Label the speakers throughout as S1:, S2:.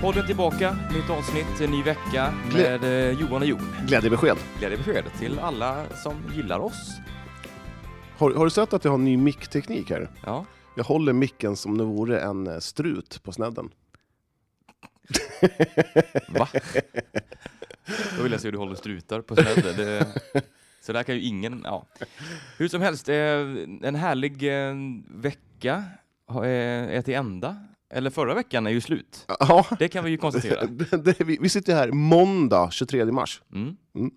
S1: Podden tillbaka, nytt avsnitt, en ny vecka
S2: Gle-
S1: med eh, Johan och Jon.
S2: Glädjebesked.
S1: Glädjebesked till alla som gillar oss.
S2: Har, har du sett att jag har en ny mickteknik här?
S1: Ja.
S2: Jag håller micken som om det vore en eh, strut på snedden.
S1: Va? Då vill jag se hur du håller strutar på snedden. Det... Så där kan ju ingen... Ja. Hur som helst, eh, en härlig eh, vecka har- eh, är till ända. Eller förra veckan är ju slut.
S2: Ja,
S1: Det kan vi ju konstatera.
S2: det, det, vi, vi sitter här måndag 23 mars.
S1: Mm.
S2: Mm.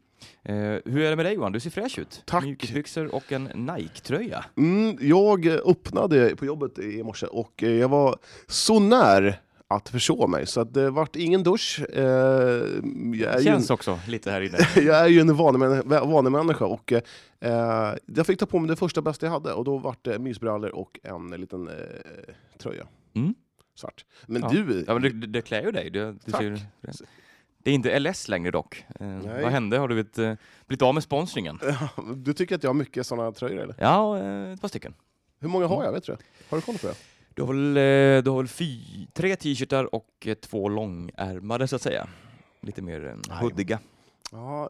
S1: Eh, hur är det med dig Johan? Du ser fräsch ut.
S2: Tack.
S1: Mjukisbyxor och en Nike-tröja.
S2: Mm, jag eh, öppnade på jobbet i morse och eh, jag var så när att försova mig, så att det vart ingen dusch. Eh, jag, är ju en,
S1: Känns också lite här inne.
S2: jag är ju en vanemän- va- vanemänniska och eh, eh, jag fick ta på mig det första bästa jag hade och då vart det mysbrallor och en liten eh, tröja.
S1: Mm.
S2: Svart. Men
S1: Ja.
S2: du,
S1: Ja, men det, det det klär ju dig. Du, du
S2: Tack.
S1: ser, det är inte LS längre dock. Eh,
S2: Nej.
S1: vad hände? Har du blivit, eh, blivit av med sponsringen?
S2: Du tycker att jag har mycket sådana tröjor eller?
S1: Ja, eh, ett par stycken.
S2: Hur många har jag?
S1: Mm.
S2: Vet du? Har du koll på det?
S1: Du har väl, eh, du har väl fy, tre t-shirtar och eh, två långärmade så att säga. Lite mer eh,
S2: Nej.
S1: hoodiga.
S2: Ja,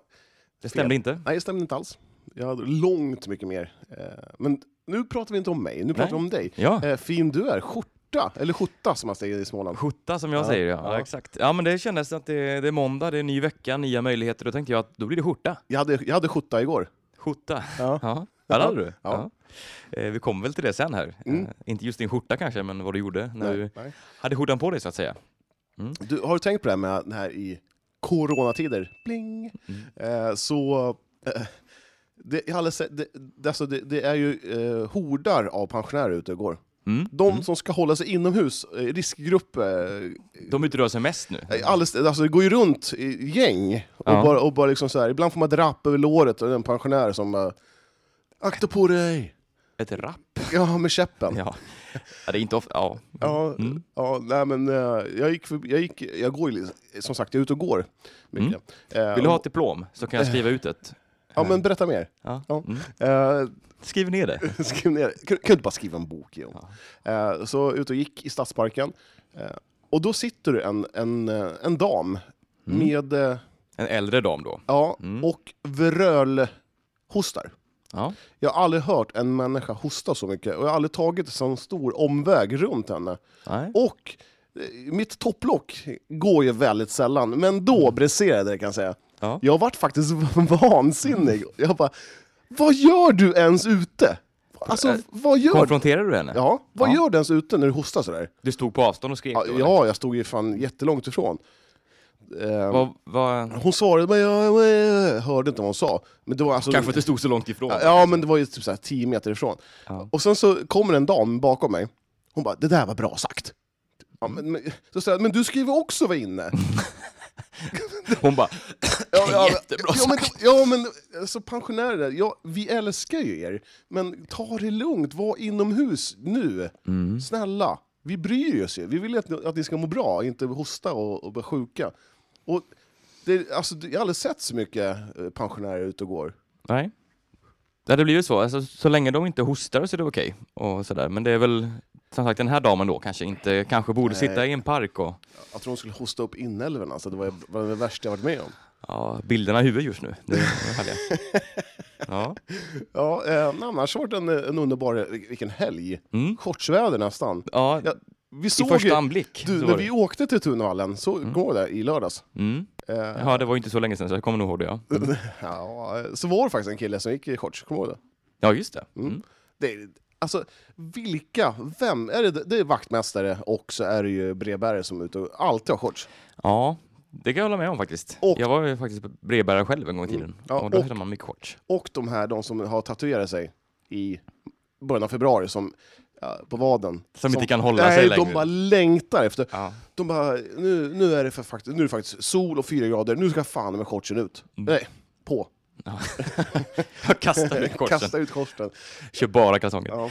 S1: Det stämde inte.
S2: nej, det stämde inte alls. Jag hade långt mycket mer. Eh, Men nu pratar vi inte om mig, nu pratar vi
S1: Nej.
S2: om dig.
S1: Ja,
S2: Eh, Fin du är, skjorta, eller skjorta som man säger i Småland.
S1: skjorta som jag
S2: Ja,
S1: säger. Ja. Ja.
S2: ja.
S1: exakt. Ja, men det kändes att det, det är måndag, det är ny vecka, nya möjligheter. Då tänkte jag att då blir det skjorta.
S2: Jag hade, jag hade skjorta igår.
S1: Skjorta.
S2: Ja.
S1: Ja, där hade du.
S2: Ja.
S1: Ja. Eh, Vi kommer väl till det sen här.
S2: Mm.
S1: Eh, Inte just din skjorta kanske, men vad du gjorde när du
S2: Nej, nej.
S1: hade skjortan på dig så att säga.
S2: Du, har du tänkt på det här med det här i coronatider? Bling!
S1: Mm.
S2: Eh, så... Eh, det, jag har aldrig sett- det, det, alltså det, det är ju eh, hordar av pensionärer ute och går.
S1: Mm.
S2: De som ska hålla sig inomhus, eh, riskgrupp, eh,
S1: De utrör sig mest nu.
S2: Alldeles, alltså det går ju runt i gäng, och
S1: Ja.
S2: bara, och bara liksom så här, ibland får man ett rapp över låret och det är en pensionär som bara, Akta på dig!
S1: Ett rapp.
S2: Ja, med käppen. Ja,
S1: Ja. ja, det är inte ofta. Ja.
S2: ja,
S1: Mm.
S2: nej men eh, jag gick, förbi, jag gick, jag går ju, li- som sagt, jag är ute och går. Mycket. Eh,
S1: Mm. Vill du ha ett diplom så kan jag skriva ut ett.
S2: Ja men berätta mer.
S1: Ja.
S2: Ja.
S1: Mm.
S2: Eh,
S1: Skriv ner det.
S2: Skriv ner det. Kan kan du inte bara skriva en bok igen? Eh, så ut och gick i Stadsparken. Eh, och då sitter det en, en, eh, en dam
S1: Mm.
S2: med, eh,
S1: En äldre dam då.
S2: ja,
S1: Mm.
S2: och vrölhostar.
S1: Ja.
S2: Jag har aldrig hört en människa hosta så mycket och jag har aldrig tagit en sån stor omväg runt henne.
S1: Nej.
S2: Och eh, mitt topplock går ju väldigt sällan, men då briserade det kan jag säga.
S1: Mm. Ja.
S2: Jag vart faktiskt vansinnig. Jag bara, vad gör du ens ute? Alltså, vad gör du?
S1: Konfronterade du henne?
S2: Ja, vad
S1: Eh, Ja.
S2: gör du ens ute när du hostar sådär?
S1: Du stod på avstånd och skrek?
S2: Ja,
S1: då, eller?
S2: ja, jag stod ju fan jättelångt ifrån. Eh,
S1: Vad, vad...
S2: Hon svarade, men jag, jag hörde inte vad hon sa. Men det var alltså...
S1: Kanske att du stod så långt ifrån?
S2: Ja, men det var ju typ så här 10 meter ifrån.
S1: Ja.
S2: Och sen så kommer en dam bakom mig. Hon bara, det där var bra sagt. Ja, men, men, så säger jag, men du ska ju också vara inne.
S1: Hon bara...
S2: Ja, ja,
S1: Jättebra
S2: ja, men, ja, men alltså, pensionärer, ja, vi älskar ju er. Men ta det lugnt, var inomhus nu. Snälla, vi bryr oss ju. Vi vill att ni, att ni ska må bra, inte hosta och, och bli sjuka. Och det, alltså, jag har aldrig sett så mycket eh, pensionärer ute och går.
S1: Nej. Ja, det blir ju så. Alltså, så länge de inte hostar så är det okej. Och sådär. Men det är väl som sagt den här damen då kanske inte kanske borde
S2: Nej.
S1: sitta i en park och
S2: Jag tror de skulle hosta upp inälvorna, alltså, det var, var det värsta jag varit med om.
S1: ja, bilderna i huvudet just nu. Det är härliga. Ja.
S2: Ja, eh, men annars har det en, en underbar, vil- vilken helg.
S1: Mm.
S2: Shortsväder nästan.
S1: Ja,
S2: Ja, vi
S1: I
S2: såg ju,
S1: första anblick.
S2: du,
S1: så
S2: när
S1: var det.
S2: vi åkte till Tunvallen, så går det där i lördags.
S1: Mm.
S2: Eh,
S1: Ja, det var ju inte så länge sedan så jag kommer nog ihåg det. Ja,
S2: ja, eh, så var det faktiskt en kille som gick i shorts, kommer du ihåg det?
S1: ja just det. Mm.
S2: det är, alltså, vilka, vem, är det, det är vaktmästare och så är det ju brevbärare som är ute och alltid har shorts.
S1: Ja, det kan jag hålla med om faktiskt.
S2: Och- Mm.
S1: jag var ju faktiskt brevbärare själv en gång i tiden.
S2: Ja,
S1: och då
S2: och-
S1: hade man mycket shorts.
S2: Och de här, de som har tatuerat sig i början av februari, som, ja, på vaden.
S1: Som inte kan hålla sig
S2: nej,
S1: längre.
S2: de bara längtar efter.
S1: Ja.
S2: De bara, nu, nu, är det för fakt- nu är det faktiskt sol och fyra grader, nu ska fan med shortsen ut.
S1: Mm.
S2: Nej, på.
S1: Jag kastade ut shortsen. Mm.
S2: Kasta ut shortsen.
S1: Kör bara kalsonger.
S2: Ja.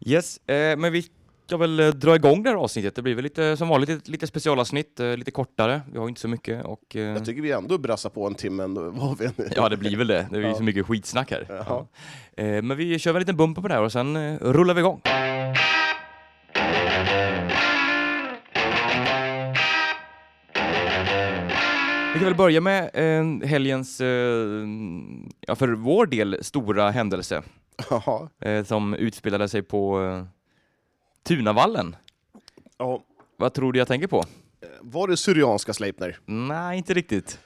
S1: Yes, eh, men vi ska väl eh, dra igång det här avsnittet. Det blir väl lite som vanligt ett lite specialavsnitt, eh, lite kortare. Vi har ju inte så mycket och eh,
S2: Jag tycker vi ändå brassar på en timme ändå, vad vi än
S1: ja, det blir väl det. Det är ju så mycket skitsnack här.
S2: Ja.
S1: Ja. Eh, men vi kör väl en liten bumper på det här och sen eh, rullar vi igång. Vi kan väl börja med eh, helgens, eh, ja, för vår del, stora händelse
S2: Jaha.
S1: eh, som utspelade sig på eh, Tunavallen.
S2: Ja.
S1: Vad tror du jag tänker på?
S2: Var det Syrianska Sleipner?
S1: Nej, inte riktigt.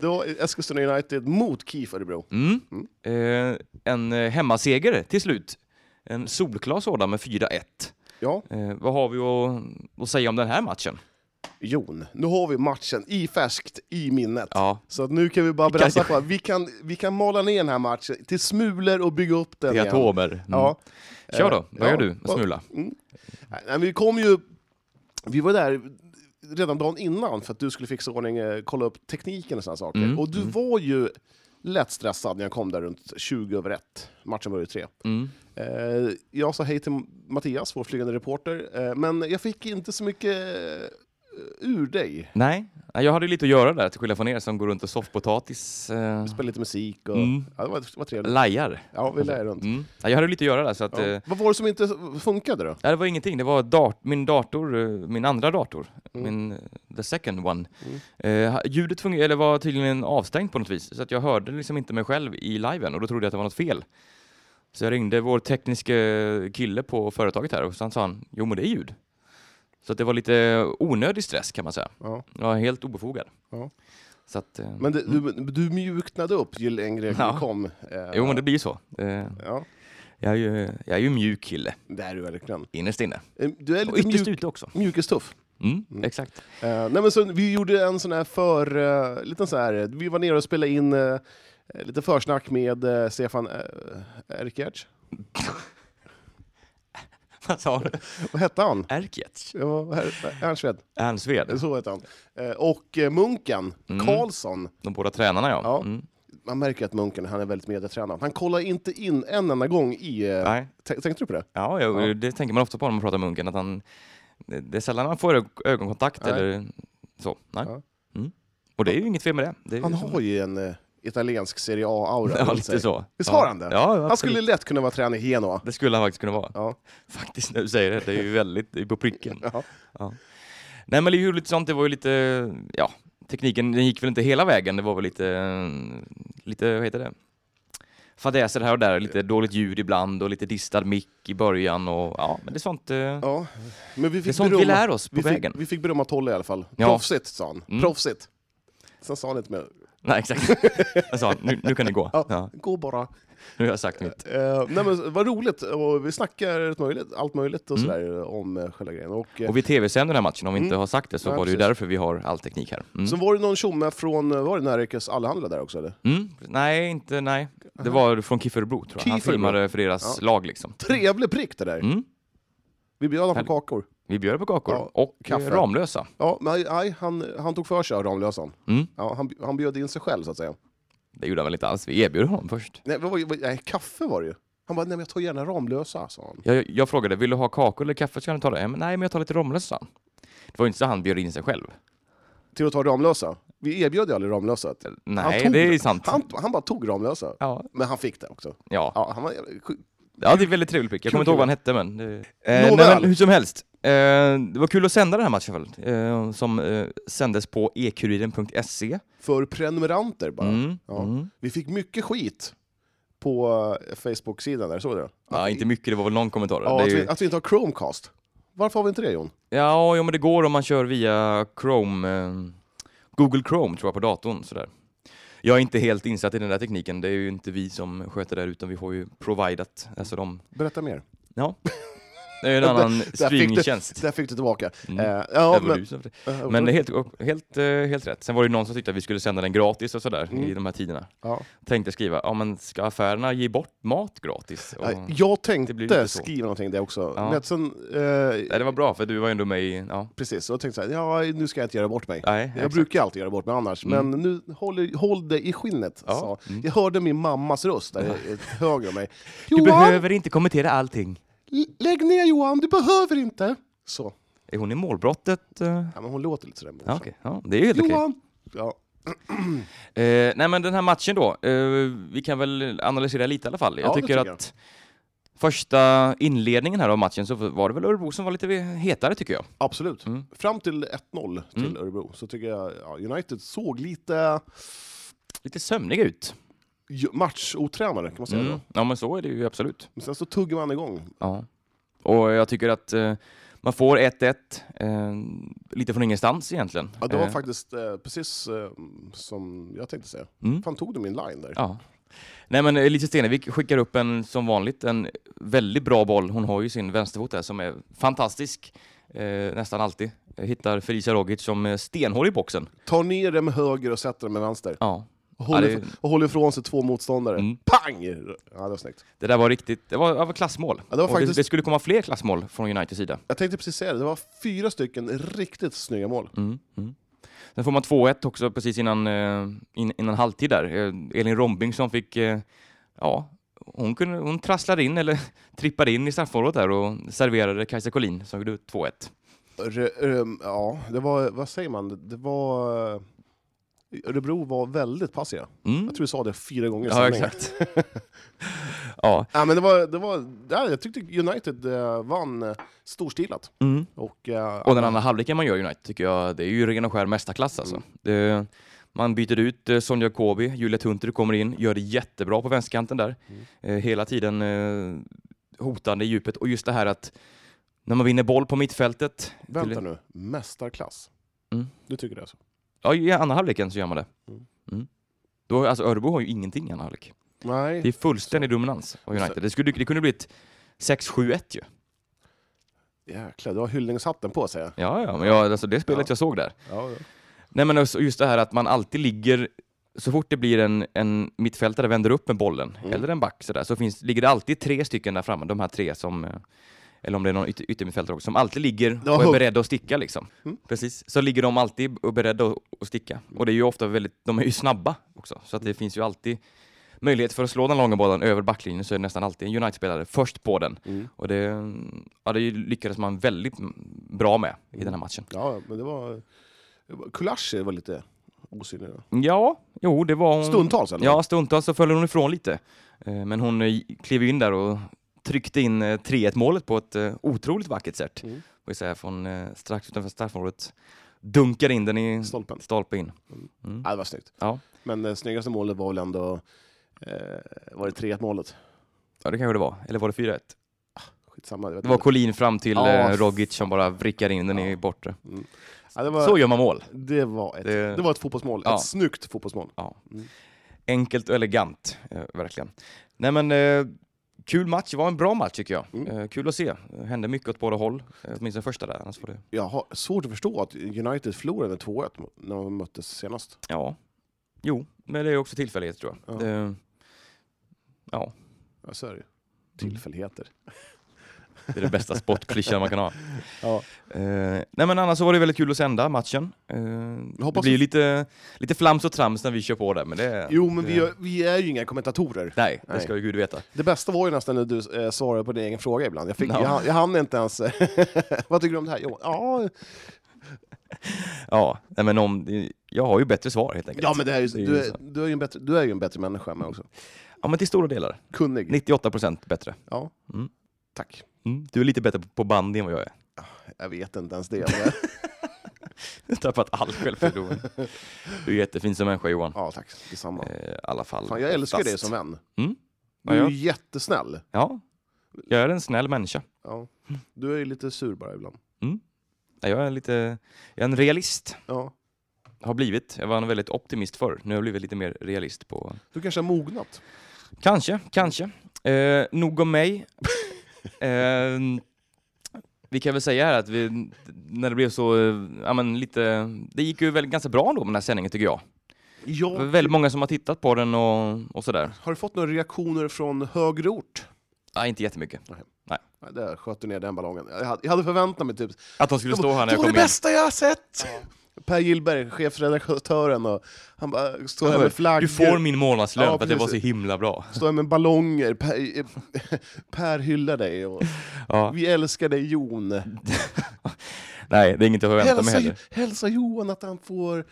S2: Det var Eskilstuna United mot KIF Örebro.
S1: Mm. Eh, en eh, hemmaseger till slut. En solklar sådan med 4-1.
S2: Ja,
S1: Eh, vad har vi att, att säga om den här matchen?
S2: Jon, nu har vi matchen i färskt i minnet.
S1: Ja,
S2: Så att nu kan vi bara
S1: kan-
S2: brassa på. Vi kan, vi kan mala ner den här matchen till smulor och bygga upp den
S1: det är
S2: igen.
S1: atomer. Mm.
S2: Ja. Eh,
S1: Kör då, börjar
S2: Ja.
S1: du smula.
S2: Nej, men vi kom ju... Vi var där redan dagen innan för att du skulle fixa ordning, eh, kolla upp tekniken och sådana saker.
S1: Mm,
S2: Och du var ju lätt stressad när jag kom där runt 20 över 1. Matchen började tre.
S1: Mm.
S2: Eh, jag sa hej till Mattias, vår flygande reporter, eh, men jag fick inte så mycket eh, ur dig.
S1: Nej, jag hade lite att göra där, till skillnad från er som går runt och soffpotatis eh,
S2: Spelade lite musik och...
S1: Mm.
S2: Ja, det var, det var trevligt.
S1: lajar.
S2: Ja, vi lär runt.
S1: Mm. Ja, Jag hade lite att göra där, så att...
S2: Ja.
S1: Eh,
S2: Vad var det som inte funkade då?
S1: nej, det var ingenting, det var dat- min dator, eh, min andra dator,
S2: Mm.
S1: min eh, the second one. Eh, ljudet funger- eller var tydligen avstängt på något vis, så att jag hörde liksom inte mig själv i liven och då trodde jag att det var något fel. Så jag ringde vår tekniska kille på företaget här och sen sa han, jo men det är ljud. Så att det var lite onödig stress kan man säga.
S2: Ja.
S1: Jag var helt obefogad.
S2: Ja.
S1: Så att, eh,
S2: Men det, du, du mjuknade upp ju längre vi
S1: Ja.
S2: kom. Eh,
S1: jo men det blir ju så. Eh,
S2: ja,
S1: jag, är ju, jag är ju mjuk kille,
S2: det är du verkligen.
S1: innerst inne.
S2: Eh, Du är
S1: Och
S2: lite
S1: ytterst
S2: mjuk,
S1: ute också.
S2: mjukistuff.
S1: Mm, Exakt.
S2: Eh, nej men så, vi gjorde en sån här för, eh, liten så här, vi var nere och spelade in eh, lite försnack med eh, Stefan uh, Erkertz.
S1: Vad sa du?
S2: Vad hette han?
S1: Erkic?
S2: Ja, Her- Ernstved,
S1: Ernstved?
S2: så hette han. Eh, och eh, Munken,
S1: Mm.
S2: Karlsson.
S1: De båda tränarna ja.
S2: Ja.
S1: Mm.
S2: Man märker att Munken, han är väldigt medietränad. Han kollar inte in en enda gång i... eh,
S1: Nej.
S2: t- tänkte du på det?
S1: Ja, jag,
S2: Ja.
S1: det tänker man ofta på när man pratar med Munken, att han, det det är sällan man får ö- ögonkontakt
S2: Nej.
S1: eller så. Nej.
S2: Ja.
S1: Mm. Och det är ju inget fel med det. det är ju
S2: Han
S1: som-
S2: har ju en eh, italiensk Serie A-aura.
S1: ja,
S2: runt
S1: lite
S2: sig.
S1: så.
S2: Visst
S1: ja.
S2: har han det?
S1: Ja,
S2: Han
S1: absolut.
S2: skulle lätt kunna vara tränare i Genoa.
S1: Det skulle han faktiskt kunna vara.
S2: Ja.
S1: Faktiskt när du säger det, det är ju väldigt det är på pricken.
S2: Ja.
S1: Nej men det är ju lite sånt, det var ju lite, ja, tekniken den gick väl inte hela vägen, det var väl lite, eh, lite vad heter det? Fadäser här och där, lite dåligt ljud ibland och lite distad mick i början och ja, men det är sånt, eh,
S2: Ja. Men
S1: det
S2: vi
S1: är
S2: fick
S1: sånt vi
S2: berömma
S1: lär oss på
S2: vi
S1: vägen.
S2: Fick, vi fick berömma Tolle i alla fall.
S1: Ja.
S2: Proffsigt, sa han.
S1: Mm.
S2: Proffsigt. Sen sa han inte mer.
S1: Nej exakt, jag sa nu, nu kan ni gå.
S2: Ja.
S1: Ja,
S2: Gå bara.
S1: nu har jag sagt mitt.
S2: Eh, nej men vad roligt, och vi snackar allt möjligt, allt möjligt och
S1: Mm.
S2: sådär om eh, själva grejen. Och, eh,
S1: Och vi tv-sänder den här matchen, om vi inte
S2: Mm.
S1: har sagt det så
S2: Ja,
S1: var det ju
S2: precis.
S1: därför vi har all teknik här. Mm.
S2: Sen var det någon tjomme från, eh, var det Närikes Allehanda där också eller?
S1: Mm. Nej, inte, nej. Det var från Kif Örebro tror jag. Han
S2: Kif Örebro.
S1: filmade för deras lag liksom.
S2: Trevlig prick det där!
S1: Mm.
S2: Vi bjöd honom
S1: Härligt.
S2: på kakor.
S1: Vi bjöd på kakor
S2: Ja,
S1: och eh,
S2: kaffe.
S1: Ramlösa.
S2: Ja, men aj, aj, han, han tog för sig av Ramlösan.
S1: Mm.
S2: Ja, han, han bjöd in sig själv så att säga.
S1: Det gjorde han väl inte alls, vi erbjöd honom först.
S2: Nej, vad, var- vad, nej kaffe var det ju. Han bara, nej men jag tar gärna Ramlösa, sa han.
S1: Jag, jag frågade, vill du ha kakor eller kaffe? Ska han ta det? Ja, men, nej, men jag tar lite Ramlösa. sa han. Det var ju inte så han bjöd in sig själv.
S2: Till att ta Ramlösa. Vi erbjöd ju aldrig Ramlösa.
S1: Nej,
S2: tog
S1: det är ju sant.
S2: Han, han bara tog Ramlösa.
S1: Ja,
S2: Men han fick det också.
S1: ja.
S2: Ja, han var jävla sjuk.
S1: ja, det är väldigt trevligt prick. Jag kommer inte
S2: Kul,
S1: ihåg vad han hette, men... Det... Eh, nej,
S2: Nåväl.
S1: men hur som helst. Eh, det var kul att sända den här matchen i alla fall, eh, som eh, sändes på ekuriren.se.
S2: För prenumeranter bara.
S1: Mm,
S2: Ja.
S1: mm.
S2: Vi fick mycket skit på eh, Facebook-sidan där, såg du det?
S1: Ja, inte mycket, det var väl någon kommentar.
S2: Ja, alltså,
S1: det
S2: att,
S1: är ju...
S2: vi, att vi inte har Chromecast. Varför har vi inte det Jon?
S1: ja, ja, men det går om man kör via Chrome, eh, Google Chrome tror jag på datorn. Sådär. Jag är inte helt insatt i den där tekniken, det är ju inte vi som sköter det här, utan vi har ju providat, alltså de,
S2: Berätta mer.
S1: ja. Det är en annan
S2: Där fick du,
S1: streamingtjänst.
S2: där fick du tillbaka.
S1: Mm.
S2: Eh, ja,
S1: Det var
S2: men,
S1: du som-
S2: eh,
S1: Men det är helt, helt, eh, helt rätt. Sen var det ju någon som tyckte att vi skulle sända den gratis och sådär
S2: Mm.
S1: i de här tiderna.
S2: ja.
S1: Tänkte skriva, ja men ska affärerna ge bort mat gratis? Och,
S2: Nej, Jag
S1: Det blir lite
S2: tänkte
S1: så.
S2: skriva någonting det också.
S1: Ja.
S2: Men sen, eh,
S1: nej, det var bra för du var ju ändå med i, ja.
S2: precis, och jag tänkte så här, ja, nu ska jag inte göra bort mig.
S1: Nej,
S2: Jag
S1: exakt. Mm.
S2: brukar alltid göra bort mig annars, men nu håll, håll det i skinnet.
S1: Ja.
S2: Sa.
S1: Mm.
S2: Jag hörde min mammas röst där eh, höger om mig.
S1: Du
S2: Johan,
S1: behöver inte kommentera allting.
S2: l- lägg ner Johan, du behöver inte! Så.
S1: Är hon i målbrottet? eh?
S2: Ja, men hon låter lite sådär. men
S1: Ja, okej. ja, det är ju helt okej.
S2: Johan! Ja.
S1: Eh, nej men den här matchen då, eh, vi kan väl analysera lite i alla fall. Jag
S2: Ja, det
S1: tycker
S2: tycker
S1: att Första inledningen här av matchen så var det väl Örebro som var lite hetare tycker jag.
S2: Absolut.
S1: Mm.
S2: Fram till 1-0 till
S1: Mm.
S2: Örebro så tycker jag ja, United såg lite
S1: Lite sömniga ut.
S2: ju- matchotränade kan man säga.
S1: Mm.
S2: då.
S1: Ja men så är det ju absolut.
S2: Men sen så tuggar man igång.
S1: Ja. Och jag tycker att eh, man får 1-1 eh, lite från ingenstans egentligen.
S2: Ja, det var
S1: Eh,
S2: faktiskt eh, precis eh, som jag tänkte säga.
S1: mm.
S2: Fan tog du min line där?
S1: Ja. Nej men eh, Elise Stenevik skickar upp en, som vanligt, en väldigt bra boll. Hon har ju sin vänsterfot där som är fantastisk, eh, nästan alltid. Hittar Felicia Rogic som är stenhård i boxen.
S2: Tar ner den med höger och sätter den med vänster.
S1: Ja.
S2: Och håller,
S1: Ja, det-
S2: och håller ifrån sig två motståndare.
S1: Mm.
S2: Pang! Ja, det var snyggt.
S1: Det där var riktigt, det var, det var klassmål.
S2: Ja, det var
S1: Och
S2: faktiskt-
S1: det, det skulle komma fler klassmål från Uniteds sida.
S2: Jag tänkte precis säga det, det var fyra stycken riktigt snygga mål.
S1: Mm. Mm. Sen får man 2-1 också precis innan, eh, in, innan halvtid där. Eh, Elin Rombing som fick, eh, ja, hon, kunde, hon trasslade in eller trippade in i straffområdet där och serverade Kajsa Collin som gjorde 2-1.
S2: Re, rem- ja, det var, vad säger man, det var... Örebro var väldigt passiva.
S1: Mm.
S2: Jag tror du sa det fyra gånger i
S1: Ja,
S2: sändningen.
S1: exakt. ja.
S2: Ja, men det var, det var, där, jag tyckte United eh, vann eh, storstilat. Och, eh,
S1: mm. Och den andra halvleken man gör United tycker jag, det är ju ren och skär mästarklass alltså. Det, man byter ut eh, Sonja Kobi, Julia Tunter kommer in, gör det jättebra på vänsterkanten där. Eh, hela tiden eh, hotande i djupet. Och just det här att när man vinner boll på mittfältet.
S2: Vänta nu, mästarklass.
S1: Mm.
S2: Du tycker det alltså?
S1: Ja, i andra halvleken så gör man det.
S2: Mm.
S1: Mm. Då, alltså Örebro har ju ingenting i andra halvlek. Det
S2: Nej.
S1: är fullständig dominans av United. Det, skulle, det kunde blivit 6-7-1 ju.
S2: Jäklar, du har hyllningshatten på säger jag.
S1: Ja, ja, men jag, alltså det spelet
S2: Ja.
S1: jag såg där.
S2: Ja, ja.
S1: Nej men också just det här att man alltid ligger, så fort det blir en, en mittfältare vänder upp med bollen,
S2: Mm.
S1: eller en back sådär, så finns, ligger det alltid tre stycken där framme, de här tre som, eh, eller om det är någon ytter, yttermittfältare också, som alltid ligger
S2: Ja,
S1: och är
S2: hugg.
S1: beredda att sticka liksom.
S2: Mm.
S1: Precis, så ligger de alltid och är beredda att- att sticka. Och det är ju ofta väldigt, de är ju snabba också, så att
S2: Mm.
S1: det finns ju alltid möjlighet för att slå den långa bollen över backlinjen så är det nästan alltid en United-spelare först på den.
S2: Mm.
S1: Och det, ja, det lyckades man väldigt bra med i
S2: Mm.
S1: den här matchen.
S2: Ja, men det var... Kulaschi var lite osynlig. då.
S1: Ja, jo det var hon.
S2: Stundtals eller?
S1: Mm. Ja, stundtals så föll hon ifrån lite. Eh, Men hon eh, klev in där och tryckte in eh, 3-1 målet på ett eh, otroligt vackert sätt.
S2: Mm.
S1: Och så här från eh, strax utanför straffområdet dunkar in den i
S2: Stolpen. Mm.
S1: stolpe in. Mm.
S2: Ja, det var snyggt.
S1: Ja.
S2: Men det snyggaste målet var väl ändå... Eh, var det 3-1 målet?
S1: ja, det kanske det var. Eller var det 4-1?
S2: Skitsamma. Jag vet
S1: Det var
S2: inte.
S1: Collin fram till
S2: Mm. Ja,
S1: eh,
S2: f-
S1: Rogic som bara vrickar in den i bortre.
S2: ja, det, var,
S1: Så gör man mål.
S2: det, var ett,
S1: Det-
S2: det... var ett fotbollsmål.
S1: Ja.
S2: Ett snyggt fotbollsmål.
S1: Enkelt och elegant, eh, verkligen. Nej men, eh, kul match. Det var en bra match tycker jag.
S2: Mm.
S1: Eh, kul att se. Det hände mycket åt båda håll. Eh, Åtminstone första där. Annars var det...
S2: Jag har svårt att förstå att United förlorade 2-1 mot- när de möttes senast.
S1: Ja. Jo, men det är också tillfällighet tror jag.
S2: Ja.
S1: Det, ja,
S2: Ja, så Alltså, är det ju. Tillfälligheter.
S1: Mm. det är den bästa sportklyschan man kan ha.
S2: Ja.
S1: Eh, nej men annars så var det väldigt kul att sända matchen. Eh, det
S2: hoppas
S1: blir
S2: vi-
S1: lite, lite flams och trams när vi kör på där. Men det,
S2: Jo, men
S1: det,
S2: vi, är- vi är ju inga kommentatorer.
S1: Nej, det
S2: Nej.
S1: ska ju gud veta.
S2: Det bästa var ju nästan när du eh, svarade på din egen fråga ibland. Jag, fick,
S1: Ja.
S2: jag, hann- jag hann inte ens... Vad tycker du om det här? Jo, ja,
S1: Ja, nej men om, jag har ju bättre svar helt enkelt.
S2: ja men det är ju, du,
S1: så.
S2: är, du, är ju en bättre, du är ju en bättre människa men också.
S1: ja, men till stora delar.
S2: Kunnig.
S1: 98 procent bättre.
S2: Ja.
S1: Mm.
S2: Tack.
S1: Mm. Du är lite bättre på bandy än vad jag är.
S2: Jag vet inte ens det. Men...
S1: Jag har tappat all självförtroende. Du är jättefin som människa Johan.
S2: ja, tack. Detsamma.
S1: Eh, I alla fall.
S2: Fan, jag älskar dig
S1: oftast.
S2: som vän.
S1: Mm. Ja,
S2: Du är
S1: ja.
S2: ju jättesnäll.
S1: Ja, jag är en snäll människa.
S2: Ja. Du är ju lite sur bara ibland.
S1: Nej, Jag är, lite, jag är en realist,
S2: Ja.
S1: har blivit. Jag var en väldigt optimist förr, nu har jag blivit lite mer realist på...
S2: Du kanske har mognat.
S1: Kanske, kanske. Eh, nog om mig. eh, vi kan väl säga här att vi, när det blev så, eh, ja men lite, det gick ju väl ganska bra ändå med den här sändningen tycker jag. Det var
S2: Ja.
S1: väldigt många som har tittat på den och, och sådär.
S2: Har du fått några reaktioner från högre ort?
S1: Nej, inte jättemycket.
S2: Nej, Där sköt du ner den ballongen. Jag hade- jag hade förväntat mig typ
S1: Att de skulle stå här när
S2: Det
S1: jag
S2: var det
S1: kom in.
S2: bästa jag har sett! Per Gillberg, chefredaktören, och han bara står här med flaggor,
S1: Du får min månadslön
S2: Ja,
S1: för att det var så
S2: precis.
S1: himla bra.
S2: står här med ballonger, Per, eh, per hyllar dig, och
S1: Ja.
S2: vi älskar dig Jon.
S1: Nej, det är inget att förvänta mig
S2: Hälsa,
S1: heller.
S2: hälsa Johan att han får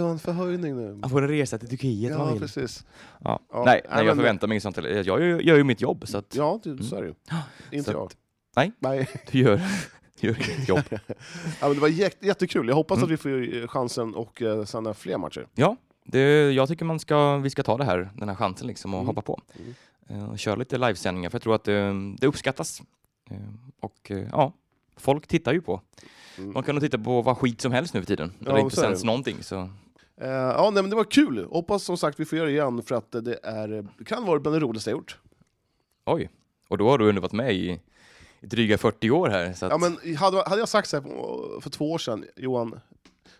S2: lönförhöjning nu.
S1: Han får en resa till Turkiet om
S2: Ja,
S1: han vill.
S2: precis.
S1: Ja.
S2: Ja,
S1: Nej,
S2: nej,
S1: nej, jag
S2: men-
S1: förväntar mig inget sånt. heller. Jag gör ju, gör ju mitt jobb, så att
S2: Ja, du, så är det ju. Inte
S1: Så
S2: jag.
S1: att- nej.
S2: Nej.
S1: du gör, du gör ditt jobb.
S2: Ja, men det var jätte, jättekul. Jag hoppas
S1: Mm.
S2: att vi får eh, chansen och eh, sända fler matcher.
S1: Ja, det, jag tycker man ska, vi ska ta det här, den här chansen liksom och
S2: Mm.
S1: hoppa på.
S2: Mm.
S1: Eh, Och köra lite livesändningar för jag tror att eh, det uppskattas. Eh, och eh, ja, folk tittar ju på.
S2: Mm.
S1: Man kan nog titta på vad skit som helst nu för tiden.
S2: Ja,
S1: När det inte
S2: så är
S1: sänds
S2: det.
S1: någonting. Så.
S2: Eh, ja, nej, men det var kul. Hoppas som sagt vi får göra det igen för att eh, det är, eh, det kan vara bland det roligaste jag gjort.
S1: Oj, och då har du ändå varit med i, i dryga 40 år här. Så att,
S2: Ja, men hade, hade jag sagt så här på- för två år sedan, Johan,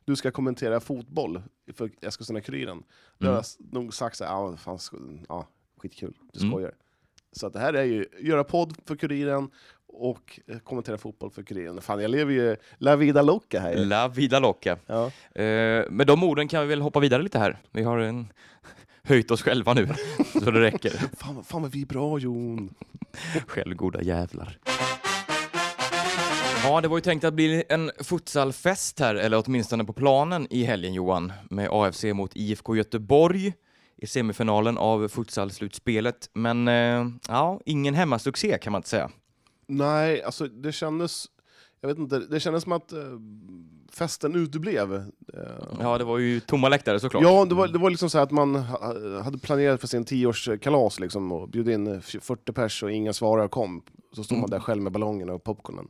S2: du ska kommentera fotboll för Eskilstuna-Kuriren, då
S1: Mm.
S2: hade jag s- nog sagt så här, ja, fan, sk- ja skitkul, du
S1: Mm.
S2: skojar. Så att det här är ju, göra podd för Kuriren och eh, kommentera fotboll för Kuriren. Fan, jag lever ju la vida loca här. ju.
S1: La vida loca.
S2: Ja.
S1: Eh, med de orden kan vi väl hoppa vidare lite här. Vi har en, höjt oss själva nu, så det räcker.
S2: Fan, vad- fan vad vi är bra Jon!
S1: Självgoda jävlar. Ja, det var ju tänkt att bli en futsalfest här, eller åtminstone på planen i helgen Johan, med AFC mot IFK Göteborg i semifinalen av futsalslutspelet. Men eh, ja, ingen hemmasuccé kan man inte säga.
S2: Nej, alltså det kändes, jag vet inte, det kändes som att eh, festen uteblev. Eh,
S1: Ja, det var ju tomma läktare såklart. Mm.
S2: Ja, det var, det var liksom så här att man ha- hade planerat för sin tioårskalas liksom, och bjöd in eh, 40 pers och ingen svarade och kom. Så stod man
S1: Mm.
S2: där själv med ballongerna och popcornen.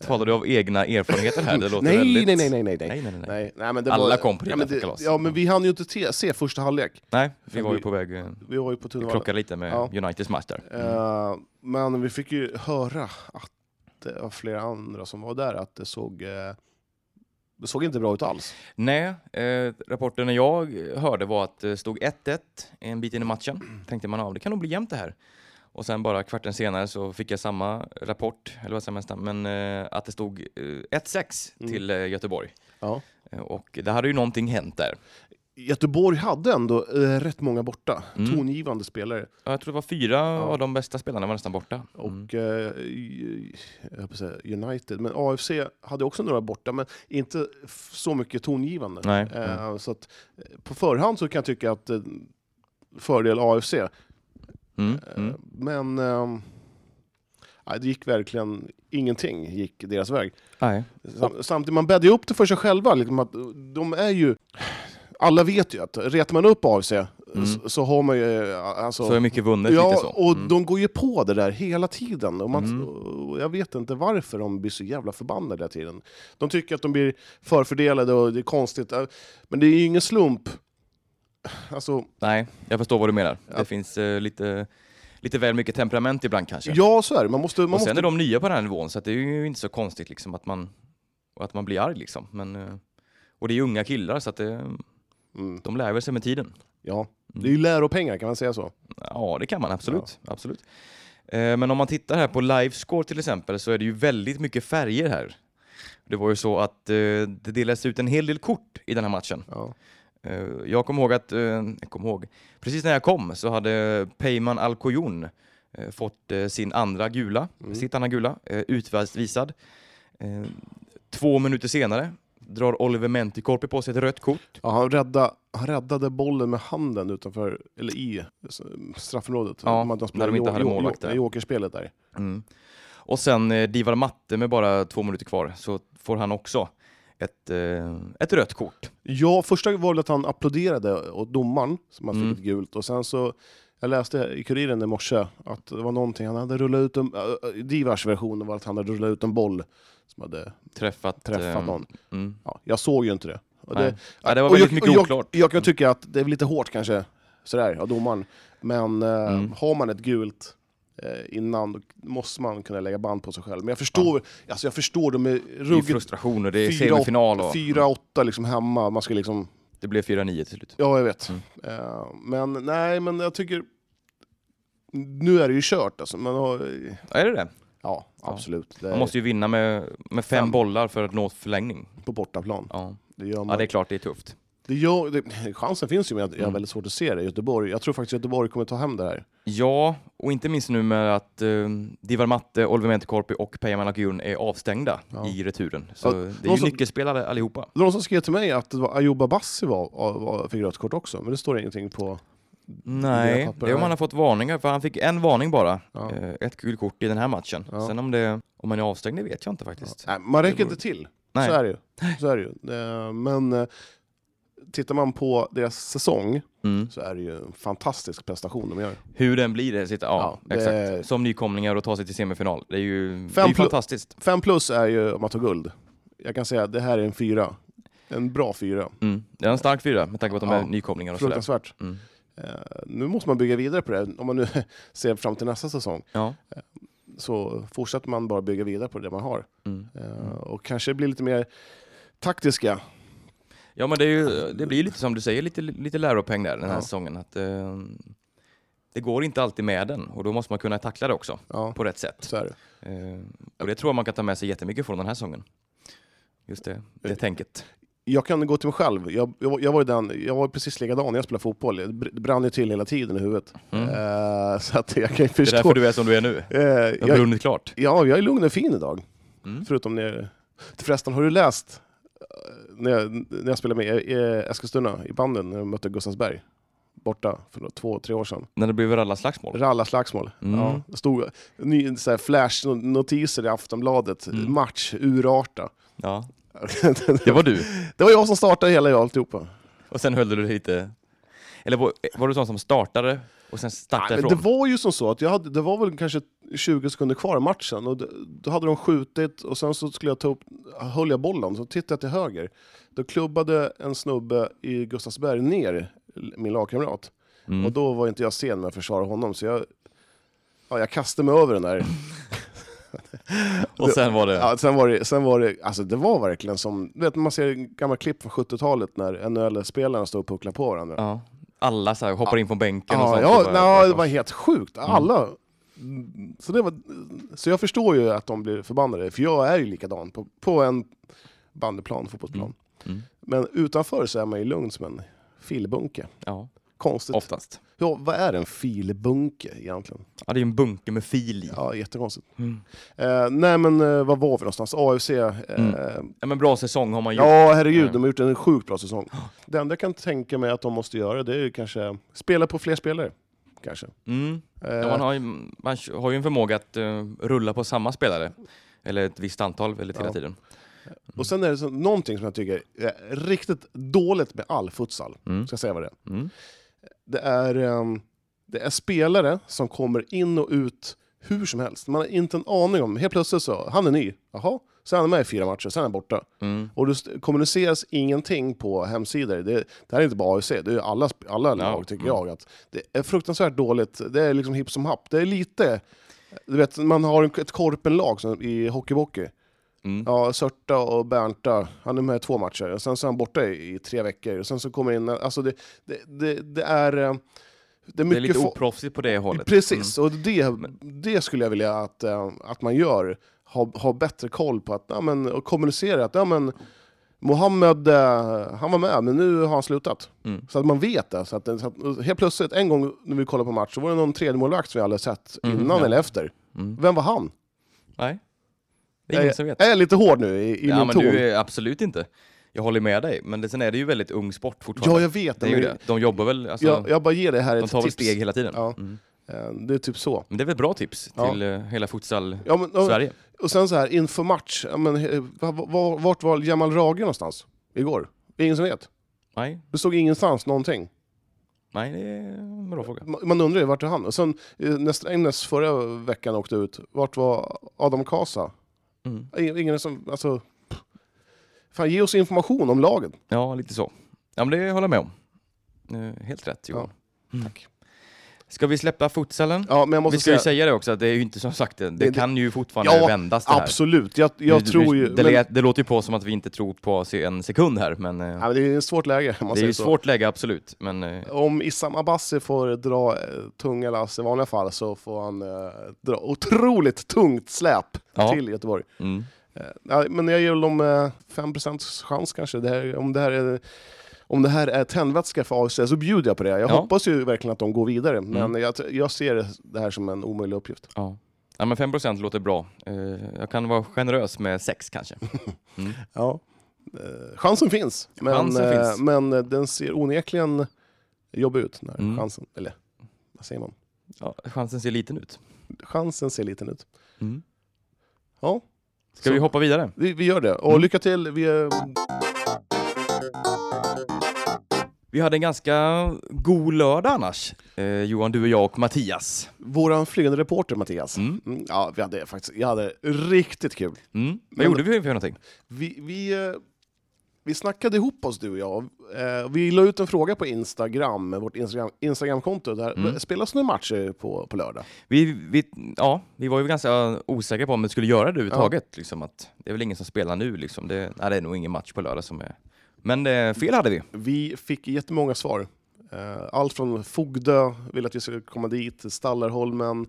S1: Talar du av egna erfarenheter här? Det låter
S2: Nej,
S1: väldigt...
S2: nej, nej, nej, nej, nej.
S1: nej, nej, nej. nej.
S2: Nej, nej, men det
S1: Alla
S2: var,
S1: kom på det
S2: ja, men
S1: där kalaset.
S2: Ja, men vi hann ju inte te, se första halvlek.
S1: nej vi var ju
S2: Vi-
S1: på väg... eh,
S2: Vi var ju på Tunavallen.
S1: Krockade lite med
S2: Ja.
S1: Uniteds match där. Mm.
S2: Eh, men vi fick ju höra att det var flera andra som var där, att det såg, eh, det såg inte bra ut alls.
S1: Nej, eh, rapporten jag hörde var att det stod 1-1 en bit in i matchen. Tänkte man av, det kan nog bli jämnt det här. Och sen bara kvarten senare så fick jag samma rapport, eller vad säger man, nästan, men eh, att det stod eh, 1-6
S2: Mm.
S1: till eh, Göteborg.
S2: Ja.
S1: Eh, Och det hade ju någonting hänt där.
S2: Göteborg hade ändå eh, rätt många borta,
S1: Mm.
S2: tongivande spelare.
S1: Ja, Jag tror det var fyra av de bästa spelarna var nästan borta. Mm.
S2: Och eh, i- jag höll på att säga United, men AFC hade också några borta, men inte f- så mycket tongivande.
S1: Nej, Mm.
S2: Eh, Så att, eh, på förhand så kan jag tycka att eh, fördel AFC,
S1: Mm.
S2: Eh,
S1: Mm.
S2: men eh, nej, det gick verkligen ingenting gick deras väg.
S1: Nej.
S2: Sam- Samtidigt, man bäddar ju upp det för sig själva. Liksom att eh, de är ju... Alla vet ju att retar man upp AFC eh,
S1: Mm.
S2: så, så har man ju... eh, Alltså,
S1: Så är mycket vunnet
S2: Ja,
S1: lite så.
S2: och
S1: Mm.
S2: de går ju på det där hela tiden. Och man,
S1: Mm.
S2: och jag vet inte varför de blir så jävla förbannade hela tiden. De tycker att de blir förfördelade och det är konstigt. Äh, Men det är ju ingen slump. Alltså,
S1: Nej, jag förstår vad du menar.
S2: Ja.
S1: Det finns eh, lite, lite väl mycket temperament ibland kanske.
S2: ja, så är det. Man måste... Man
S1: och sen
S2: måste
S1: är de nya på den här nivån så att det är ju inte så konstigt liksom att man, och att man blir arg liksom. Men, eh, och det är ju unga killar så att det,
S2: mm,
S1: de lär väl sig med tiden.
S2: ja. Det är ju läropengar, kan man säga så?
S1: Ja, det kan man absolut. absolut. Eh, Men om man tittar här på livescore till exempel så är det ju väldigt mycket färger här. Det var ju så att eh, det delades ut en hel del kort i den här matchen.
S2: Ja.
S1: Eh, Jag kommer ihåg att, eh, jag kommer ihåg, precis när jag kom så hade Peyman Alcoyon eh, fått eh, sin andra gula,
S2: Mm.
S1: sitt andra gula, eh, utvisad. Eh, Två minuter senare drar Oliver Mentikorpi på sig ett rött kort.
S2: Ja, han, rädda, han räddade bollen med handen utanför, eller i s- straffområdet.
S1: Ja,
S2: Man- de
S1: när de inte hade
S2: jo- jo-
S1: målvakt där.
S2: jo- Jokerspelet där.
S1: Mm. Och sen eh, Divar Matte med bara två minuter kvar så får han också ett, eh, ett rött kort.
S2: Ja, första var väl att han applåderade åt domaren, som han
S1: Mm.
S2: fick ett gult. Och sen så, jag läste i Kuriren i morse att det var någonting, han hade rullat ut en, äh, äh, Divars version var att han hade rullat ut en boll som hade
S1: Träffat,
S2: träffat
S1: eh,
S2: någon.
S1: Mm.
S2: Ja, jag såg ju inte det. Och
S1: Nej.
S2: det,
S1: Ja, det var
S2: och
S1: väldigt
S2: jag,
S1: mycket
S2: och jag,
S1: oklart. Mm.
S2: Jag kan tycka att det är lite hårt kanske, sådär, av domaren. Men eh,
S1: Mm.
S2: har man ett gult eh, innan, då måste man kunna lägga band på sig själv. Men jag förstår, alltså jag förstår, de är
S1: Det är
S2: ruggigt...
S1: frustration och det är
S2: fyra-
S1: semifinal och
S2: 4-8 liksom hemma, man ska liksom...
S1: det blev 4-9 till slut.
S2: Ja, jag vet.
S1: Mm.
S2: Eh, men nej, men jag tycker... Nu är det ju kört alltså. Men, eh,
S1: Är det det?
S2: ja, absolut. Det är
S1: Man måste ju vinna med, med fem
S2: Fem.
S1: bollar för att nå förlängning.
S2: På bortaplan.
S1: Ja.
S2: Det gör man.
S1: ja, det är klart det är tufft.
S2: Det gör, det, chansen finns ju, men jag,
S1: Mm.
S2: jag har väldigt svårt att se det. Göteborg, jag tror faktiskt Göteborg kommer ta hem det här.
S1: Ja, och inte minst nu med att eh, Divar Matte, Oliver Mäntykorpi och Peyman Akyun är avstängda
S2: Ja.
S1: i returen. Så
S2: Ja,
S1: det är
S2: någon
S1: ju
S2: som-
S1: nyckelspelare allihopa.
S2: Det var någon som skrev till mig att det var Ayoub Abassi var, var, fick rött kort också, men det står ingenting på...
S1: Nej,
S2: papper,
S1: det är om
S2: nej.
S1: han har fått varningar, för han fick en varning bara.
S2: Ja.
S1: Eh, ett gult kort i den här matchen.
S2: Ja.
S1: Sen om, det, om han är avstängd, det vet jag inte faktiskt.
S2: Nej, man räcker
S1: Det
S2: inte till.
S1: Nej.
S2: Så är det ju. Så är det ju. Eh, Men eh, tittar man på deras säsong
S1: Mm.
S2: så är det ju en fantastisk prestation de gör.
S1: Hur den blir, det sitter, ja,
S2: Ja, det-
S1: exakt. Som nykomlingar och ta sig till semifinal. Det är ju det är
S2: Fem
S1: ju
S2: plus-
S1: fantastiskt.
S2: Fem plus är ju om man tar guld. Jag kan säga att det här är en fyra. En bra fyra.
S1: Mm. Det är en stark fyra med tanke på att de
S2: Ja.
S1: är nykomlingar och sådär.
S2: Fruktansvärt.
S1: Mm.
S2: Eh, Nu måste man bygga vidare på det här. Om man nu ser fram till nästa säsong
S1: Ja.
S2: så fortsätter man bara bygga vidare på det man har.
S1: Mm.
S2: Eh, Och kanske bli lite mer taktiska.
S1: Ja men det, är ju, det blir lite som du säger, lite, lite läropeng där den här
S2: Ja.
S1: säsongen. Att, eh, det går inte alltid med den och då måste man kunna tackla det också
S2: Ja,
S1: på rätt sätt.
S2: så är det.
S1: Eh, och det tror jag man kan ta med sig jättemycket från den här säsongen. Just det,
S2: Eh,
S1: det tänket.
S2: Jag kan gå till mig själv. Jag, jag, jag, var ju den, jag var precis likadan när jag spelade fotboll. Det br- det brann ju till hela tiden i huvudet.
S1: Mm.
S2: Eh, så att jag kan ju
S1: Det är därför
S2: förstå.
S1: du är som du är nu.
S2: Eh,
S1: Det har
S2: jag,
S1: brunnit klart.
S2: ja, jag är lugn och fin idag.
S1: Mm.
S2: Förutom när... Förresten, har du läst eh, när jag, när jag spelade med i Eskilstuna i banden när jag mötte Gustavsberg? Borta för några- två, tre år sedan.
S1: När det blev alla slagsmål.
S2: Rallarslagsmål.
S1: Mm.
S2: Ja, det stod ny, så här flash notiser i Aftonbladet.
S1: Mm.
S2: Match, urarta.
S1: Ja. Det var du.
S2: det var jag som startade hela alltihopa.
S1: Och sen höll du dig lite... Eller var, var du sån som startade och sen stack
S2: Nej, men
S1: därifrån?
S2: det var ju som så att jag hade, det var väl kanske 20 sekunder kvar i matchen och d- då hade de skjutit och sen så skulle jag ta upp, höll jag bollen, så tittade jag till höger. Då klubbade en snubbe i Gustavsberg ner l- min lagkamrat
S1: Mm.
S2: och då var inte jag sen med att försvara honom så jag, ja, jag kastade mig över den där.
S1: Och sen var det...
S2: Ja, sen, var det, sen var det, alltså det var verkligen som, du vet man ser gamla klipp från 70-talet när NHL-spelarna står och pucklar på varandra.
S1: Ja. Alla så här hoppar in från bänken och
S2: Ja,
S1: sånt.
S2: ja
S1: och bara-
S2: nej, det var helt sjukt. Alla. Mm, Så, det var, så jag förstår ju att de blir förbannade, för jag är ju likadan på, på en bandyplan, fotbollsplan.
S1: Mm.
S2: Men utanför så är man ju lugn som en filbunke.
S1: ja,
S2: Konstigt.
S1: oftast.
S2: Ja, vad är en filbunke egentligen?
S1: Ja, det är en bunke med fil i.
S2: Ja, jättekonstigt.
S1: Mm.
S2: Eh, nej men eh, vad var vi någonstans? AFC? Eh,
S1: Ja, men bra säsong har man gjort.
S2: Ja, herregud,
S1: Mm.
S2: de har gjort en sjukt bra säsong. Det enda jag kan tänka mig att de måste göra, det är ju kanske spela på fler spelare. Kanske.
S1: Mm.
S2: Eh,
S1: Ja, man, har ju, man har ju en förmåga att eh, rulla på samma spelare. Eller ett visst antal väldigt hela
S2: Ja.
S1: tiden.
S2: Mm. Och sen är det så, någonting som jag tycker är riktigt dåligt med all futsal,
S1: Mm.
S2: ska jag säga vad det är.
S1: Mm.
S2: Det är, ehm, det är spelare som kommer in och ut hur som helst. Man har inte en aning om, helt plötsligt så, han är ny, jaha, så är han med i fyra matcher, sen är han borta.
S1: Mm.
S2: Och det st- kommuniceras ingenting på hemsidor. Det, det här är inte bara AFC, det är ju alla, sp- alla lag tycker
S1: mm.
S2: jag. Att det är fruktansvärt dåligt, det är liksom hipp som happ. Det är lite, du vet, man har en- ett korpenlag som, i hockeybockey.
S1: Mm.
S2: Ja, Sörta och Bernta. Han är med i två matcher. Och sen så är han borta i, i tre veckor. Och sen så kommer in... Alltså det, det, det, det är... eh, Det är
S1: Det är
S2: mycket
S1: lite Mm.
S2: fo-
S1: oproffsigt på det hållet.
S2: Precis, och det, det skulle jag vilja att, eh, att man gör. Ha, ha bättre koll på att, ja, men, och kommunicera att ja, men, Mohammed, eh, han var med, men nu har han slutat.
S1: Mm.
S2: Så att man vet det. Så att, det- så att, och helt plötsligt, en gång när vi kollade på match, så var det någon tredjemålvakt som vi aldrig sett
S1: Mm,
S2: innan
S1: ja.
S2: eller efter.
S1: Mm.
S2: Vem var han?
S1: Nej, det är ingen som vet.
S2: Är jag lite hård nu i, i
S1: Ja,
S2: min
S1: men
S2: ton?
S1: du är absolut inte. Jag håller med dig, men det, sen är det ju väldigt ung sport fortfarande.
S2: Ja, jag vet.
S1: det är ju
S2: men
S1: det. De jobbar väl, alltså,
S2: jag, jag bara ger det här
S1: de
S2: ett
S1: tar väl
S2: tips.
S1: steg hela tiden.
S2: Ja.
S1: Mm.
S2: Eh, Det är typ så.
S1: Men det är väl bra tips
S2: Ja.
S1: till eh, hela futsal-Sverige?
S2: Ja, men, och, och sen så här, inför match, ja, men, eh, va- va- vart var Jamal Rage någonstans igår? Det är ingen som vet.
S1: Nej,
S2: Det stod ingenstans någonting.
S1: nej, det är en bra fråga.
S2: Ma- Man undrar ju vart är han? Och sen eh, när Strängnäs förra veckan åkte ut, vart var Adam Kasa?
S1: Mm.
S2: I- Ingen som, alltså... pff. Fan, ge oss information om laget.
S1: Ja, lite så. Ja, men det håller jag med om. Eh, Helt rätt Johan. Mm.
S2: Tack.
S1: Ska vi släppa futsalen?
S2: Ja, men jag måste
S1: vi ska ju
S2: säga...
S1: säga det också, att det är ju inte som sagt, det, det
S2: Det-
S1: kan ju fortfarande
S2: Ja,
S1: vändas det här.
S2: Absolut, jag, jag
S1: Nu-
S2: tror
S1: nu-
S2: ju...
S1: Det,
S2: men,
S1: lät- det låter ju på som att vi inte tror på se- en sekund här, men eh,
S2: ja, men det är ett svårt läge, om man
S1: det är
S2: säger
S1: ju
S2: så.
S1: svårt läge absolut. Men eh,
S2: Om Issam Abassi får dra eh, tunga lass i vanliga fall så får han eh, dra otroligt tungt släp
S1: Ja.
S2: till Göteborg.
S1: mm.
S2: Eh, nej, men jag ger väl dem eh, 5% chans kanske, det här, om det här är om det här är tändvätska för AFC så bjuder jag på det. Jag
S1: Ja.
S2: hoppas ju verkligen att de går vidare, men
S1: Mm.
S2: jag, jag ser det här som en omöjlig uppgift.
S1: Ja. Ja, men 5 låter bra. Eh, jag kan vara generös med 6 kanske.
S2: Ja. Eh, chansen finns, men,
S1: Chansen
S2: eh,
S1: finns.
S2: men eh, den ser onekligen jobbig ut. Den här
S1: Mm.
S2: chansen, eller vad säger man?
S1: Ja, chansen ser liten ut.
S2: Chansen ser liten ut.
S1: Mm.
S2: Ja,
S1: Ska vi hoppa vidare?
S2: vi, vi gör det. Och
S1: Mm.
S2: lycka till! Vi, eh,
S1: Vi hade en ganska god lördag annars. Eh, Johan, du och jag och Mattias.
S2: våran flygande reporter Mattias.
S1: Mm.
S2: Mm, ja, vi hade faktiskt, jag hade riktigt kul.
S1: Mm. Vad
S2: Men-
S1: gjorde vi för någonting?
S2: Vi, vi, eh, vi snackade ihop oss du och jag. Eh, Vi la ut en fråga på Instagram, vårt Instagram, Instagramkonto. Där
S1: Mm.
S2: spelas nu matcher på, på lördag.
S1: Vi, vi, ja, vi var ju ganska osäkra på om vi skulle göra det överhuvudtaget. Liksom, att det är väl ingen som spelar nu. Liksom. Det, nej, det är nog ingen match på lördag som är... Men eh, fel hade vi.
S2: Vi fick jättemånga svar. Eh, Allt från Fogdö, vill att vi ska komma dit, Stallarholmen.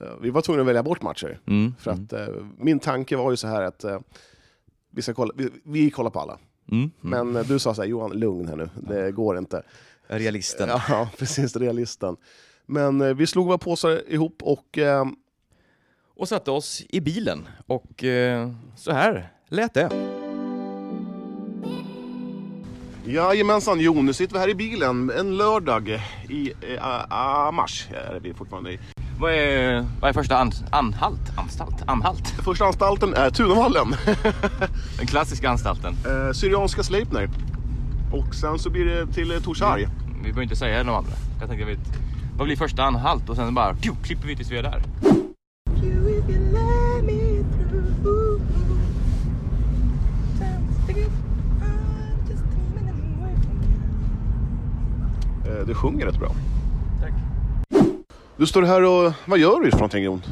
S2: Eh, Vi var tvungna att välja bort matcher.
S1: Mm.
S2: För
S1: mm.
S2: att, eh, min tanke var ju så här att eh, vi, ska kolla, vi, vi kollar på alla.
S1: Mm. Mm.
S2: Men eh, du sa så här, Johan, lugn här nu, det går inte.
S1: Realisten.
S2: Ja, precis, realisten. Men eh, vi slog våra påsar ihop och eh,
S1: Och satte oss i bilen. Och eh, så här lät det.
S2: Jajamensan Jon, nu sitter vi här i bilen en lördag i eh, ah, mars. Här är vi fortfarande i.
S1: Vad är, vad är första an, anhalt? Anstalt? Anhalt?
S2: Första anstalten är Tunavallen,
S1: Den klassiska anstalten.
S2: eh, Syrianska Sleipner. Och sen så blir det till eh, Torsarg.
S1: Vi behöver inte säga de andra. Jag tänkte, jag vet, vad blir första anhalt? Och sen bara pju, klipper vi tills vi är där.
S3: you if you let me through. Just think I'm just a minute away from you.
S2: Eh, du sjunger rätt bra.
S1: Tack.
S2: Du står här och, vad gör du för någonting Jon?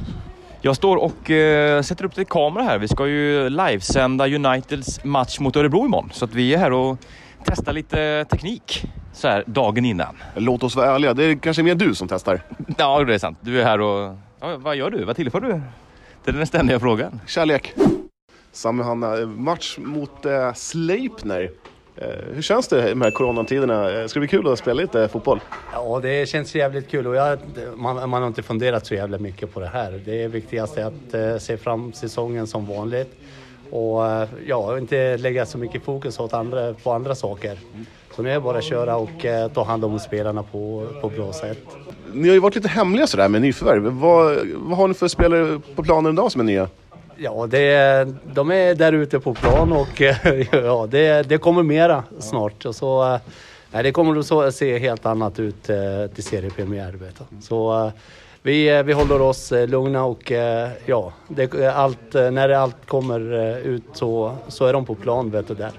S1: Jag står och eh, sätter upp lite kamera här. Vi ska ju livesända Uniteds match mot Örebro imorgon. Så att vi är här och testar lite teknik så här dagen innan.
S2: Låt oss vara ärliga, det är kanske mer du som testar.
S1: Ja, det är sant. Du är här och... Ja, vad gör du? Vad tillför du? Det är den ständiga frågan.
S2: Kärlek. Sami och Hanna, eh, match mot eh, Sleipner. Eh, hur känns det i de här coronatiderna? Eh, Ska det bli kul att spela lite fotboll?
S4: Ja, det känns jävligt kul och jag, man, man har inte funderat så jävla mycket på det här. Det viktigaste är att eh, se fram säsongen som vanligt och eh, ja, inte lägga så mycket fokus åt andra, på andra saker. Så nu är det bara att köra och eh, ta hand om spelarna på, på bra sätt.
S2: Ni har ju varit lite hemliga sådär med nyförvärv. Vad, vad har ni för spelare på planen idag som är nya?
S4: Ja, det, de är där ute på plan och ja, det, det kommer mera snart. Och så, eh, nej, det kommer att så- se helt annat ut eh, till seriepremiär. vet du. Så eh, vi, eh, vi håller oss eh, lugna och eh, ja, det, eh, allt, eh, när det allt kommer eh, ut så, så är de på plan vet du, där.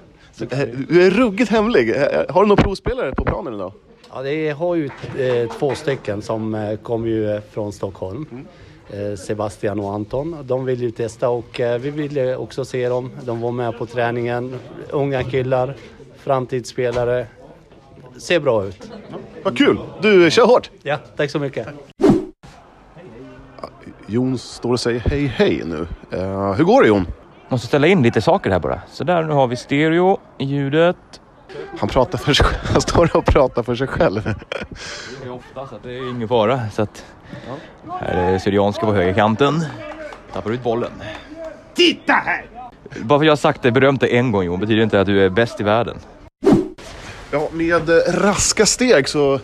S2: Eh, Du är ruggigt hemlig. Eh, Har du några provspelare på planen idag?
S4: Ja, det har ju eh, två stycken som eh, kommer ju eh, från Stockholm. Eh, Sebastian och Anton. De vill ju testa och eh, vi ville också se dem. De var med på träningen. Unga killar, framtidsspelare. Ser bra ut.
S2: Vad kul! Du, kör hårt!
S4: Ja, tack så mycket.
S2: Jon står och säger hej hej nu. Eh, hur går det Jon?
S1: Måste ställa in lite saker här bara. Så där, nu har vi stereo, ljudet.
S2: Han pratar för sig själv. Han står och pratar för sig själv.
S1: Det är ofta så att det är ingen fara. Så att, Här är Syrianska på högerkanten. Tappar ut bollen. Titta här! Bara för att jag har sagt det berömt dig en gång Johan betyder inte att du är bäst i världen.
S2: Ja, med eh, raska steg så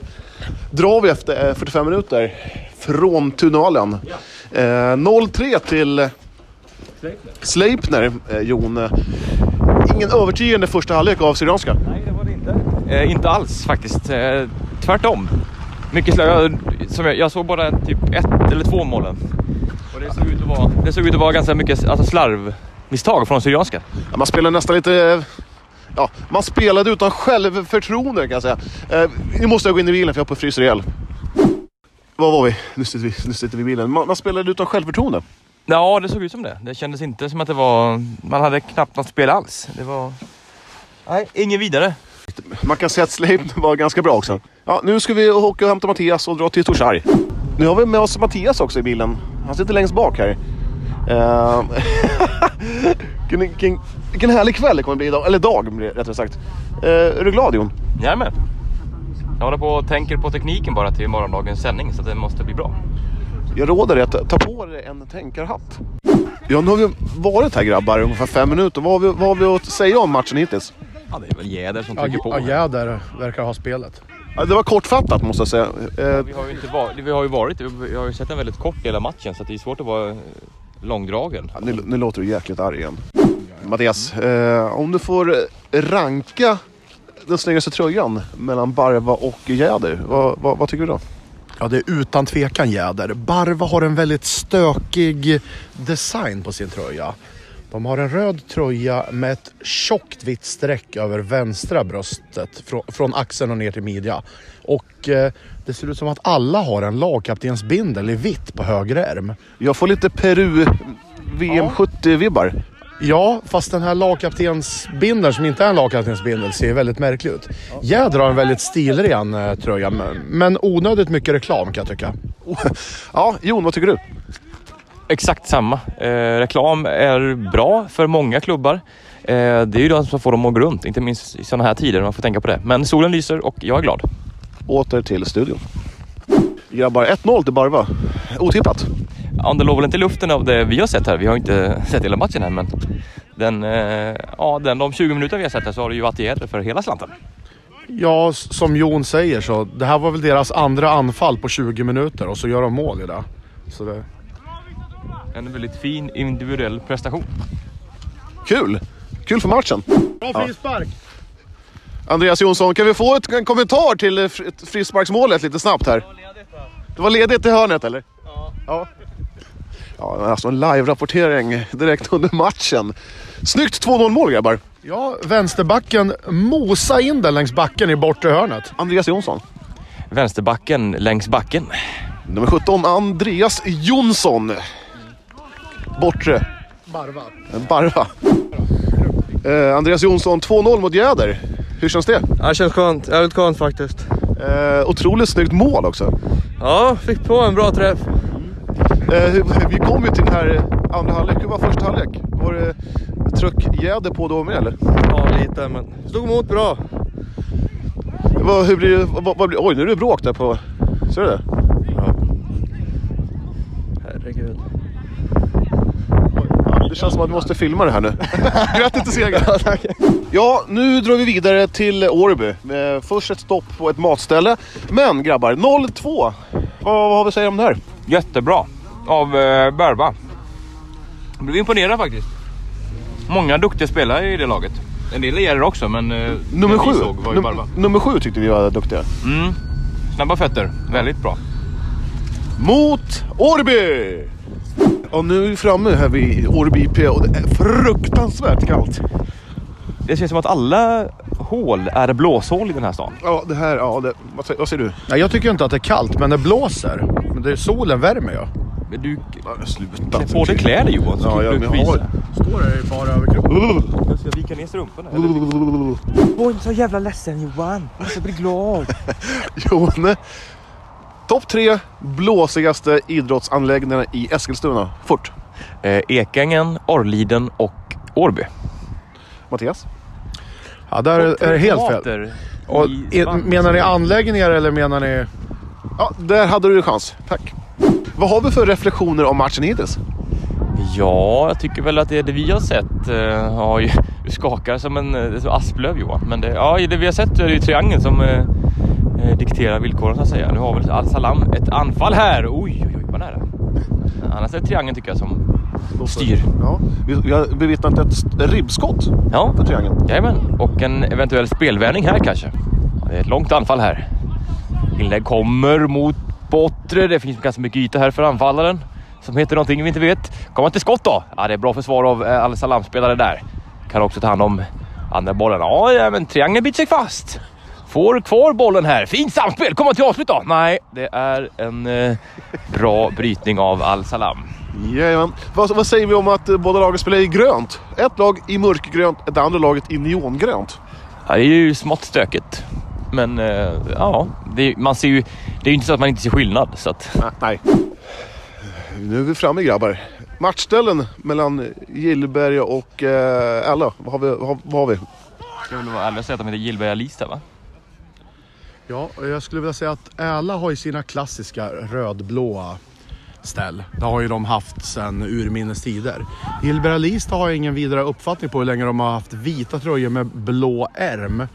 S2: drar vi efter eh, 45 minuter från Tunalen. Eh, 0-3 till eh, Sleipner, eh, Jon. Eh, Ingen övertygande första halvlek av Syrianska.
S1: Nej, det var det inte. Eh, inte alls faktiskt. Eh, tvärtom. Mycket slö. Jag, som jag, jag såg bara typ ett eller två målen. Och det såg ut att vara, det såg ut att vara ganska mycket alltså, slarvmisstag från Syrianska.
S2: Ja, Man spelar nästan lite... eh, Ja, man spelade utan självförtroende kan jag säga. Eh, nu måste jag gå in i bilen för jag är på fryser ihjäl. Var var vi? Nu sitter vi, nu sitter vi i bilen. Man, man spelade utan självförtroende.
S1: Ja, det såg ut som det. Det kändes inte som att det var... Man hade knappt något spel alls. Det var... Nej, ingen vidare.
S2: Man kan säga att Sleipner var ganska bra också. Ja, nu ska vi åka och hämta Mattias och dra till Torsarg. Nu har vi med oss Mattias också i bilen. Han sitter längst bak här. Eh, Vilken, vilken, vilken härlig kväll det kommer bli idag. Eller dag, blir det, rättare sagt. Eh, är du glad Jon?
S1: Jajamän. Jag håller på och tänker på tekniken bara till morgondagens sändning så att den måste bli bra.
S2: Jag råder dig att ta på dig en tänkarhatt. Ja, nu har vi varit här grabbar i ungefär fem minuter. Vad har vi, vad har vi att säga om matchen hittills?
S1: Ja, det är väl Jäder som
S5: Ja,
S1: trycker på.
S5: ja, Jäder verkar ha spelet.
S2: Ja, Det var kortfattat måste jag säga. Eh,
S1: Vi har ju, inte var, vi har ju varit, vi har ju sett en väldigt kort del av matchen så att det är svårt att vara eh, långdragen.
S2: nu, nu låter du jäkligt arg igen. Mattias, eh, om du får ranka den snyggaste tröjan mellan Barva och Jäder. Vad, vad, vad tycker du då?
S5: Ja, det är utan tvekan Jäder. Barva har en väldigt stökig design på sin tröja. De har en röd tröja med ett tjockt vitt streck över vänstra bröstet från, från axeln och ner till midja. Och eh, det ser ut som att alla har en lagkaptensbindel i vitt på höger ärm.
S2: Jag får lite Peru VM 70-vibbar.
S5: Ja, fast den här lagkaptensbindeln som inte är en lagkaptensbindel ser väldigt märklig ut. Jäder har en väldigt stilren eh, tröja, men- men onödigt mycket reklam kan jag tycka.
S2: Ja, Jon, vad tycker du?
S1: Exakt samma. Eh, reklam är bra för många klubbar. Eh, det är ju de som får dem att gå runt, inte minst i sådana här tider. Man får tänka på det. Men solen lyser och jag är glad.
S2: Åter till studion. Grabbar, 1-0 till Barva. Otippat.
S1: Ja, det låg väl inte i luften av det vi har sett här. Vi har inte sett hela matchen här, men den, eh, ja, den, de 20 minuter vi har sett här så har det ju varit i Gävle för hela slanten.
S5: Ja, s- som Jon säger så. Det här var väl deras andra anfall på 20 minuter och så gör de mål i det. Så det...
S1: En väldigt fin individuell prestation.
S2: Kul! Kul för matchen.
S5: Bra frispark!
S2: Andreas Jonsson, kan vi få ett, en kommentar till eh, fri- frisparksmålet lite snabbt här? Det var ledigt i hörnet eller? Ja. Ja, men alltså en live-rapportering direkt under matchen. Snyggt 2-0 mål grabbar.
S5: Ja, vänsterbacken mosa in den längs backen i bortre hörnet.
S2: Andreas Jonsson.
S1: Vänsterbacken längs backen.
S2: Nummer 17, Andreas Jonsson. Bortre.
S5: Barva.
S2: Barva. Eh, Andreas Jonsson, 2-0 mot Jäder. Hur känns det?
S6: Ja, det känns skönt. Jävligt skönt faktiskt.
S2: Eh, otroligt snyggt mål också.
S6: Ja, fick på en bra träff.
S2: Eh, hur- vi kom ju till den här andra halvlek. Hur var första halvlek? Var det tryck jäder på då med eller?
S6: Ja, lite, men slog emot bra.
S2: Vad, hur blir, det- vad, vad blir, oj, nu är det bråk där på... Ser du det?
S6: Herregud.
S2: Det känns som att vi måste filma det här nu. Grattis till segern! Ja, nu drar vi vidare till Årby. Eh, Först ett stopp på ett matställe. Men grabbar, 0-2. Vad, vad har vi att säga om det här?
S1: Jättebra av eh, Berba. Jag blev imponerad faktiskt. Många duktiga spelare i det laget. En del är det också, men eh,
S2: Nummer
S1: den
S2: sju.
S1: vi såg var ju
S2: Num-
S1: Berba.
S2: nummer sju tyckte vi var duktiga.
S1: Mm. Snabba fötter, väldigt bra.
S2: mot Årby! Och nu är vi framme här vid Årby IP och det är fruktansvärt kallt.
S1: Det känns som att alla hål är blåshål i den här stan.
S2: Ja, det här, ja, det, vad, säger, vad säger du?
S5: Ja, jag tycker inte att det är kallt, men det blåser. Men det, solen värmer ju.
S1: Men Du
S2: Ja, sluta.
S1: får dig kläder Johan. så
S2: Ja,
S1: kan
S2: ja,
S1: du
S2: men jag
S1: visa.
S2: har...
S5: Står det i bara överkropp?
S1: Jag ska vika ner strumporna. Eller?
S7: Var inte så jävla ledsen Johan. Jag ska bli glad.
S2: Jon, topp tre blåsigaste idrottsanläggningarna i Eskilstuna. Fort.
S1: Eh, Ekängen, Orrliden och Årby.
S2: Mattias?
S5: Ja, där är, är det helt fel.
S1: Tomater
S5: Och, e-
S1: i
S5: är,
S1: svamp.
S5: menar ni anläggningar eller menar ni...
S2: Ja, där hade du en chans. Tack. Vad har vi för reflektioner om matchen hittills?
S1: Ja, jag tycker väl att det, det vi har sett... Eh, har ju, du skakar som en eh, som asplöv Johan. Men det, ja, i det vi har sett är det ju triangeln som eh, eh, dikterar villkoren så att säga. Nu har väl Al-Salam ett anfall här. Oj, oj, oj vad nära. Annars är det triangeln tycker jag som styr.
S2: Ja, vi, vi har bevittnat ett ribbskott
S1: Ja,
S2: på triangeln.
S1: Jajamän, och en eventuell spelvändning här kanske. Ja, Det är ett långt anfall här. Inlägg kommer mot bortre. Det finns ganska mycket yta här för anfallaren. Som heter någonting vi inte vet. Kommer han till skott då? Ja, det är bra försvar av eh, Al Salam-spelare där. Kan också ta hand om andra bollen. Ja, ja, men triangeln biter sig fast. Får kvar bollen här. Fint samspel. Kommer han till avslut då? Nej, det är en eh, bra brytning av Al Salam.
S2: Jajamän. Vad, vad säger vi om att eh, båda lagen spelar i grönt? Ett lag i mörkgrönt, det andra laget i neongrönt.
S1: Ja, det är ju smått stökigt. Men eh, ja, det, man ser ju, det är ju inte så att man inte ser skillnad. Så att,
S2: Ah, nej. Nu är vi framme grabbar. Matchställen mellan Gillberga och eh, Ella. Vad har vi? Vad har, vad har vi?
S1: jag vill vara ärlig och säga att de heter Gillberga Lista va?
S5: Ja, och jag skulle vilja säga att Äla har ju sina klassiska rödblåa ställ. Det har ju de haft sedan urminnes tider. Gilberalista har jag ingen vidare uppfattning på hur länge de har haft vita tröjor med blå ärm. Eh,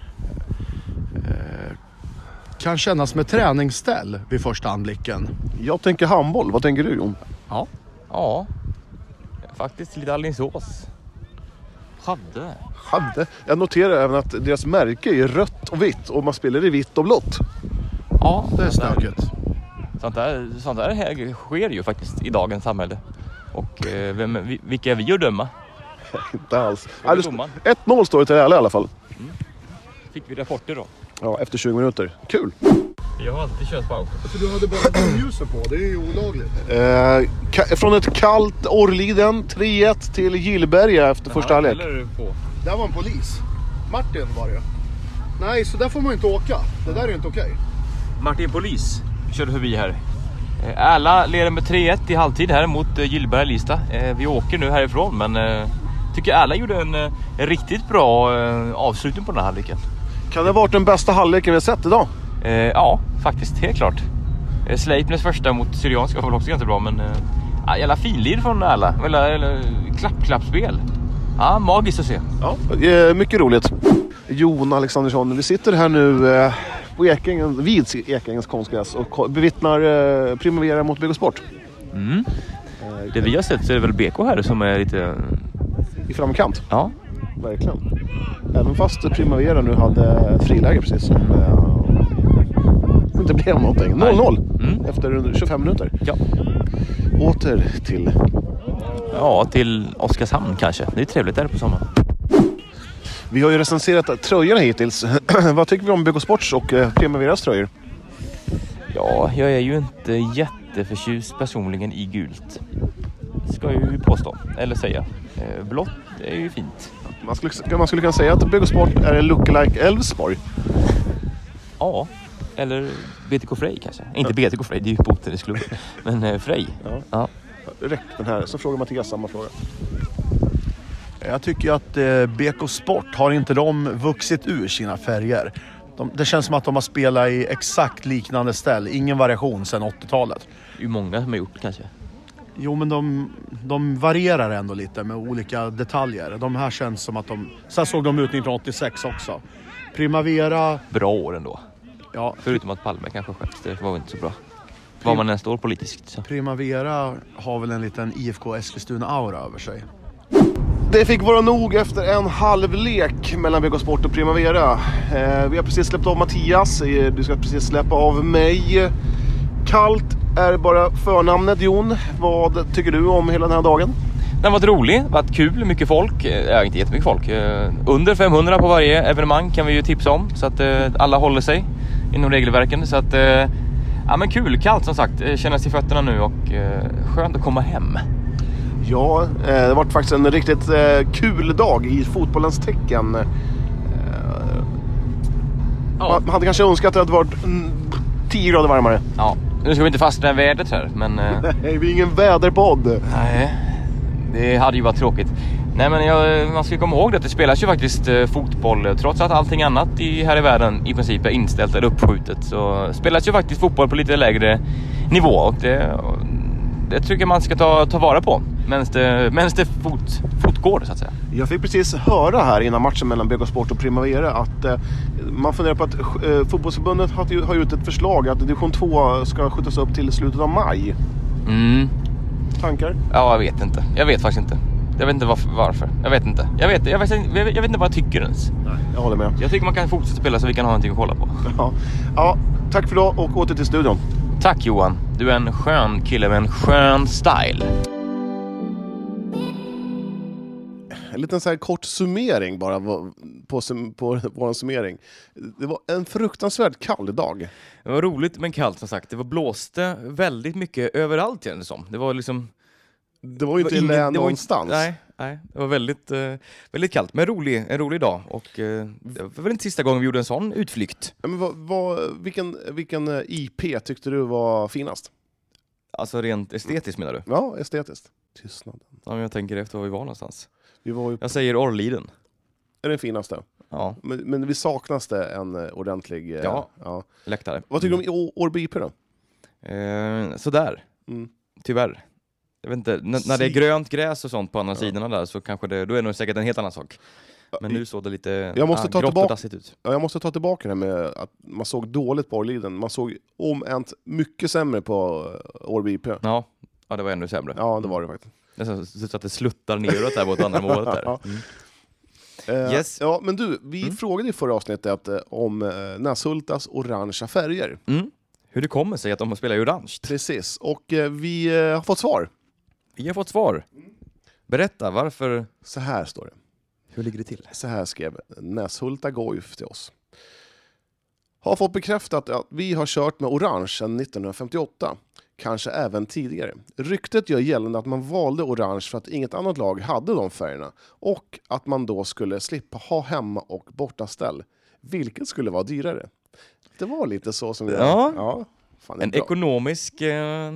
S5: kan kännas med träningsställ vid första anblicken.
S2: Jag tänker handboll, vad tänker du Jon?
S5: Ja.
S1: Ja, faktiskt lite Alingsås. Hade.
S2: Hade. Jag noterar även att deras märke är rött och vitt och man spelar i vitt och blått.
S5: Ja, det är stökigt.
S1: Sånt där, sånt där här sker ju faktiskt i dagens samhälle. Och eh, vem, vi- vilka är vi att döma?
S2: Inte alls.
S1: Fråga
S2: Ja, det-
S1: domaren.
S2: 1-0 står det till Äla i alla fall.
S1: Fick vi rapporter då?
S2: Ja, efter 20 minuter. Kul!
S1: Jag har alltid kört paus.
S5: Du hade bara ljuset på, det är ju olagligt.
S2: Eh, ka- från ett kallt Orrliden 3-1 till Gillberga efter första halvlek.
S1: på.
S5: Där var en polis. Martin var det Nej, så där får man inte åka. Det där är inte okej.
S1: Martin Polis körde förbi här. Eh, Alla leder med 3-1 i halvtid här mot eh, Gillberga-Lista. Eh, Vi åker nu härifrån men eh, tycker alla gjorde en, eh, en riktigt bra eh, avslutning på den här halvleken.
S2: Kan det ha varit den bästa halvleken vi har sett idag?
S1: Eh, Ja, faktiskt. Helt klart. Eh, Sleipners första mot Syrianska var väl också ganska bra men... eh, ja, Jävla finlir från alla. Eller, eller klapp-klapp-spel. Ja, magiskt att se.
S2: Ja. Eh, mycket roligt. Jon Alexandersson, vi sitter här nu eh, på Ekängen, vid Ekängens konstgräs och ko- bevittnar eh, Primavera mot BK Sport
S1: Det vi har sett så är det väl BK här som är lite...
S2: i framkant.
S1: Ja.
S2: Verkligen. Även fast Primavera nu hade friläge precis. Som, eh, inte blev någonting. 0-0
S1: Mm.
S2: efter 25 minuter.
S1: Ja.
S2: Åter till...
S1: ja, till Oskarshamn kanske. Det är trevligt där på sommaren.
S2: Vi har ju recenserat tröjorna hittills. Vad tycker vi om BK Sports och eh, Primaveras tröjor?
S1: Ja, jag är ju inte jätteförtjust personligen i gult. Ska jag ju påstå, eller säga. Eh, Blått är ju fint.
S2: Man skulle, man skulle kunna säga att BK Sport är en lookalike Elfsborg.
S1: Ja, eller BTK Frej kanske. Inte BTK Frej, det är ju botennisklubben. Men eh, Frej.
S2: Ja.
S1: Ja.
S2: Räck den här, så frågar Mattias samma fråga.
S5: Jag tycker ju att eh, BK Sport, har inte de vuxit ur sina färger? De, det känns som att de har spelat i exakt liknande ställ, ingen variation sedan 80-talet.
S1: Det är ju många som har gjort kanske.
S5: Jo, men de, de varierar ändå lite med olika detaljer. De här känns som att de... Så här såg de ut 1986 också. Primavera,
S1: Bra år ändå.
S5: ja,
S1: Förutom att Palme kanske sköts, det var väl inte så bra. Var man än står politiskt. Så.
S5: Primavera har väl en liten IFK Eskilstuna-aura över sig.
S2: Det fick vara nog efter en halvlek mellan BK Sport och Primavera. Eh, vi har precis släppt av Mattias, eh, du ska precis släppa av mig. Kallt är bara förnamnet Jon. Vad tycker du om hela den här dagen?
S1: Den har varit rolig, varit kul, mycket folk. Eh, Ja, inte jättemycket folk. Eh, Under 500 på varje evenemang kan vi ju tipsa om så att eh, alla håller sig inom regelverken. Så att, eh, ja men kul, kallt som sagt, Eh, kännas i fötterna nu och eh, skönt att komma hem.
S2: Ja, eh, det har varit faktiskt en riktigt eh, kul dag i fotbollens tecken. Eh,
S1: Ja.
S2: Man man hade kanske önskat att det hade varit mm, 10 grader varmare.
S1: ja. Nu ska vi inte fastna i vädret här, men eh,
S2: Nej, vi är ingen väderpodd.
S1: nej, det hade ju varit tråkigt. Nej men jag, man ska ju komma ihåg det att det spelas ju faktiskt eh, fotboll eh, trots att allting annat i, här i världen i princip är inställt eller uppskjutet så spelas ju faktiskt fotboll på lite lägre nivå och det, det tycker jag man ska ta, ta vara på medan det, medans det fot, fortgår så att säga.
S2: Jag fick precis höra här innan matchen mellan BK Sport och Primavera att eh, man funderar på att eh, fotbollsförbundet har, ju- har gjort ett förslag att division 2 ska skjutas upp till slutet av maj.
S1: Mm.
S2: Tankar?
S1: Ja, jag vet inte. Jag vet faktiskt inte. Jag vet inte varför. varför. Jag vet inte. Jag vet, jag, vet, jag vet inte vad jag tycker ens.
S2: Jag håller med.
S1: Jag tycker man kan fortsätta spela så vi kan ha någonting att kolla på.
S2: Ja. Ja, tack för idag och åter till studion.
S1: Tack Johan. Du är en skön kille med en skön style.
S2: En liten så här kort summering bara på, på, på vår summering. Det var en fruktansvärt kall dag.
S1: Det var roligt men kallt som sagt. Det var blåste väldigt mycket överallt kändes det som. Det var liksom...
S2: Det var ju inte
S1: ingen-
S2: län
S1: det var inte-
S2: någonstans.
S1: Nej, nej, det var väldigt, eh, väldigt kallt men rolig, en rolig dag. Och eh, det var väl inte sista gången vi gjorde en sån utflykt.
S2: Ja, Men vad, vad, vilken, vilken eh, IP tyckte du var finast?
S1: Alltså rent estetiskt menar du?
S2: Ja, estetiskt. Tystnaden.
S1: Om jag tänker efter var vi var någonstans.
S2: Vi var ju...
S1: Jag säger Orrliden.
S2: Är den finaste?
S1: Ja,
S2: Men, men vi saknas det en eh, ordentlig... eh,
S1: Ja. Mm.
S2: ja.
S1: läktare.
S2: Vad tycker du om Å- Årby IP då?
S1: Eh, sådär,
S2: Mm.
S1: tyvärr. Jag vet inte, N- när det är grönt gräs och sånt på andra sidorna där så kanske det, då är det nog säkert en helt annan sak. Men nu såg det lite
S2: Jag måste
S1: ah,
S2: ta
S1: grått
S2: tillbaka-
S1: och dassigt ut.
S2: Ja, jag måste ta tillbaka det här med att man såg dåligt på Orliden. Man såg om ens mycket sämre på eh, Årby IP.
S1: Ja, ja, det var ännu sämre.
S2: Ja, det var det faktiskt.
S1: Nästan så så att det sluttar neråt där mot andra målet där.
S2: Ja. Eh,
S1: Yes. Mm.
S2: Ja, men du, vi frågade i förra avsnittet eh, om eh, Näshultas orangea färger.
S1: Mm. Hur det kommer sig att de spelar i orange?
S2: Precis, och eh, vi eh, har fått svar.
S1: Vi har fått svar. Berätta, varför?
S2: Så här står det.
S1: Hur ligger det till?
S2: Så här skrev Näshulta Goif till oss. Har fått bekräftat att vi har kört med orange sedan 1958. Kanske även tidigare. Ryktet gör gällande att man valde orange för att inget annat lag hade de färgerna och att man då skulle slippa ha hemma och bortaställ, vilket skulle vara dyrare. Det var lite så som jag...
S1: Ja.
S2: fan, det är
S1: En
S2: bra.
S1: ekonomisk eh,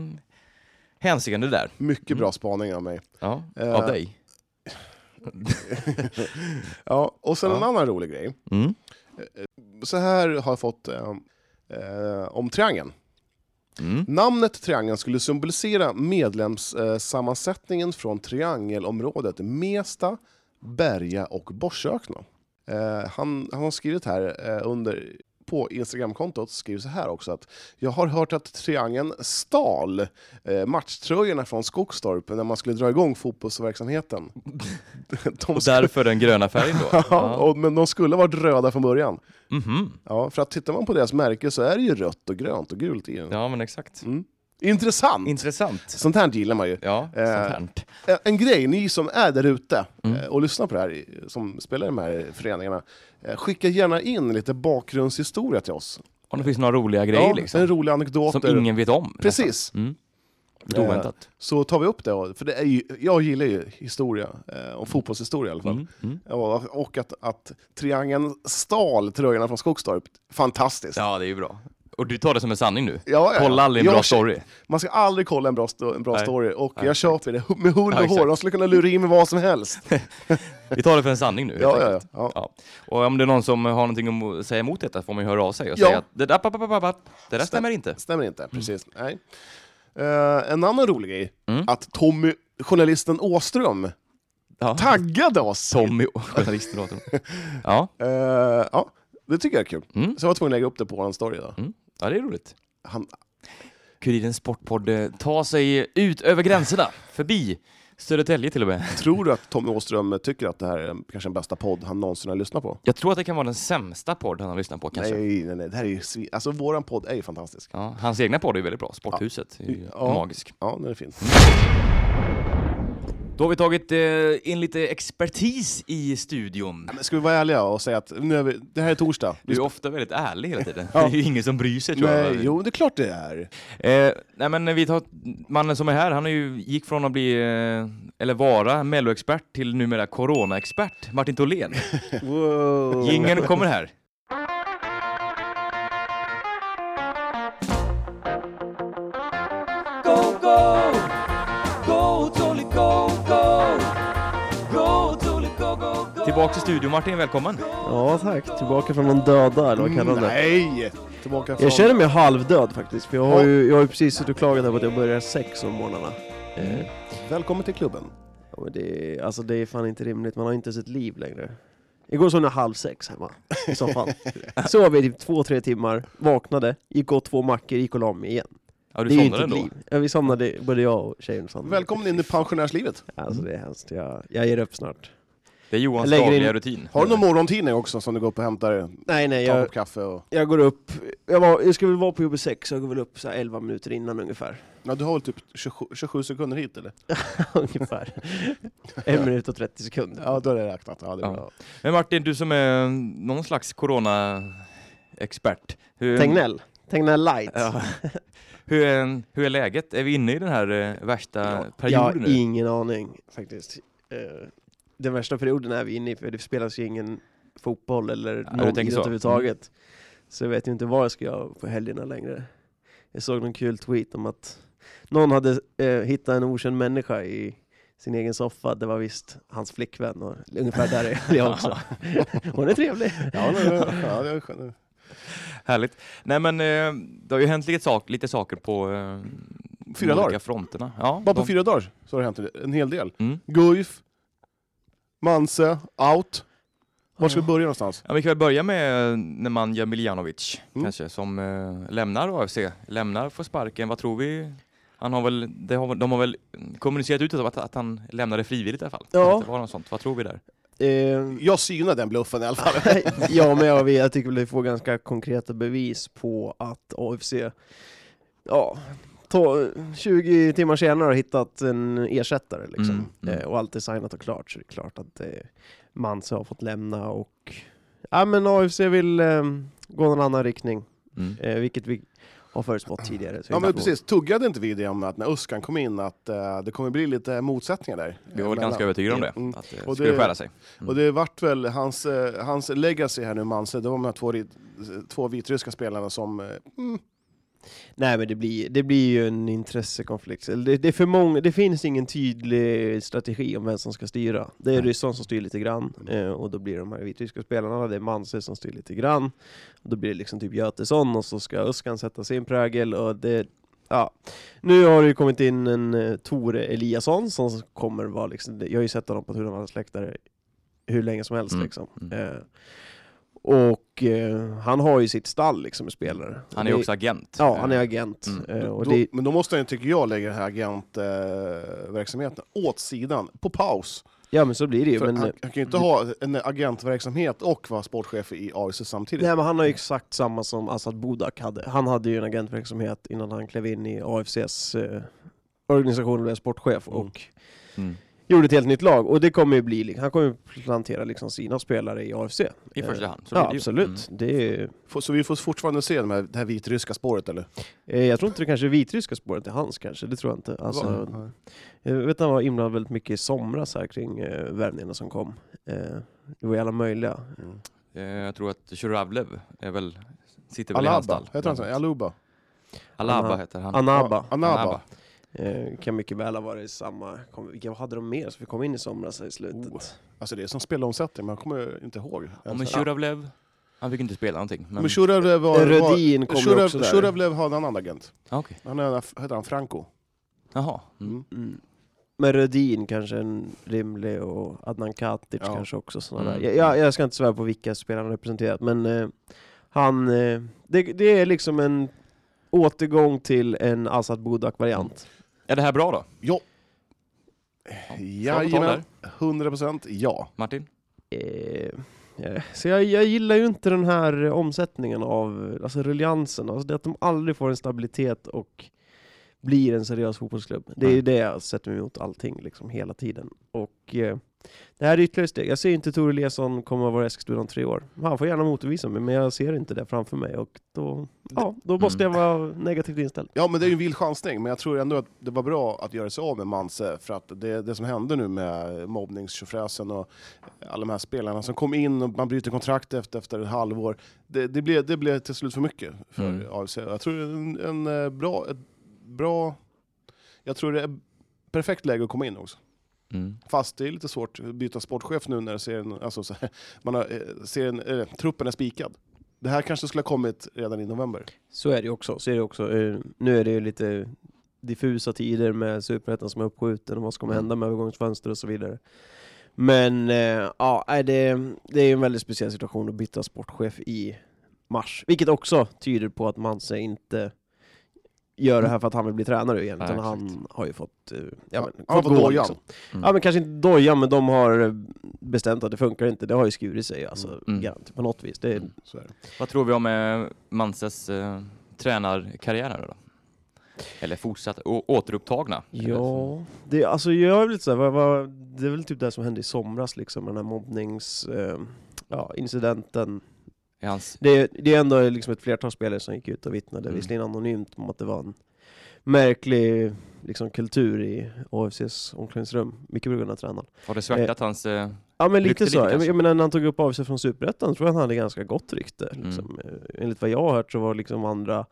S1: hänseende där.
S2: Mycket bra spaning av mig.
S1: Mm. Ja,
S2: Eh.
S1: av dig.
S2: Ja, och sen en annan rolig grej.
S1: Mm.
S2: Så här har jag fått eh, eh, om triangeln.
S1: Mm.
S2: Namnet triangeln skulle symbolisera medlemssammansättningen eh, sammansättningen från triangelområdet Mesta, Berga och Borsökna. Eh, han, han har skrivit här eh, under på Instagramkontot skriver så här också att jag har hört att triangeln stal eh, matchtröjorna från Skogstorp när man skulle dra igång fotbollsverksamheten. De
S1: Och
S2: skulle-
S1: därför den gröna färgen då.
S2: Ja, och, men de skulle ha varit röda från början.
S1: Mhm.
S2: Ja, för att tittar man på deras märke så är det ju rött och grönt och gult i den.
S1: Ja, men exakt.
S2: Intressant!
S1: Intressant.
S2: Sånt här gillar man ju.
S1: Ja, sånt
S2: Eh,
S1: här.
S2: En, en grej, ni som är där ute
S1: Mm.
S2: eh, och lyssnar på det här, i- som spelar i de här föreningarna, eh, skicka gärna in lite bakgrundshistoria till oss.
S1: Om det finns några roliga grejer
S2: ja,
S1: liksom,
S2: En rolig anekdot.
S1: som ingen vet om. nästan.
S2: Precis. Eh,
S1: Mm. Lite oväntat.
S2: Så tar vi upp det, och- för det är ju, jag gillar ju historia, eh, och fotbollshistoria i alla fall.
S1: Mm. Mm.
S2: Och, och att, att triangeln stal tröjorna från Skogstorp, fantastiskt.
S1: Ja, det är ju bra. Och du tar det som en sanning nu?
S2: Ja, ja, ja.
S1: Kolla aldrig en
S2: Jag
S1: bra
S2: kö-
S1: story.
S2: Man ska aldrig kolla en bra, sto- en bra
S1: Nej.
S2: story, och
S1: Nej,
S2: jag köper det med hull
S1: Ja,
S2: och hår.
S1: exakt.
S2: De skulle kunna lura in mig vad som helst.
S1: Vi tar det för en sanning nu. helt
S2: Ja, ja,
S1: enkelt.
S2: ja.
S1: Ja. Och om det är någon som har någonting att säga emot detta får man ju höra av sig och
S2: Ja.
S1: säga att det där, papp, papp, papp, papp, det där stämmer inte.
S2: Stämmer inte,
S1: Mm.
S2: precis. Nej. Eh, en annan rolig grej,
S1: Mm.
S2: att Tommy, journalisten Åström,
S1: Ah. Ja.
S2: taggade oss.
S1: Tommy, journalisten åt honom. Ja.
S2: Eh, ja, det tycker jag är kul.
S1: Mm.
S2: Så jag var tvungen att lägga upp det på vår story. Då.
S1: Mm. ja, det är roligt.
S2: Han,
S1: Kurirens Sportpodd eh, tar sig ut över gränserna, förbi Södertälje till och med.
S2: tror du att Tommy Åström tycker att det här är kanske den bästa podd han någonsin har lyssnat på?
S1: Jag tror att det kan vara den sämsta podd han har lyssnat på kanske.
S2: Nej, nej, nej. Det här är ju svi- alltså, våran podd är ju fantastisk.
S1: Ja, hans egna podd är ju väldigt bra, Sporthuset. är ju
S2: Ja.
S1: Magisk.
S2: Ja, den är fin.
S1: Mm. Då har vi tagit eh, in lite expertis i studion.
S2: Men Ska vi vara ärliga och säga att nu är vi, det här är torsdag.
S1: Du
S2: Vi
S1: är ofta väldigt ärlig hela tiden. Det är ju ingen som bryr sig tror jag.
S2: Nej, jo, det är klart det är.
S1: Eh, nej men vi tar mannen som är här, han är ju, gick från att bli, eh, eller vara, melloexpert till numera coronaexpert, Martin Tholén. Ingen kommer här.
S7: Go, go! Go, Tolly, go, go! Go, Tolly, go, go, go!
S1: Tillbaka till studion Martin, välkommen.
S6: Ja tack, tillbaka från de döda eller vad kallar de det?
S2: Mm, Nej! Tillbaka från...
S6: Jag känner mig halvdöd faktiskt, för jag har
S2: Ja.
S6: ju, jag har ju precis suttit och klagat över att jag börjar sex om morgnarna. Eh,
S2: Välkommen till klubben.
S6: Ja, men det, är- alltså det är fan inte rimligt, man har inte sitt liv längre. Igår såg jag halv sex hemma i soffan. Sov i typ två, tre timmar, vaknade, gick och åt två mackor, gick och la mig igen.
S1: Ja, du
S6: det är ju inte
S1: somnade
S6: ett
S1: ändå.
S6: liv. Ja, vi somnade, både jag och tjejen somnade.
S2: Välkommen in i pensionärslivet.
S6: Alltså det är hemskt, jag, jag ger upp snart.
S1: Det är Johans
S6: Jag lägger
S1: dagliga
S6: in-
S1: rutin.
S2: Har du någon morgontidning också som du går upp och hämtar? Tar
S6: Nej nej,
S2: en
S6: jag,
S2: kopp kaffe och...
S6: jag går upp, jag, var, jag ska väl vara på jobbet sex, jag går väl upp så här 11 minuter innan ungefär.
S2: Ja, du har väl typ 27, 27 sekunder hit eller?
S6: ungefär. En minut och 30 sekunder.
S2: Ja, då är det räknat. Ja, det är bra.
S1: Ja. Men Martin, du som är någon slags coronaexpert. Hur,
S6: Tegnell. Tegnell light.
S1: Ja. hur, är, hur är läget? Är vi inne i den här eh, värsta
S6: jag
S1: perioden
S6: har
S1: nu?
S6: ingen aning faktiskt. Eh, Den värsta perioden är vi inne i för det spelas ju ingen fotboll eller
S1: Ja, du
S6: någon
S1: tänker
S6: idrott
S1: så.
S6: överhuvudtaget. Så jag vet ju inte vad jag ska göra på helgerna längre. Jag såg någon kul tweet om att någon hade eh, hittat en okänd människa i sin egen soffa, det var visst hans flickvän och ungefär där är jag också. Hon är trevlig.
S2: Ja, det, ja, det är skönt.
S1: Härligt. Nej men eh, det har ju hänt lite, sak, lite saker på eh,
S2: Fyra
S1: de
S2: dagar.
S1: olika fronterna. Ja,
S2: Bara på
S1: de-
S2: fyra dagar så har det hänt en hel del.
S1: Mm.
S2: Guif, Manse, out. Var ska vi börja någonstans?
S1: Ja, vi kan väl börja med eh, Nemanja Miljanovic
S2: Mm.
S1: kanske som eh, lämnar AFC, lämnar, får sparken. Vad tror vi? Han har väl, det har, de har väl kommunicerat ut att, att han lämnade frivilligt i alla fall.
S6: Ja.
S1: Att Det var något sånt. Vad tror vi där?
S6: Eh,
S2: Jag synar den bluffen i alla fall.
S6: ja, men jag, vet- jag tycker väl vi får ganska konkreta bevis på att AFC, ja, to- 20 timmar senare har hittat en ersättare liksom.
S1: Mm, mm.
S6: Eh, och allt är signat och klart, så det är klart att eh, Manse har fått lämna och, ja men AFC vill eh, gå någon annan riktning,
S1: Mm.
S6: eh, vilket vi har förutspått tidigare. Så
S2: Ja
S6: vi
S2: men
S6: får-
S2: precis, tuggade inte vi det om att när Uskan kom in att eh, det kommer bli lite motsättningar där?
S1: Vi var väl
S2: Mellan-
S1: ganska övertygade om det,
S2: Mm.
S1: att det
S2: Och
S1: skulle
S2: det-
S1: skära sig.
S2: Och det vart väl hans, eh, hans legacy här nu, Manse, det var de här två, ri- två vitryska spelarna som... eh, Mm,
S6: Nej men det blir, det blir ju en intressekonflikt. Eller Det, det, är för många, det finns ingen tydlig strategi om vem som ska styra. Det är ryssarna som styr lite grann,
S1: Mm.
S6: eh, och då blir det de här vitryska spelarna, det är Manse som styr lite grann. Och då blir det liksom typ Götesson, och så ska Öskan sätta sin prägel, och det... Ja. Nu har det ju kommit in en eh, Tore Eliasson som kommer vara liksom, jag har ju sett honom på Tunavalls läktare hur länge som helst
S1: Mm.
S6: liksom.
S1: Mm.
S6: Eh, och eh, han har ju sitt stall liksom med spelare.
S1: Han är ju
S6: Det-
S1: också agent.
S6: Ja, han är agent.
S1: Mm.
S6: Eh, Och
S2: då,
S6: det,
S2: Men då måste han ju, tycker jag, lägga den här agentverksamheten eh, verksamheten åt sidan, på paus.
S6: ja, men så blir det ju.
S2: För
S6: Men,
S2: han, han kan ju inte ha en agentverksamhet och vara sportchef i AIC samtidigt.
S6: nej, men han har ju exakt samma som Assad Budak hade. Han hade ju en agentverksamhet innan han klev in i AFCs eh, organisation och blev sportchef och
S1: Mm.
S6: gjorde ett helt nytt lag. Och det kommer ju bli, li- han kommer ju plantera liksom sina spelare i AFC.
S1: I första hand. Så
S6: ja,
S1: blir det ju. Mm.
S6: absolut. Det är, ju-
S2: Får- Så vi får fortfarande se de här, det här vitryska spåret eller?
S6: eh, jag tror inte det kanske är vitryska spåret till hans kanske, det tror jag inte. Alltså, Jag vet att han var inblandad väldigt mycket i somras här kring eh, värvningarna som kom. Eh, det var ju alla möjliga.
S1: Mm. Eh, Jag tror att Shuravlev är väl, sitter väl i hans
S2: Alaba,
S1: stall. Mm.
S2: heter han så? Aluba?
S1: Alaba
S6: Anna-
S1: heter han.
S6: Anaba.
S2: Ja, Anaba.
S1: Anaba.
S6: Eh, kan mycket väl ha varit samma. Kom, vilka hade de mer som vi kom in i somras här i slutet? Eh,
S2: Oh. Alltså det är som spelomsättning, man kommer inte ihåg.
S1: Ja, men Shuravlev, han fick inte spela någonting. Men...
S2: Men Shuravlev var...
S6: Rödin
S2: var-
S6: kom ju
S2: Shurav-
S6: också där.
S2: Shuravlev har en annan agent.
S1: Ah, okej.
S2: Han är, heter han Franco?
S1: Jaha. Mm.
S6: Mm. Men Rödin kanske en rimlig och Adnan Katic
S2: Ja.
S6: kanske också. Sådana
S1: Mm.
S6: där. Jag, jag, jag ska inte svära på vilka spelare han representerat, men eh, han, eh, det, det är liksom en återgång till en Asad Budak-variant.
S1: Är det här bra då?
S2: Ja.
S1: Bra på tal där.
S2: Jajamän, 100% ja.
S1: Martin?
S6: Eh, eh, så jag, jag gillar ju inte den här eh, omsättningen av eh, alltså ruljansen, alltså det att de aldrig får en stabilitet och blir en seriös fotbollsklubb. Det är ju det jag sätter mig emot allting liksom hela tiden. Och eh, det här är ytterligare ett steg. Jag ser inte Tore Eliasson komma att vara i Eskilstuna om tre år. Han får gärna motvisa mig, men jag ser inte det framför mig och då, ja, då måste jag vara negativt inställd.
S2: Ja, men det är ju en vild chansning, men jag tror ändå att det var bra att göra sig av med Manse, för att det, det som hände nu med mobbningstjofräsen och alla de här spelarna som kom in och man bryter kontrakt efter, efter ett halvår. Det, det, blev, det blev till slut för mycket för
S1: Mm.
S2: AFC. Jag tror det är en, en eh, bra, ett bra... Jag tror det är perfekt läge att komma in också. Fast det är lite svårt att byta sportchef nu när serien, alltså, så här, man har, eh, serien, eh, truppen är spikad. Det här kanske skulle ha kommit redan i november.
S6: Så är det ju också. Så är det också. Eh, Nu är det ju lite diffusa tider med Superettan som är uppskjuten och vad som kommer
S1: Mm.
S6: hända med övergångsfönster och så vidare. Men eh, ja, nej, det, det är ju en väldigt speciell situation att byta sportchef i mars. Vilket också tyder på att Manse inte gör det här för att han vill bli tränare igen.
S1: Nej,
S6: utan
S1: exakt.
S6: han har ju fått, eh, ja, men,
S2: han har fått
S6: gå, liksom.
S2: dojan.
S1: Mm.
S6: Ja men kanske inte dojan, men de har eh, bestämt att det funkar inte. Det har ju skurit sig alltså,
S1: Mm.
S6: garant, på något vis. Det,
S1: Mm.
S2: Så är det.
S1: Vad tror vi om eh, Manses eh, tränarkarriär här då? Eller fortsatt å- återupptagna? Eller-
S6: Ja, det, alltså jag är väl lite så här, vad, vad, det är väl typ det som hände i somras liksom, den här mobbnings... Eh, ja, incidenten.
S1: Är hans...
S6: Det, det är ändå liksom ett flertal spelare som gick ut och vittnade,
S1: Mm.
S6: visserligen anonymt, om att det var en märklig liksom, kultur i AFCs omklädningsrum, mycket på grund av tränaren.
S1: Har det svärtat hans... Eh,
S6: Ja men
S1: Rykte
S6: lite
S1: lite
S6: så, jag,
S1: kanske.
S6: jag menar när han tog upp av sig
S1: Mm.
S6: från Superettan tror jag han hade ganska gott rykte. Liksom. Eh, Enligt vad jag har hört så var liksom andra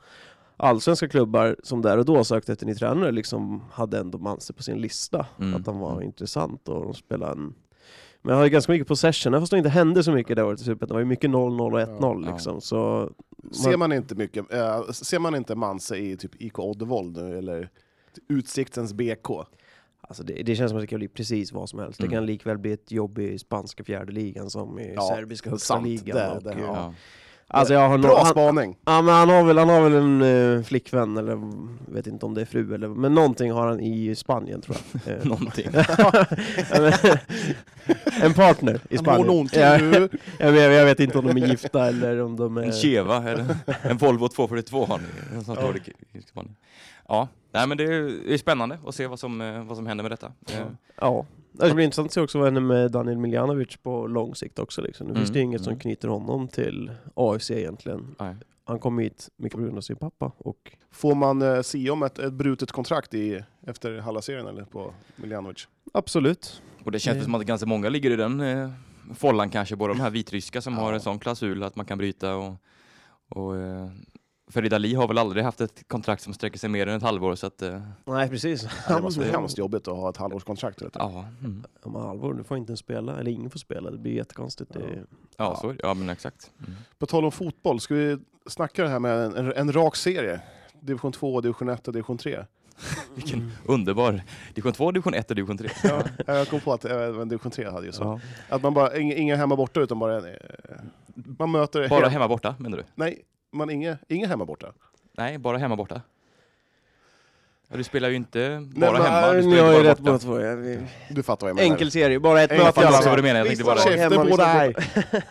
S6: allsvenska klubbar som där och då sökte efter ny tränare liksom hade ändå Manse på sin lista.
S1: Mm.
S6: Att han var intressant och de spelade en... Men han hade ganska mycket possession, även fast det inte hände så mycket det året i Superettan. Det var ju mycket 0-0 och 1-0
S1: Ja.
S6: liksom. Så
S2: Ser man inte mycket, eh, ser man inte Manse i typ IK Oddevold nu, eller Utsiktens BK?
S6: alltså, det, det känns som att det kan bli precis vad som helst.
S1: Mm.
S6: Det kan likväl bli ett jobb i spanska fjärde ligan som i
S2: Ja,
S6: serbiska högsta
S2: sant.
S6: ligan.
S2: Det-
S6: och,
S2: det-
S6: eh,
S2: ja.
S1: Ja.
S6: Alltså jag har no-
S2: Bra
S6: han,
S2: spaning!
S6: Ja men han har väl, han har väl en eh, flickvän eller mm, vet inte om det är fru eller men någonting har han i Spanien tror jag. Eh,
S1: Någonting.
S6: ja, men- en partner i
S2: Han har
S6: Spanien.
S2: någonting
S6: Ja,
S2: nu.
S6: jag, vet, jag vet inte om de är gifta eller om de
S1: En
S6: är...
S1: Cheva, eller en Volvo 242 har ni. En sån står det i Spanien. Ja, nej men det är det är spännande att se vad som, eh, vad som händer med detta. Eh,
S6: Ja. Det blir intressant att se också vad händer med Daniel Miljanovic på lång sikt också. Liksom. Nu finns det ju
S1: Mm,
S6: inget som
S1: mm.
S6: knyter honom till AFC egentligen.
S1: nej.
S6: Han kom hit mycket på grund av sin pappa och
S2: Får man eh, se om ett, ett brutet kontrakt i, efter Halla-serien eller på Miljanovic?
S6: absolut.
S1: Och det känns väl som att ganska många ligger i den eh, follan kanske, både de här vitryska som har en sån klausul att man kan bryta och, och eh, Ferida Li har väl aldrig haft ett kontrakt som sträcker sig mer än ett halvår så att eh,
S6: Nej precis.
S2: Ja, Det var så hemskt jobbigt att ha ett halvårskontrakt. Vet du.
S1: ja, mm.
S6: Om halvår, nu får inte en spela, eller ingen får spela. Det blir jättekonstigt. Det är-
S1: ja, så är det. Ja men exakt. Mm.
S2: På tal om fotboll, ska vi snacka det här med en, en, en rak serie? Division 2, division 1 och division 3.
S1: Vilken underbar. Division 2, division 1 och division 3.
S2: Ja, jag kom på att eh, division 3 hade ju så.
S6: Ja.
S2: Att man bara, inga, inga hemma borta utan bara... en, eh, Man möter...
S1: Bara
S2: helt-
S1: hemma borta menar du?
S2: Nej, man inga, inga hemma borta.
S1: Nej, bara hemma borta. Ja, du spelar ju inte
S2: Nej,
S1: bara
S2: men
S1: hemma, du
S6: ni
S1: spelar
S6: har
S1: ju
S6: ju
S1: bara
S6: rätt
S1: borta.
S6: båda två. eh, Jag- vi-
S2: Du fattar vad jag menar.
S6: Enkel serie, bara ett
S2: Jag
S6: möte i
S1: fattar
S6: alla
S1: också vad
S6: fall.
S1: du menar, jag tänkte bara...
S2: Käften
S6: Hemma,
S2: båda
S6: visst.
S2: här!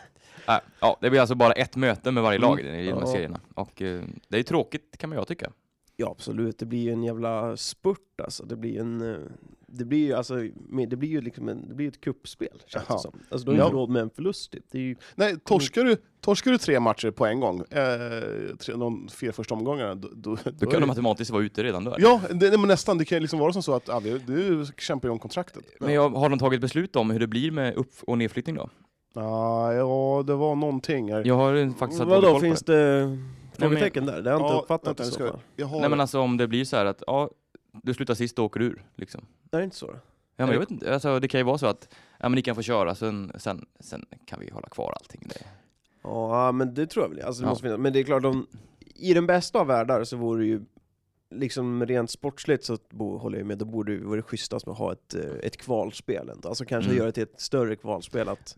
S1: Ja, ja, det blir alltså bara ett möte med varje lag i de här
S6: Ja.
S1: serierna. Och eh, det är ju tråkigt kan man jag tycka.
S6: Ja absolut, det blir ju en jävla spurt alltså. Det blir ju en... eh, Det blir ju alltså, men det blir ju liksom en, det blir ju ett kuppspel känns
S2: Jaha.
S6: det som. Alltså du har ju
S2: Ja.
S6: inte råd med en förlust typ. Det är ju,
S2: Nej, torskar du, torskar du tre matcher på en gång, eh, tre, de fyra första omgångarna, då, då,
S1: Då
S2: är
S1: kan
S2: det-
S1: de matematiskt vara ute redan då.
S2: Ja, det, nej, men nästan. Det kan ju liksom vara som så att ah, vi, du kämpar ju om kontraktet.
S1: Men jag, har de tagit beslut om hur det blir med upp och nedflyttning då?
S2: Ah, ja, det var någonting här.
S1: Jag har eh, faktiskt haft dålig
S6: vadå,
S1: koll
S6: finns
S1: på det.
S6: det frågetecken där? Det har jag inte
S2: Ja,
S6: uppfattat
S2: vänta,
S6: i
S2: nu
S6: så
S2: ska jag-
S6: fall.
S2: Jag har,
S1: Nej men alltså om det blir så här att, ja, du slutar sist, då åker du ur. Liksom.
S6: Det är inte så?
S1: Ja, men
S6: Eller-
S1: jag vet inte, alltså, det kan ju vara så att, ja men ni kan få köra, sen, sen, sen kan vi hålla kvar allting. Det.
S6: Ja men det tror jag väl, alltså, det
S1: Ja.
S6: måste finnas. Men det är klart, de, i den bästa av världar så vore det ju Liksom rent sportsligt så bo, håller jag med, då borde det vara schysstast med att ha ett, eh, ett kvalspel ändå. Alltså kanske
S1: Mm.
S6: göra det till ett större kvalspel, att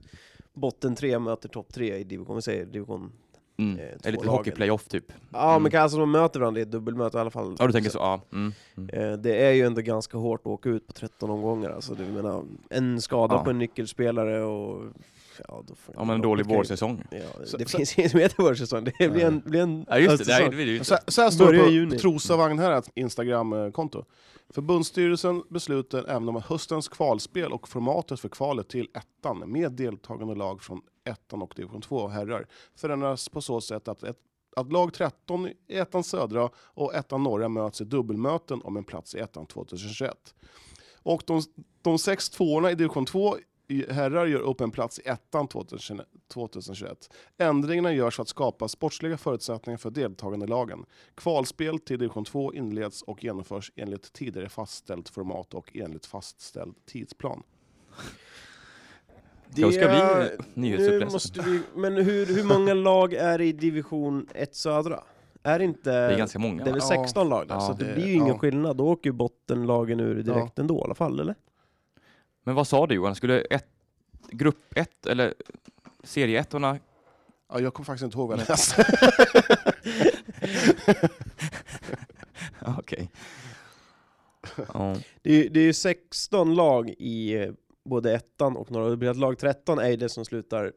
S6: botten tre möter topp tre i division, vi säger division
S1: Mm.
S6: Eh, två
S1: Det är lite
S6: lagen.
S1: hockeyplayoff typ.
S6: Ja
S1: Mm.
S6: men kan- alltså de möter varandra i ett dubbelmöte i alla fall.
S1: Ja du tänker så, ja. Mm. Mm.
S6: Eh, Det är ju ändå ganska hårt att åka ut på 13 omgångar alltså. Det, jag menar, en skada
S1: Ja.
S6: på en nyckelspelare och... Ja, då får
S1: Ja men en dålig vårsäsong.
S6: Ja,
S2: Så-
S6: det
S2: så-
S6: finns inget som heter vårsäsong. Det blir en, blir en Alltså,
S1: Ja just det, det,
S6: höstsäsong.
S1: här, det, är ju
S2: så, här- så här står
S6: Börjar i
S2: det på
S6: juni.
S2: Trosa Vagn här Instagram-konto. Förbundsstyrelsen beslutar även om höstens kvalspel och formatet för kvalet till ettan med deltagande lag från ettan och division 2 herrar förändras på så sätt att, ett, att lag 13 i ettan södra och ettan norra möts i dubbelmöten om en plats i ettan 2021. Och de, de sex tvåorna i division 2 i- herrar gör upp en plats i ettan 2020 2021. Ändringarna görs för att skapa sportsliga förutsättningar för deltagande lagen. Kvalspel till division 2 inleds och genomförs enligt tidigare fastställt format och enligt fastställd tidsplan.
S1: Det kanske ska bli en
S6: nu
S1: nyhetsuppläsning.
S6: måste vi, Men hur, hur många lag är i division 1 södra? Är det inte...
S1: Det är ganska många.
S6: det är väl
S1: va?
S2: Ja.
S6: 16 lag där,
S1: Ja,
S6: så det,
S2: det-
S6: blir ju ingen
S2: ja.
S6: skillnad. Då åker ju bottenlagen ur direkt ändå i alla fall, eller?
S1: Men vad sa du Johan, skulle ett, grupp 1 eller serieettorna
S2: Ja, jag kommer faktiskt inte ihåg vad jag läste.
S1: Ja, Okej. Ja.
S6: Det är, ju- det är ju 16 lag i eh, både ettan och norra. Det blir att lag 13 är ju det som slutar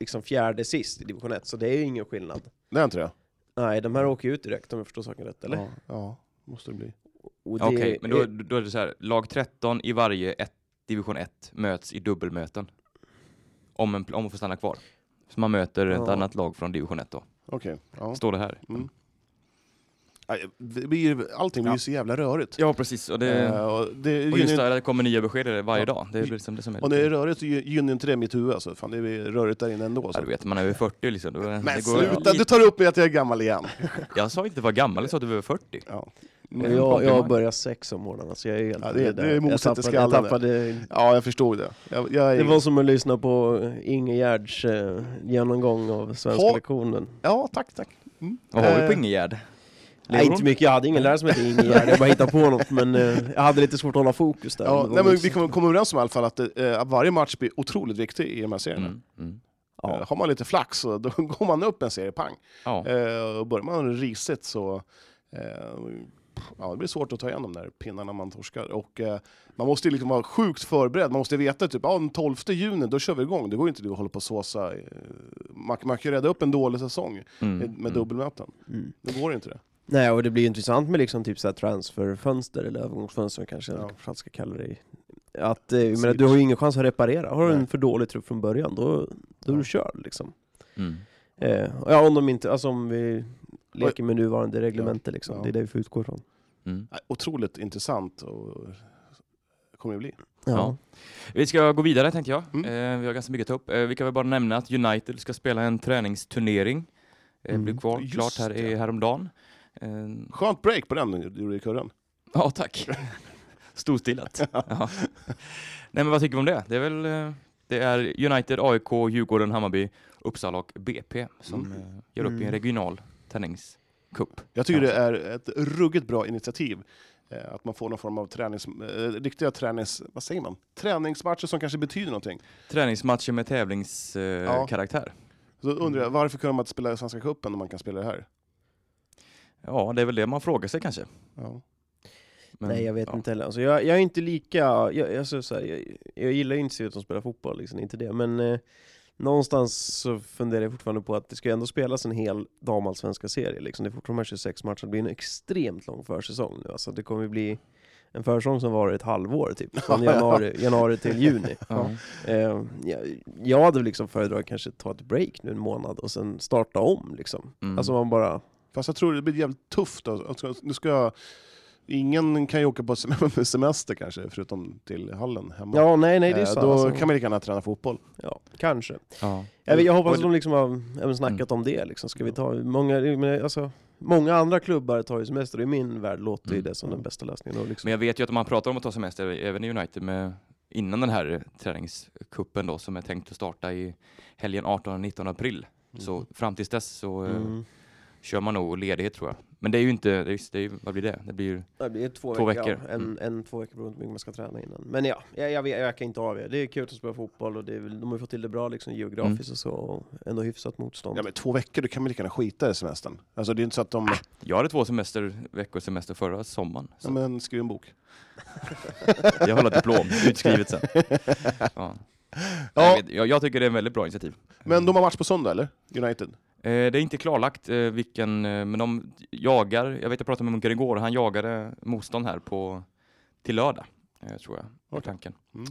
S6: liksom fjärde sist i division 1, så det är ju ingen skillnad.
S2: Det är inte det?
S6: Nej, de här åker ju ut direkt om jag förstår saken rätt, eller?
S2: Ja, ja, måste det bli.
S6: Och det
S1: Okej, men då,
S6: är-
S1: då är det så här. Lag 13 i varje ett, division 1 möts i dubbelmöten. Om, en, pl- om man får stanna kvar. Så man möter ett
S6: Ja.
S1: annat lag från division 1 då.
S2: Okej. Ja.
S1: Står det här.
S2: Mm. Nej, Det blir, allting blir ju så jävla rörigt.
S1: Ja, precis. Och, det,
S2: Eh, och det
S1: och just
S2: gynnar-
S1: det här, det kommer nya besked varje dag. Det är
S2: Och-
S1: liksom det som är
S2: och när det är
S1: lite...
S2: rörigt så gy- gynnar inte det mitt huvud. Alltså. Fan, det är rörigt där inne ändå.
S1: Ja,
S2: Så.
S1: du vet, man är över 40 liksom. Då, det
S2: Men
S1: går-
S2: sluta, du tar upp mig att jag är gammal igen.
S1: Jag sa inte att du var gammal, jag sa att du var över 40.
S2: Ja.
S1: Det är en
S6: jag, jag
S1: komplimang.
S6: börjar sex om morgonen, så jag är helt
S2: Ja, det är-
S6: där.
S2: det är
S6: jag
S2: moset i
S6: tappade, jag
S2: skallen där.
S6: tappade
S2: Ja, jag förstod det. Jag, jag är...
S6: Det var som att lyssna på Ingegerds eh, genomgång av svenska
S2: Ha-
S6: lektionen.
S2: Ja, tack, tack.
S1: Vad har vi på
S2: Eh,
S1: Ingegärd?
S6: Nej, inte mycket. Jag hade ingen lärare som hette Ingegerd, jag bara hittade på något. Men eh, jag hade lite svårt att hålla fokus där.
S2: Ja,
S6: Det var
S2: nej, men vi
S6: liksom-
S2: kommer kommer överens om i alla fall att eh, att varje match blir otroligt viktig i de här serierna.
S1: Mm, mm.
S6: Ja.
S2: Eh, Har man lite flax så då går man upp en serie, pang.
S1: Ja.
S2: Eh, och börjar man risigt så eh, ja, det blir svårt att ta igen de där pinnarna man torskar. Och, eh, man måste ju liksom vara sjukt förberedd, man måste veta typ ah, den 12 juni, då kör vi igång. Det går ju inte du att hålla på och såsa. eh, Man, man kan ju rädda upp en dålig säsong
S1: Mm,
S2: med, med
S1: mm.
S2: dubbelmöten.
S6: Mm.
S2: Då går det inte det.
S6: Nej, och det blir ju intressant med liksom typ så här transferfönster, eller övergångsfönster kanske
S2: Ja.
S6: jag ja. ska kalla det. Att, eh, jag menar, du har ju ingen chans att reparera. Har du
S2: Nej.
S6: en för dålig trupp från början, då, då
S2: Ja.
S6: är du körd liksom.
S1: Mm.
S6: Eh, ja, om de inte, alltså om vi leker med nuvarande reglemente liksom.
S2: Ja.
S6: Det är det vi får utgå ifrån.
S1: Mm.
S2: Nej, Otroligt intressant och kommer det bli.
S1: Ja. Vi ska gå vidare tänkte jag.
S2: Mm.
S1: Eh, vi har ganska mycket att ta upp. Eh, vi kan väl bara nämna att United ska spela en träningsturnering. Eh,
S6: Mm.
S1: Blev kvar,
S2: Just
S1: klart här i,
S2: det.
S1: häromdagen. Eh,
S2: Skönt break på den du gjorde i kurren.
S1: ja, tack. Storstilat. ja. Nej, men vad tycker vi om det? Det är väl eh, det är United, AIK, Djurgården, Hammarby, Uppsala och BP som
S2: Mm.
S1: eh, gör upp i en
S6: Mm.
S1: regional träningscup.
S2: Jag tycker det är ett ruggigt bra initiativ. eh, Att man får någon form av tränings, eh, riktiga tränings, vad säger man? träningsmatcher som kanske betyder någonting.
S1: Träningsmatcher med tävlingskaraktär. Eh,
S2: Ja.
S1: karaktär.
S2: Så undrar
S6: Mm.
S2: jag, varför kunde man inte spela i Svenska cupen när man kan spela det här?
S1: ja, det är väl det man frågar sig kanske.
S2: Ja.
S1: Men,
S6: Nej jag vet
S1: ja.
S6: inte heller, alltså, jag, jag är inte lika, jag, alltså, så här, jag, jag gillar ju inte så att de spelar fotboll, liksom, inte det, men eh, någonstans så funderar jag fortfarande på att det ska ju ändå spelas en hel damallsvenska serie, liksom. det är fortfarande de här 26 matcher, det blir en extremt lång försäsong nu, alltså, det kommer ju bli en försäsong som varar ett halvår typ, från januari, januari till juni.
S1: Ja.
S6: Eh, jag, jag hade väl liksom föredragit kanske ta ett break nu en månad och sen starta om liksom.
S1: Mm.
S6: Alltså man bara,
S2: Fast jag tror det blir jävligt tufft. alltså. Alltså, Nu ska, ingen kan ju åka på sem- semester kanske, förutom till hallen hemma.
S6: ja nej nej det är
S2: Eh,
S6: sant.
S2: Då
S6: alltså.
S2: kan man lika gärna träna fotboll.
S6: ja, kanske.
S1: Ja.
S6: Jag, vet- jag
S2: Och
S6: hoppas att
S2: det-
S6: de liksom har även snackat
S1: Mm.
S6: om det. Liksom. Ska vi ta, många, jag menar, alltså, många andra klubbar tar ju semester, och i min värld låter ju
S1: Mm.
S6: det som den bästa lösningen. Då, liksom.
S1: Men jag vet ju att man pratar om att ta semester även i United med, innan den här träningskuppen då som är tänkt att starta i helgen 18 och 19 april. Mm.
S2: Mm.
S1: Så fram tills dess så eh,
S6: Mm.
S1: kör man nog ledighet tror jag. Men det är ju inte, det är, ju- det är, ju- vad blir det? Det blir ju,
S6: Det blir två,
S1: Två
S6: veckor,
S1: veckor. Mm.
S6: Ja, en, en, två veckor beroende på hur mycket man ska träna innan. Men ja, jag, jag, vet- jag kan inte avgöra. Det är kul att spela fotboll och det är, väl- de har ju fått till det bra liksom,
S1: Mm.
S6: geografiskt och så, och ändå hyfsat motstånd.
S2: Ja, men två veckor, då kan man lika gärna skita i semestern. Alltså, det är inte så att de...
S1: jag hade två semester, veckor semester förra sommaren.
S2: Ja,
S1: Så
S2: men skriv en
S6: Mm.
S2: bok.
S1: Jag håller diplom, utskrivet sen. Ja. Jag, vet, jag, jag tycker det är en väldigt bra initiativ.
S2: Men de har match på söndag, eller? United?
S1: Eh, Det är inte klarlagt eh, vilken, eh, men de jagar, jag vet jag pratade med Munker igår, han jagade motstånd här på, till lördag, eh, tror jag, var
S2: Okej.
S1: tanken.
S2: Mm.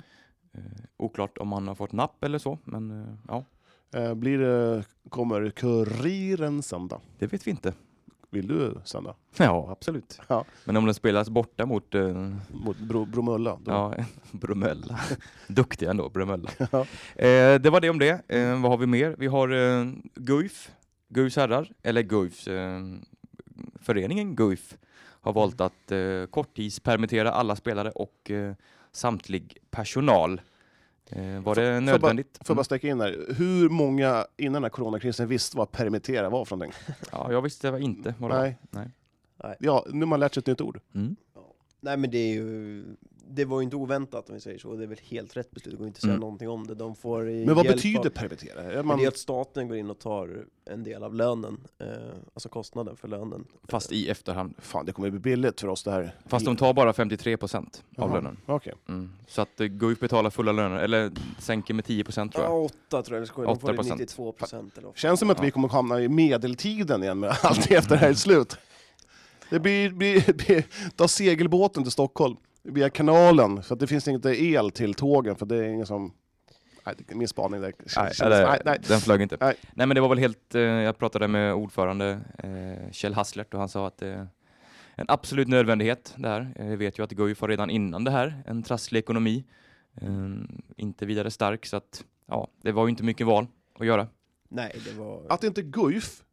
S1: Eh, oklart om han har fått napp eller så, men eh, ja,
S2: Eh, Blir det, kommer Kuriren sända?
S1: det vet vi inte.
S2: Vill du sända?
S1: Ja, absolut.
S2: Ja.
S1: Men om den spelas borta mot eh,
S2: Mot Bro, Bromölla? Då.
S1: ja, Bromölla, duktig ändå, Bromölla.
S2: Ja.
S1: Eh, det var det om det. Eh, vad har vi mer? Vi har eh, Guif, Guifs herrar, eller Guifs, eh, föreningen Guif har
S2: Mm.
S1: valt att eh, korttidspermittera alla spelare och eh, samtlig personal. Eh, var
S2: Får-
S1: det
S2: Får jag bara-
S1: nödvändigt?
S2: Får jag bara sticka in här, hur många innan den här coronakrisen visste vad permittera var för någonting?
S1: Mm. Ja, jag visste det var inte vad det var.
S2: Nej.
S1: Nej.
S2: Ja, nu har man lärt sig ett nytt ord.
S1: Mm.
S6: Nej men det är ju, det var ju inte oväntat om vi säger så, och det är väl helt rätt beslut, det går inte att säga
S1: Mm.
S6: någonting om det. De får
S2: Men vad betyder permittera? Är
S6: Men
S2: man,
S6: Det är att staten går in och tar en del av lönen, eh, alltså kostnaden för lönen.
S1: Fast i efterhand.
S2: Fan, det kommer bli billigt för oss det här.
S1: Fast de tar bara 53 procent av
S2: Jaha,
S1: lönen.
S2: Okej.
S1: Mm. Så att eh, Guif betalar fulla löner, eller sänker med 10 procent tror
S6: Ja,
S1: jag.
S6: 8 tror jag, eller så går det- de får
S1: 8%.
S6: det 92 procent eller vad
S2: Känns som att
S1: Ja.
S2: vi kommer hamna i medeltiden igen med allt efter det här är slut. Det blir, blir, blir, ta segelbåten till Stockholm via kanalen, för att det finns inte el till tågen, för det är ingen som... Nej, det- min spaning där.
S1: Nej,
S2: känns-
S1: eller,
S2: nej, nej.
S1: den flög inte. Nej.
S2: Nej.
S1: men det var väl helt, eh, jag pratade med ordförande eh, Kjell Hasslert och han sa att eh, en absolut nödvändighet det här. Eh, Vi vet ju att Guif var redan innan det här en trasslig ekonomi. Eh, Inte vidare stark så att ja, det var ju inte mycket val att göra.
S6: Nej, det var...
S2: Att inte Guif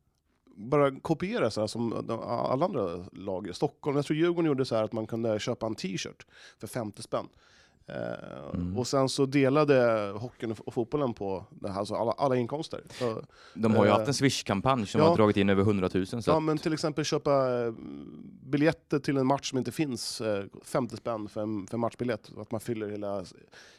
S2: bara kopiera så här som de- alla andra lag i Stockholm. Jag tror Djurgården gjorde så här att man kunde köpa en t-shirt för 50 spänn. Eh, Och sen så delade hockeyn och f- och fotbollen på det här, alltså alla, alla inkomster. Så,
S1: De har ju
S2: Eh,
S1: haft en Swish-kampanj som
S2: ja.
S1: har dragit in över 100 000. liksom Så
S2: ja,
S1: att-
S2: men till exempel köpa eh, biljetter till en match som inte finns, eh, 50 spänn för en, för en matchbiljett. Att man fyller hela,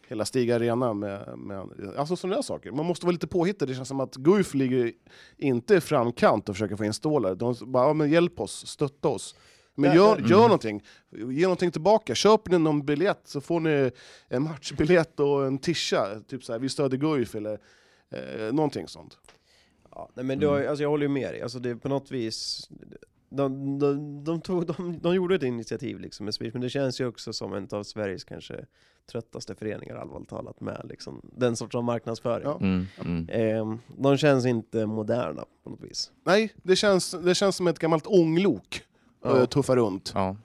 S2: hela Stiga Arena med, med alltså sådana där saker. Man måste vara lite påhittig. Det känns som att Guif ligger inte i framkant och försöker få in stålar. De bara, ja, men hjälp oss, stötta oss. Men gör, gör någonting, ge någonting tillbaka. Köper ni någon biljett så får ni en matchbiljett och en tisha. Typ så här, vi stödjer Guif eller eh, någonting sånt.
S6: Ja, nej, men det var, alltså, jag håller ju med dig. Alltså, det, är på något vis... De, de, de, tog, de, de gjorde ett initiativ liksom, med Swish, men det känns ju också som en av Sveriges kanske tröttaste föreningar allvarligt talat med liksom, den sorts av marknadsföring.
S2: Ja.
S1: Mm, mm.
S6: Ehm, de känns inte moderna på något vis.
S2: Nej, det känns, det känns som ett gammalt ånglok.
S6: Ja.
S2: Ja. Tuffa runt.
S1: Ja.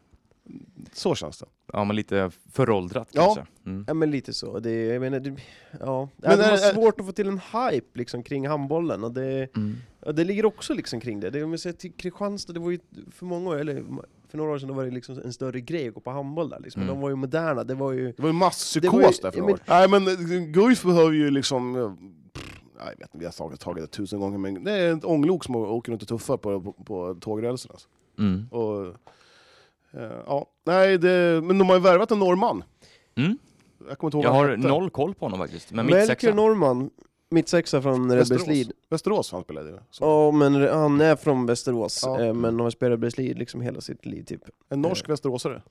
S2: Så känns det.
S1: ja, men lite föråldrat
S2: Ja.
S1: kanske. Mm.
S6: Ja men lite så, det, jag menar, det, ja.
S2: Men
S6: Men det
S2: är-
S6: var
S2: är-
S6: svårt att få till en hype liksom kring handbollen och det,
S1: Mm.
S6: ja, det ligger också liksom kring det. det om jag säger till Kristianstad, det var ju för många år, eller för några år sedan, då var det liksom en större grej att gå på handboll där liksom.
S1: Mm.
S6: De var ju moderna, det var ju...
S2: Det var ju
S6: Det var ju-
S2: masspsykos där för
S6: ja,
S2: några år. Nej men eh, Guif behöver ju liksom... eh, pff, nej, Jag vet inte, vi har tagit, tagit det tusen gånger men det är ett ånglok som åker runt och tuffar på, på, på tågrälsen. Alltså.
S1: Mm.
S2: Och, eh, ja. Nej, det, men de har ju värvat en norrman.
S1: Mm.
S2: Jag kommer inte ihåg
S1: Jag
S2: vad han
S1: har
S2: hette.
S1: noll koll på honom faktiskt. Men mitt
S6: Melker
S1: sexa.
S6: Norman, mittsexa från
S2: Västerås.
S6: Rebbeslid.
S2: Västerås han spelade ju. Så.
S6: Ja men re- han är från Västerås,
S2: Ja.
S6: eh, men de har spelat Rebbeslid liksom hela sitt liv typ.
S2: En norsk västeråsare.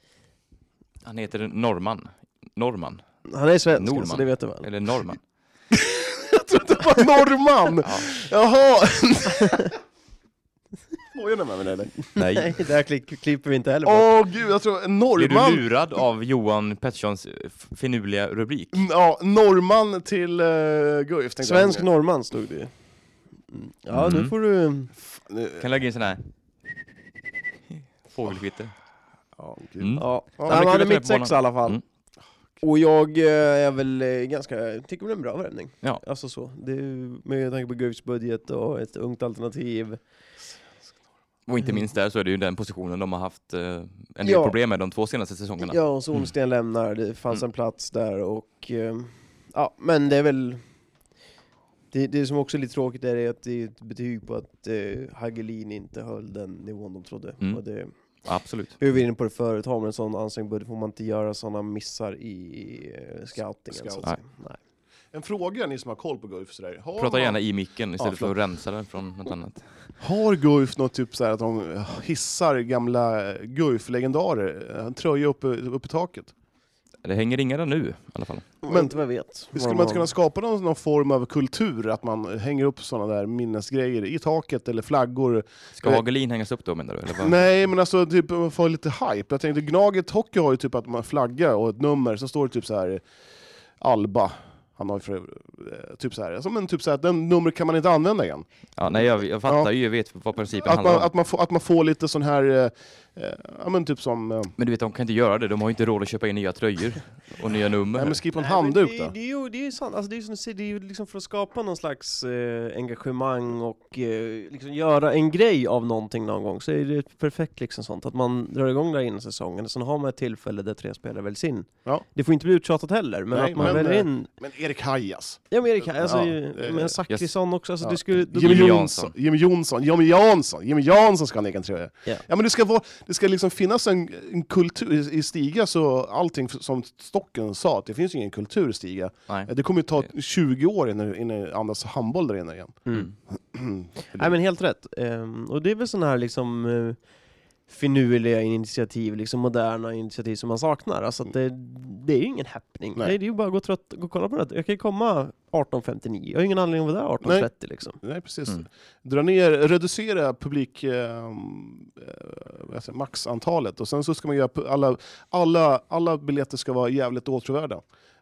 S1: Han heter Norman. Norman.
S6: Han är svensk,
S1: Norman.
S6: så det vet du väl?
S1: Eller Norman.
S2: Det var norrman!
S1: Ja.
S2: Jaha! Skojar ni med mig eller?
S6: Nej, det här klick- klipper vi inte heller bort.
S2: Åh gud, jag tror en
S1: Blir
S2: norrman
S1: du lurad av Johan Petterssons eh, f- finurliga rubrik?
S2: Mm, Ja, norrman till uh, Guif tänkte
S6: Svensk
S2: jag.
S6: norrman stod det ju. Mm. Ja, nu
S1: Mm.
S6: får du...
S2: Nu-
S1: Kan lägga in sån här... Fågelkvitter.
S2: Ja, gud.
S1: Mm.
S6: Ja.
S2: Ja,
S1: men
S6: Nej, men han
S1: kul
S6: är
S1: att träffa
S6: mitt sex i alla fall.
S1: Mm.
S6: Och jag eh, är väl eh, ganska, jag tycker väl det är en bra värvning.
S1: Ja.
S6: Alltså så, det är, med tanke på Guifs budget och ett ungt alternativ.
S1: Och inte minst där så är det ju den positionen de har haft eh, en del
S6: Ja.
S1: problem med de två senaste säsongerna.
S6: Ja, och Solsten lämnar, det fanns
S1: Mm.
S6: en plats där och eh, ja, men det är väl det, det som också är lite tråkigt där är att det är ett betyg på att eh, Hagelin inte höll den nivån de trodde.
S1: Mm.
S6: Och det,
S1: Absolut.
S6: vi var inne på det förut, har man en sån ansträngd budget får man inte göra sådana missar i eh, scoutingen. så
S2: Scout.
S6: att säga. Nej.
S2: En fråga ni som har koll på Guif sådär. Har
S1: Prata
S2: man-
S1: gärna i micken istället för att
S2: förlåt.
S1: rensa den från något annat.
S2: Har Guif något typ såhär att de hissar gamla eh, Guif-legendarer? Eh, En tröja uppe, uppe i taket?
S1: Det hänger inga där nu i alla fall.
S6: Men inte vad jag vet.
S2: Skulle man inte kunna skapa någon, någon form av kultur? Att man hänger upp sådana där minnesgrejer i taket eller flaggor?
S1: Ska
S2: Eh,
S1: Hagelin hängas upp då menar du? Eller vad?
S2: Nej, men alltså typ man får lite hype. Jag tänkte Gnaget Hockey har ju typ att man flagga och ett nummer, så står det typ så här Alba. Han har ju för, eh, typ så här, som en typ så här, den numret kan man inte använda igen.
S1: Ja, nej jag, jag fattar
S2: Ja.
S1: ju, jag vet vad principen
S2: Att
S1: handlar
S2: man,
S1: om.
S2: att, man får, att man får lite sån här, eh, eh, ja men typ som, eh,
S1: Men du vet, de kan inte göra det. De har ju inte råd att köpa in nya tröjor och nya nummer.
S2: nej men skriv på en
S6: Nej, men
S2: handduk
S6: det,
S2: då.
S6: det är ju det är ju sant, alltså, det är ju som du säger, det är ju liksom för att skapa någon slags eh, engagemang och eh, liksom göra en grej av någonting någon gång så är det ju perfekt liksom sånt att man drar igång där innan säsongen, sen har man ett tillfälle där tre spelare väljs in.
S2: Ja.
S6: Det får inte bli uttjatat heller, men
S2: Nej,
S6: att man
S2: men,
S6: väljer
S2: eh,
S6: in,
S2: Men Erik Hajas,
S6: ja men Erik, alltså,
S2: ja, eh,
S6: ju-
S2: det-
S6: men Zachrisson också, alltså det skulle, då,
S2: Jimmy
S1: Jimmy
S2: Jonsson,
S1: Jansson.
S2: Jimmy Jonsson, Jimmy Jansson, Jimmy Jansson ska ha en egen tröja.
S6: Ja.
S2: Ja men det ska, vara, det ska liksom finnas en, en kultur i- i Stiga, så allting f- som Stocken sa, att det finns ju ingen kultur i Stiga.
S1: Nej.
S2: Det kommer ju ta 20 år innan, innan det andas handboll där inne igen.
S6: Mm. Nej men helt rätt. Ehm, och det är väl sådana här liksom eh, finurliga initiativ, liksom moderna initiativ som man saknar. Alltså att det, det är ju ingen happening.
S2: Mm. Nej.
S6: Nej. det är ju bara att gå, trött, gå och kolla på det. Jag kan ju komma 18.59, jag har ingen anledning att vara där 18.30 liksom.
S2: Nej, precis.
S1: Mm.
S2: Dra ner, reducera publik, eh, eh, vad jag säger, maxantalet och sen så ska man göra pu- alla, alla, alla biljetter ska vara jävligt åtråvärda.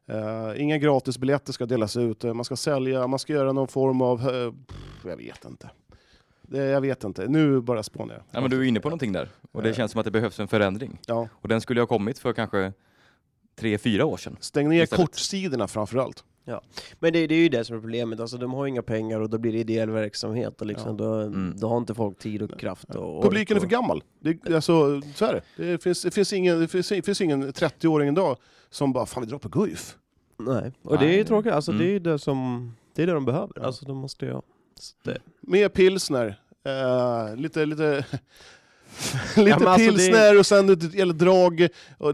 S2: Eh, inga gratisbiljetter ska delas ut, eh, man ska sälja, man ska göra någon form av, eh, pff, jag vet inte. Eh, Jag vet inte, nu bara spånar jag. Eh,
S1: Ja, men du är inne på någonting där och det känns som att det behövs en förändring.
S2: Ja.
S1: Och den skulle ha kommit för kanske tre, fyra år sedan.
S2: Stäng ner
S1: Istället.
S2: kortsidorna framförallt.
S6: Men det, det är ju det som är problemet, alltså de har ju inga pengar och då blir det ideell verksamhet och liksom, då,
S1: Mm.
S6: då har inte folk tid och kraft och
S2: Publiken är
S6: ork
S2: för
S6: och-
S2: gammal. Det, alltså, så är det. Det finns, det finns ingen, det finns, det finns ingen 30-åring idag som bara “Fan, vi drar på Guif”.
S6: Nej, och det är
S1: Nej.
S6: ju tråkigt, alltså
S1: Mm.
S6: det är ju det som, det är det de behöver, alltså de måste ju... Så det,
S2: Mer pilsner. Eh, lite lite, lite
S6: men alltså, det-
S2: pilsner och sen ett jävla drag. Och,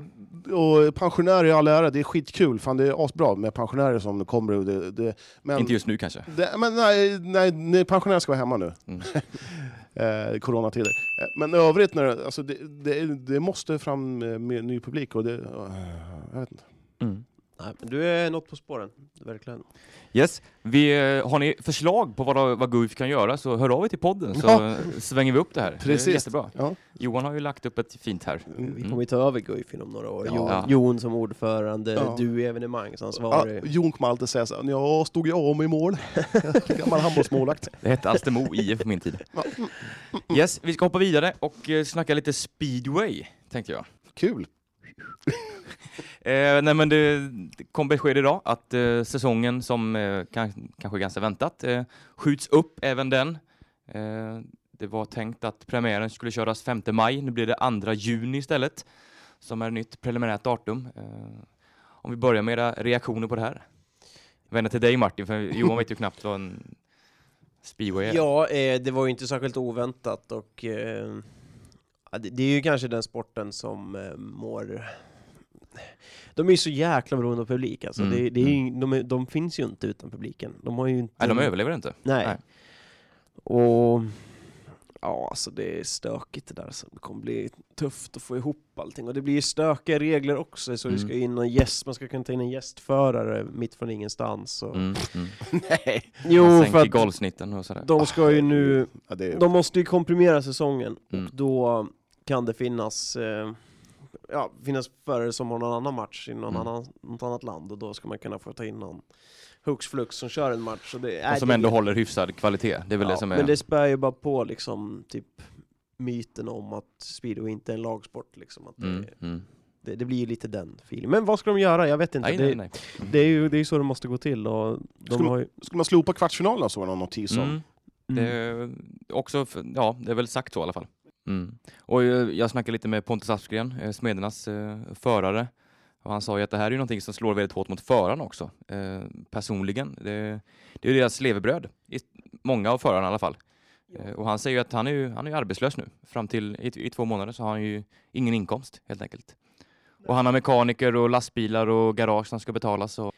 S2: och pensionärer i all ära, det är skitkul. Fan, det är asbra med pensionärer som kommer. Och det, det, men,
S1: Inte just nu kanske.
S2: det, men nej, nej, nej, pensionärer ska vara hemma nu.
S1: Mm.
S2: eh, coronatider. Eh, Men i övrigt, när, det- alltså, det, det, det måste fram eh, med ny publik. Och det, eh, jag vet inte.
S6: nej, men du är något på spåren, verkligen.
S1: Yes. Vi, eh, har ni förslag på vad, vad Guif kan göra så hör av er till podden så
S2: Ja.
S1: svänger vi upp det här. Det är
S2: Precis.
S1: Jättebra.
S2: Ja.
S1: Johan har ju lagt upp ett fint här.
S6: Vi
S1: Mm.
S6: kommer ju ta över Guif inom några år.
S2: Ja.
S6: Jon, Jon som ordförande,
S2: Ja.
S6: du är
S1: Alltså,
S6: evenemangsansvarig.
S2: Ja, Ah, Jon kommer alltid säga så här, jag stod ju om i mål. Gammal handbollsmålvakt.
S1: Det hette Alstermo IF på min tid. Yes, vi ska hoppa vidare och eh, snacka lite speedway, tänkte jag.
S2: Kul.
S1: Eh, nej men det, det kom besked idag att eh, säsongen som eh, kan, kanske ganska väntat eh, skjuts upp även den. Eh, det var tänkt att premiären skulle köras 5 maj, nu blir det 2 juni istället som är nytt preliminärt datum. Eh, om vi börjar med era reaktioner på det här. Jag vänder till dig Martin, för Johan vet ju knappt vad en speedway är.
S6: Ja, eh, det var ju inte särskilt oväntat och eh, ja, det, det är ju kanske den sporten som eh, mår... De är ju så jäkla beroende av publik alltså.
S1: Mm,
S6: Det, det är ju, de, är, de finns ju inte utan publiken. De har ju inte...
S1: Nej, de överlever inte.
S6: Nej.
S1: Nej.
S6: Och... Ja, alltså det är stökigt det där. Så det kommer bli tufft att få ihop allting. Och det blir ju stökiga regler också. Så
S1: Mm.
S6: du ska in en gäst, man ska kunna ta in en gästförare mitt från ingenstans. Och...
S1: Mm, mm.
S6: Jo,
S1: Man
S6: för
S1: sänker Ah,
S6: att
S1: golvsnitten och sådär.
S6: de ska ju nu...
S2: Ja, det är...
S6: De måste ju komprimera säsongen
S1: Mm.
S6: och då kan det finnas eh, Ja, finnas förare som har någon annan match i någon
S1: Mm.
S6: annan, något annat land och då ska man kunna få ta in någon hux flux som kör en match. Och det, äh,
S1: Och som
S6: det,
S1: ändå håller hyfsad kvalitet. Det är väl
S6: ja,
S1: det som är...
S6: Men det spär ju bara på liksom typ myten om att speedway inte är en lagsport liksom. Att
S1: Mm,
S6: det,
S1: mm.
S6: det, det blir ju lite den filen. Men vad ska de göra? Jag vet inte.
S1: Nej,
S6: det,
S1: nej, nej.
S6: det är ju det är ju så det måste gå till och de
S2: Skulle-
S6: har ju...
S2: Skulle man slopa kvartsfinalen så var det någon notis om.
S1: Mm. Det är också, för- ja, det är väl sagt så i alla fall. Mm. Och eh, jag snackade lite med Pontus Aspgren, eh, Smedernas eh, förare. Och han sa ju att det här är ju någonting som slår väldigt hårt mot föraren också, eh, personligen. Det, det är ju deras levebröd, i, många av förarna i alla fall. Eh, och han säger ju att han är, ju, han är ju arbetslös nu. Fram till i, i två månader så har han ju ingen inkomst helt enkelt. Och han har mekaniker och lastbilar och garage som ska betalas. Och,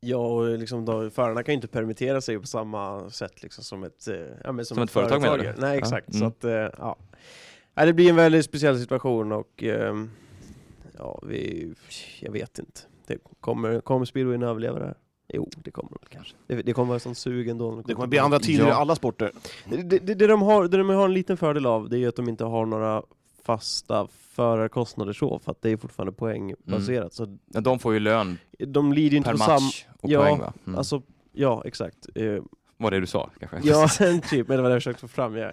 S6: Ja, och liksom då, förarna kan ju inte permittera sig på samma sätt liksom som ett, eh, ja, men som
S1: Som ett företag, menar du?
S6: företag. Nej,
S1: Ja,
S6: exakt. Så
S1: mm.
S6: att, eh, ja. ja. Det blir en väldigt speciell situation och ehm, ja, vi, jag vet inte. Det kommer, kommer speedwayen överleva det här? Jo, det kommer de väl kanske. Det, det kommer vara en sån sug ändå. när de
S2: Det kommer
S6: kommer
S2: bli
S6: tillbaka.
S2: andra tider i
S1: Ja.
S2: alla sporter.
S6: Det, det, det, de har, det de har en liten fördel av, det är ju att de inte har några fasta förarkostnader så, för att det är fortfarande poängbaserat.
S1: ja, de får ju lön
S6: Så de lider ju inte
S1: Mm. per
S6: på samma...
S1: match och
S6: ja,
S1: poäng va? Mm.
S6: Alltså, ja, exakt. Eh,
S1: Var det du sa kanske?
S6: Ja, sen typ. Men det var det jag försökte få fram. Jag,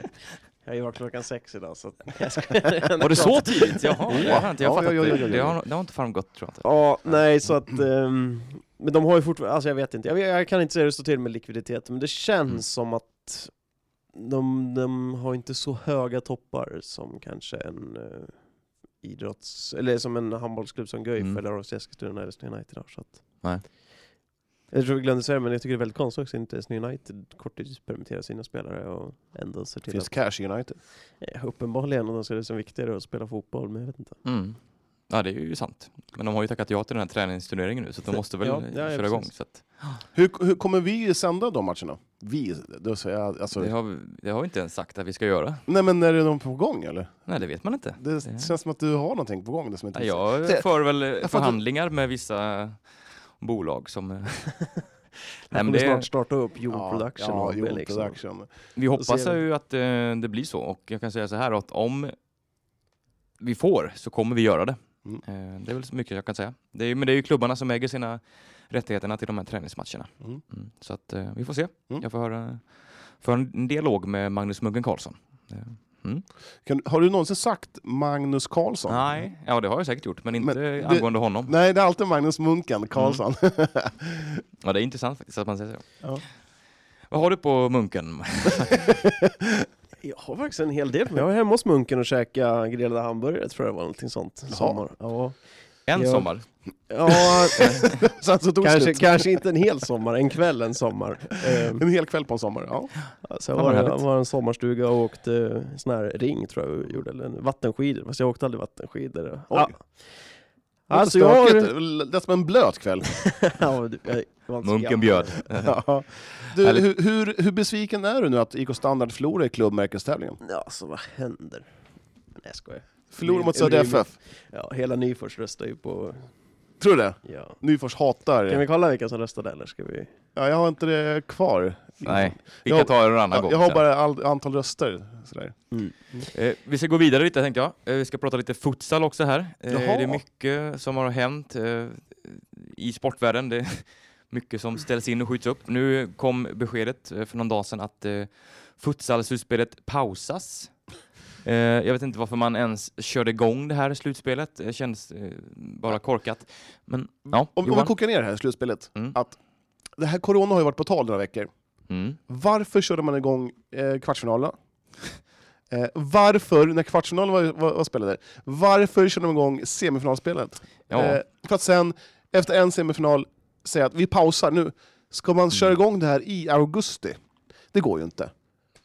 S6: jag var klockan sex idag så...
S1: Var det så tidigt? Jaha, det har inte jag
S2: Ja,
S1: fattat.
S2: ja, ja, ja, ja,
S1: det. Det,
S2: ja.
S1: har, det har inte framgått tror jag inte.
S6: Ja, nej så att... ehm, men de har ju fortfarande, alltså jag vet inte. Jag, vet- jag kan inte säga hur det står till med likviditet, men det känns
S1: Mm.
S6: som att de, de har inte så höga toppar som kanske en eh, idrotts... Eller som en handbollsklubb som Guif
S1: Mm.
S6: eller AFC Eskilstuna eller Östersund United har. Så att,
S1: Nej.
S6: Jag tror vi glömde säga det, men jag tycker det är väldigt konstigt också att inte Östersund United korttidspermitterar sina spelare och ändå ser
S2: Det
S6: till att
S2: finns cash i United.
S6: Ja, Eh, uppenbarligen, och de ser det som viktigare att spela fotboll, men jag vet inte.
S1: Mm. Ja, det är ju sant. Men de har ju tackat ja till den här träningsturneringen nu så att de måste väl
S6: Ja, ja, ja,
S1: köra igång.
S6: precis.
S1: Så att
S2: Hur, hur kommer vi sända de matcherna? Vi? Då säger jag, alltså,
S1: det, har, vi- det har vi inte ens sagt att vi ska göra.
S2: Nej men är det någon på gång eller?
S1: Nej, det vet man inte.
S2: Det känns som att du har någonting på gång. Det som inte
S1: Nej, jag
S2: Det-
S1: för väl eh,
S2: fattar-
S1: förhandlingar med vissa bolag som... eh, Nej,
S6: De
S1: men
S6: kommer
S1: det,
S6: snart starta upp Jord
S2: Ja,
S6: Production
S2: ja,
S6: AB,
S2: jo,
S6: liksom.
S2: production.
S1: vi hoppas
S6: ser vi.
S1: ju att eh, det blir så och jag kan säga så här att om vi får så kommer vi göra det.
S2: Mm.
S1: Eh, Det är väl så mycket jag kan säga. Det är, ju- men det är ju klubbarna som äger sina rättigheterna till de här träningsmatcherna.
S2: Mm.
S1: Mm. Så att eh, vi får se.
S2: Mm.
S1: Jag får höra för en dialog med Magnus Muggen Karlsson.
S2: Kan, har du någonsin sagt Magnus Karlsson?
S1: Nej, ja det har jag säkert gjort, men inte
S2: Men det-
S1: angående honom.
S2: Nej, det är alltid Magnus Munken Karlsson.
S1: Ja, det är intressant faktiskt att man säger så. Vad har du på munken?
S6: Jag har faktiskt en hel del. Jag var hemma hos munken och käkade grillade hamburgare tror jag det var, någonting sånt. Sommar. Ja.
S1: En
S6: Ja.
S1: sommar?
S6: Ja,
S2: Sen så tog
S6: kanske,
S2: kanske, slut.
S6: kanske inte en hel sommar, en kväll en sommar. Eh,
S2: En hel kväll på en sommar. Ja.
S1: Ja,
S6: Sen var
S1: vad
S6: det
S1: härligt.
S6: var en sommarstuga och åkte eh, sån här ring tror jag vi gjorde, eller en vattenskidor, fast jag åkte aldrig vattenskidor. Ja. Alltså jag
S2: Stökigt.
S6: har...
S2: Det lät som en blöt kväll.
S6: Ja, men du- jag var inte så
S1: Munken
S6: gammal.
S1: bjöd.
S2: Ja. Du,
S1: Härligt.
S2: hur, hur, hur besviken är du nu att IK Standard förlorar i klubbmärkestävlingen?
S6: Ja, alltså vad händer? Nej jag skojar.
S2: Förlorar mot
S6: Det blir-
S2: Södra
S6: det blir-
S2: FF?
S6: Ja, hela Nyfors röstar ju på...
S2: Tror du det?
S6: Ja.
S2: Nyfors hatar...
S6: Kan vi kolla vilka som röstade eller ska vi...
S2: Ja, jag har inte det kvar.
S1: Nej, vi
S2: Jag-
S1: kan ta det en annan
S2: Ja,
S1: gång.
S2: jag har
S1: sen.
S2: bara all, antal röster. Sådär.
S1: Eh, vi ska gå vidare lite tänkte jag. Eh, vi ska prata lite futsal också här. Eh,
S2: Jaha.
S1: det är mycket som har hänt eh, i sportvärlden. Det är mycket som ställs in och skjuts upp. Nu kom beskedet eh, för någon dag sedan att eh, futsal-slutspelet pausas. Eh, jag vet inte varför man ens körde igång det här slutspelet. Det känns eh, bara korkat. Men ja,
S2: Om, om vi
S1: Johan?
S2: kokar ner det här slutspelet.
S1: Mm.
S2: Att det här corona har ju varit på tal några veckor.
S1: Mm.
S2: Varför körde man igång eh, kvartsfinalerna? Eh, varför, när kvartsfinalen var, var, var spelade, varför körde man igång semifinalspelet?
S1: Ja.
S2: Eh, för att sen, efter en semifinal, säga att vi pausar nu. Ska man köra
S1: Mm.
S2: igång det här i augusti? Det går ju inte.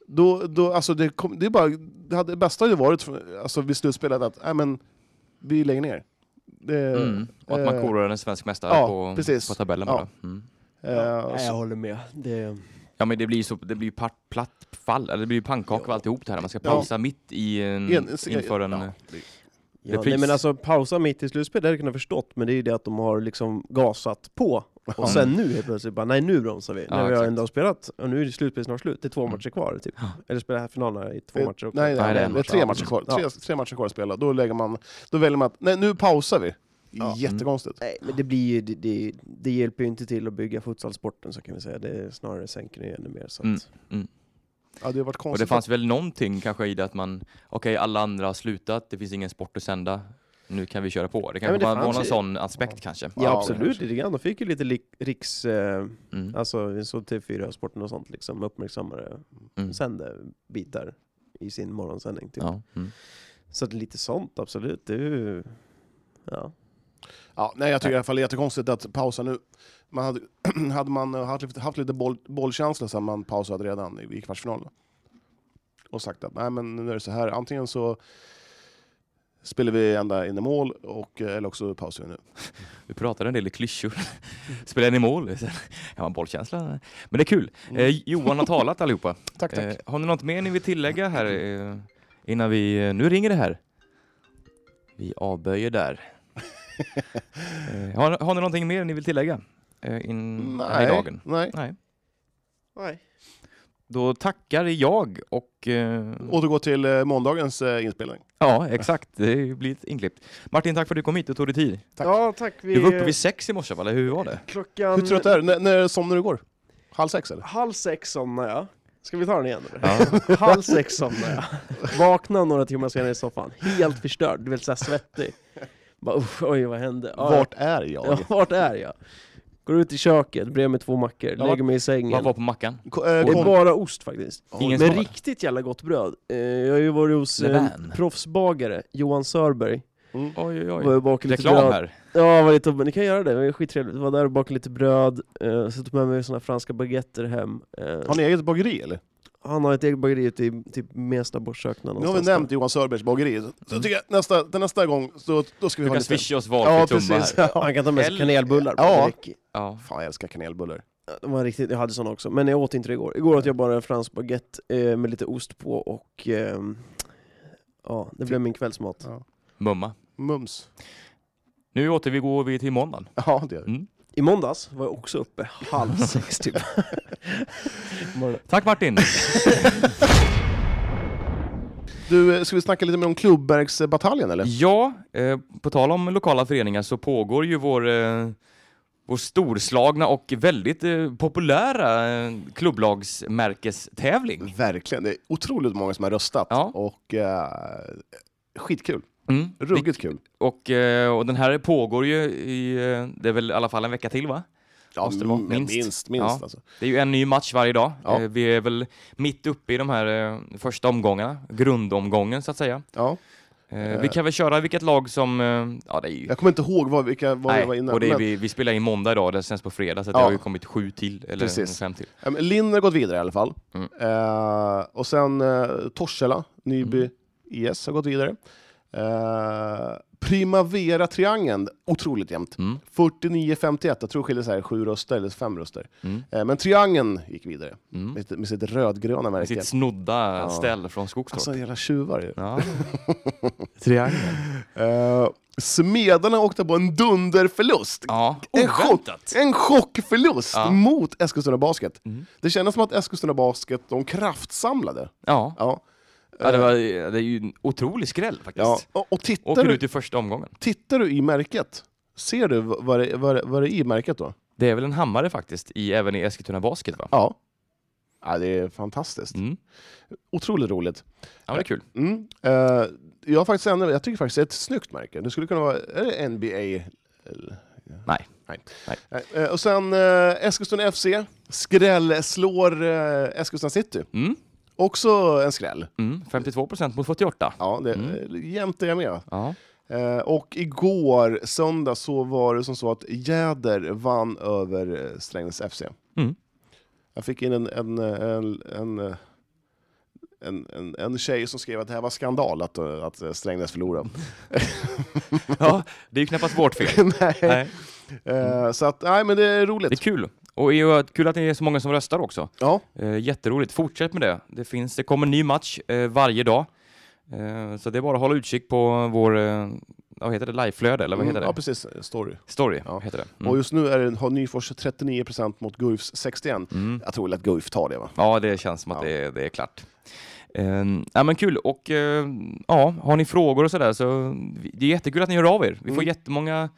S2: Då, då, alltså det, kom, det, är bara, det, hade, det bästa hade ju varit för- alltså vid slutspelet att nej, men, vi lägger ner. Det,
S1: Mm. Och att man
S2: eh,
S1: korar en svensk mästare
S2: ja,
S1: på,
S2: precis.
S1: på tabellen
S2: Ja.
S1: bara. Mm.
S2: eh,
S6: Nej, jag
S2: så,
S6: håller med. Det...
S1: Ja men det blir ju så, det blir ju part, platt fall, eller det blir ju pannkaka av alltihop det här. Man ska
S2: Ja.
S1: pausa mitt i en,
S2: Igen, se-
S1: inför en...
S2: ja.
S6: Ja,
S1: Repris.
S6: nej, men alltså pausa mitt i slutspelet, det hade jag kunnat förstått, men det är ju det att de har liksom gasat på. Och sen nu helt plötsligt bara, nej nu bromsar vi.
S1: Ja,
S6: när vi har
S1: exakt.
S6: ändå spelat, och nu är det slutspelet snart slut, det är två matcher kvar typ. Eller spelar här finalerna i två
S2: eh,
S6: matcher också?
S2: nej,
S1: Nej,
S2: nej,
S1: det är
S2: Mm. det
S1: en
S2: är
S1: match.
S2: tre matcher kvar, tre, tre matcher kvar att spela. Då, lägger man, då väljer man att nej, nu pausar vi.
S6: Mm.
S2: Jättekonstigt.
S6: Nej, men det blir ju, det, det, det hjälper ju inte till att bygga futsalsporten så kan vi säga. Det snarare sänker det ännu mer. Så att,
S1: Mm.
S2: Ja, det har varit
S1: Och det
S2: konstigt.
S1: fanns väl någonting kanske i det att man, okej alla andra har slutat, det finns ingen sport att sända, nu kan vi köra på. Det kanske
S6: men det
S1: var, var
S6: fanns
S1: någon
S6: ju-
S1: sån aspekt kanske.
S6: Ja,
S2: Ja,
S6: absolut, lite grann. De fick ju lite lik- riks... Eh,
S1: Mm.
S6: alltså, så TV4-sporten och sånt liksom uppmärksammade
S1: Mm.
S6: sände bitar i sin morgonsändning. Typ.
S1: Ja. Mm.
S6: Så att lite sånt, absolut. Det är ju... Ja.
S2: Ja, nej, jag tycker i alla fall det är jättekonstigt att pausa nu. Man hade, hade man eh, haft, lite- haft lite boll, bollkänsla sen man pausade redan i, i kvartsfinalen. Och sagt att nej, men nu är det så här, antingen så spelar vi ända in i mål, och, eh, eller också pausar vi nu.
S1: Vi pratade en del i klyschor. Spelade ni mål? Ja, man bollkänsla. Men det är kul.
S6: Mm.
S1: Eh, Johan har talat allihopa.
S2: Tack, tack.
S1: Eh, har ni något mer ni vill tillägga här eh, innan vi... eh, Nu ringer det här. Vi avböjer där. eh, har, har ni någonting mer ni vill tillägga? Eh, in, Här i dagen?
S2: Mm, nej.
S1: Nej.
S6: Nej.
S1: Då tackar jag och... Eh,
S2: Återgå till eh, måndagens eh, inspelning.
S1: ja, exakt. Det blir ett inklippt. Martin, tack för att du kom hit och tog dig tid.
S2: Tack.
S6: Ja, tack. Vi...
S1: Du var uppe vid sex i morse, va? eller hur var det?
S6: Klockan...
S2: Hur trött är du? N- när somnade du igår? Halv sex eller?
S6: Halv sex somnade jag. Ska vi ta den igen? eller?
S1: Ja.
S6: Halv sex somnade jag. Vaknade några timmar senare i soffan, helt förstörd, du vet såhär svettig. Bara, usch, oj vad hände? Ja,
S2: Vart är jag?
S6: ja, vart är jag? Går ut i köket, bredvid mig två mackor,
S2: Ja,
S6: lägger mig i
S1: Vad
S6: sängen.
S1: var på mackan?
S2: Ko- eh,
S6: Det är
S2: kon-
S6: bara ost faktiskt.
S1: Ingen
S6: Men
S1: svar.
S6: riktigt jävla gott bröd. Eh, Jag har ju varit hos eh,
S1: Levan.
S6: proffsbagare, Johan Sörberg.
S1: Oj, oj,
S6: Var
S1: oj.
S6: jag bakade lite
S1: Reklam
S6: bröd.
S1: här.
S6: Ja, var lite, ni kan göra det, det är skittrevligt. Jag var där och bakade lite bröd, eh, så tog med mig såna franska baguetter hem. Eh,
S2: Har ni eget bageri eller?
S6: Han har ett eget bageri ute i typ Mesta Borsökna
S2: Nu har vi
S6: någonstans.
S2: nämnt Johan Sörbergs bageri, så, så tycker jag nästa, till nästa gång så, då ska vi
S1: Du
S2: ha
S1: kan
S2: lite...
S1: swisha oss valfri
S2: Ja,
S1: tumma
S2: precis.
S1: här.
S6: Han kan ta med sig
S1: Eller-
S6: kanelbullar på
S2: Ja.
S6: ja.
S1: Ja.
S2: Fan, jag älskar kanelbullar.
S6: De var riktigt, jag hade såna också, men jag åt inte det igår. Igår åt jag bara en fransk baguette eh, med lite ost på och ehm, ja, det
S2: Typ.
S6: blev min kvällsmat.
S1: Mumma.
S2: Mums.
S1: Nu återgår vi till måndagen.
S2: Ja, det gör vi.
S6: I måndags var jag också uppe halv sex typ.
S1: Tack Martin!
S2: Du, eh, ska vi snacka lite mer om Klubbergsbataljen eller?
S1: ja, eh, på tal om lokala föreningar så pågår ju vår, eh, vår storslagna och väldigt eh, populära eh, klubblagsmärkestävling.
S2: Verkligen. Det är otroligt många som har röstat.
S1: Ja.
S2: Och eh, skitkul.
S1: Mm.
S2: Ruggigt kul.
S1: Och, eh, och den här pågår ju i, eh, det är väl i alla fall en vecka till va?
S2: Ja,
S1: Måste det vara.
S2: mm,
S1: Minst.
S2: minst, minst
S1: Ja.
S2: alltså.
S1: Det är ju en ny match varje dag.
S2: Ja.
S1: Eh, Vi är väl mitt uppe i de här eh, första omgångarna, grundomgången så att säga.
S2: Ja.
S1: Eh, vi kan väl köra vilket lag som, eh, ja det är ju
S2: Jag kommer inte ihåg vad, vilka, vad
S1: Nej,
S2: vi var inne
S1: och det är
S2: men-
S1: vi, vi spelar in måndag idag, det sänds på fredag, så att det
S2: Ja.
S1: har ju kommit sju till, eller
S2: Precis.
S1: fem till.
S2: Ja, men Linn har gått vidare i alla fall.
S1: Mm.
S2: Eh, och sen eh, Torshälla, Nyby
S1: Mm.
S2: IS har gått vidare. Eh, Primavera-triangeln, otroligt jämnt.
S1: Mm.
S2: 49-51, jag tror det skiljer så här sju röster eller fem röster.
S1: Mm.
S2: Eh, men triangeln gick vidare
S1: Mm.
S2: med, sitt- med sitt rödgröna
S1: Med
S2: märke.
S1: sitt snodda
S2: Ja.
S1: ställ från Skogstorp.
S2: Alltså jävla tjuvar ju.
S1: ja.
S6: Triangeln.
S2: Eh, Smedarna åkte på en dunderförlust.
S1: ja,
S2: En chock,
S1: oväntat!
S2: en chockförlust
S1: Ja.
S2: mot Eskilstuna Basket.
S1: Mm.
S2: Det kändes som att Eskilstuna Basket, de kraftsamlade.
S1: Ja,
S2: Ja.
S1: ja det, var, det är ju en otrolig skräll faktiskt.
S2: Ja, och, och tittar,
S1: Åker
S2: du,
S1: ut i första omgången.
S2: tittar du i märket, ser du v- vad det, vad det, vad det är i märket då?
S1: Det är väl en hammare faktiskt, i, även i Eskilstuna Basket va?
S2: Ja. ja det är fantastiskt.
S1: Mm.
S2: Otroligt roligt.
S1: Ja, det är kul.
S2: Mm. Eh, jag, har faktiskt ändå, jag tycker faktiskt det är ett snyggt märke. Det skulle kunna vara är det NBA. eller-
S1: Nej.
S2: Nej.
S1: Nej.
S2: Eh, och sen eh, Eskilstuna FC, skräll slår eh, Eskilstuna City.
S1: Mm.
S2: Också en skräll.
S1: Mm. 52% mot 48.
S2: Ja, det,
S1: Mm.
S2: eh, jämnt är jag med.
S1: Ja.
S2: Eh, och igår, söndag, så var det som så att Jäder vann över eh, Strängnäs FC.
S1: Mm.
S2: Jag fick in en, en, eh, en, en, eh, en, en, en tjej som skrev att det här var skandal att, eh, att eh, Strängnäs förlorade.
S1: ja, det är ju knappast vårt fel.
S2: nej.
S1: Nej.
S2: Eh, så att, nej men det är
S1: Det är
S2: roligt.
S1: kul. Och det är ju kul att det är så många som röstar också.
S2: Ja,
S1: Eh, jätteroligt. Fortsätt med det. Det, finns, det kommer ny match eh, varje dag. Eh, så det är bara att hålla utkik på vår, eh, vad heter det, liveflöde eller vad heter
S2: Mm,
S1: det?
S2: ja precis, story.
S1: Story
S2: Ja.
S1: heter det.
S2: Och
S1: Mm.
S2: just nu är det, har Nyfors 39% mot Guifs 61%.
S1: Mm.
S2: Jag tror väl att Guif tar det va?
S1: Ja, det känns som att
S2: Ja.
S1: det, är, det är klart. Eh, ja, men kul. Och eh, ja, har ni frågor och sådär så vi- det är jättekul att ni hör av er. Vi får
S2: Mm.
S1: jättemånga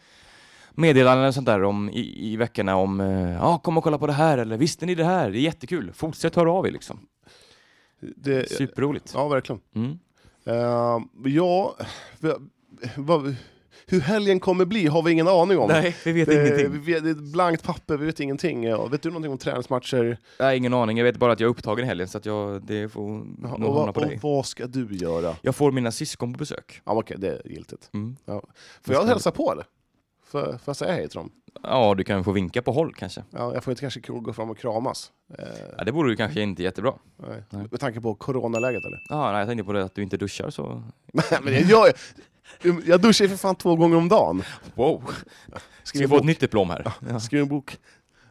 S1: meddelanden och sånt där om, i, i veckorna om eh, ja, kom och kolla på det här eller visste ni det här? Det är jättekul. Fortsätt höra av er liksom.
S2: Det,
S1: Superroligt.
S2: Eh, ja, verkligen.
S1: Mm.
S2: Eh, ja, v- vad- hur helgen kommer bli har vi ingen aning om.
S1: Nej, vi vet
S2: Eh,
S1: ingenting.
S2: vi vet- Det är ett blankt papper, vi vet ingenting. Ja, vet du någonting om träningsmatcher?
S1: Nej, ingen aning. Jag vet bara att jag är upptagen i helgen så att jag, det får
S2: Ja,
S1: nog
S2: och,
S1: hamna
S2: vad-
S1: på
S2: och
S1: dig.
S2: vad ska du göra?
S1: Jag får mina syskon på besök.
S2: Ja, okej, det är giltigt.
S1: Mm.
S2: Får jag hälsa på eller? Får, får jag säga hej till dem?
S1: Ja, du kan få vinka på håll kanske.
S2: Ja, jag får inte kanske gå fram och kramas? Eh,
S1: Ja, det vore ju kanske
S2: Mm.
S1: inte jättebra.
S2: nej.
S1: nej.
S2: Med tanke på coronaläget eller?
S1: Ja, nej, jag tänkte på det att du inte duschar så...
S2: nej, men jag, jag, jag duschar ju för fan två gånger om dagen.
S1: Wow! Ska
S2: Skriv
S1: vi
S2: en
S1: få ett
S2: bok.
S1: nytt diplom här? Ja.
S2: Skriv en bok.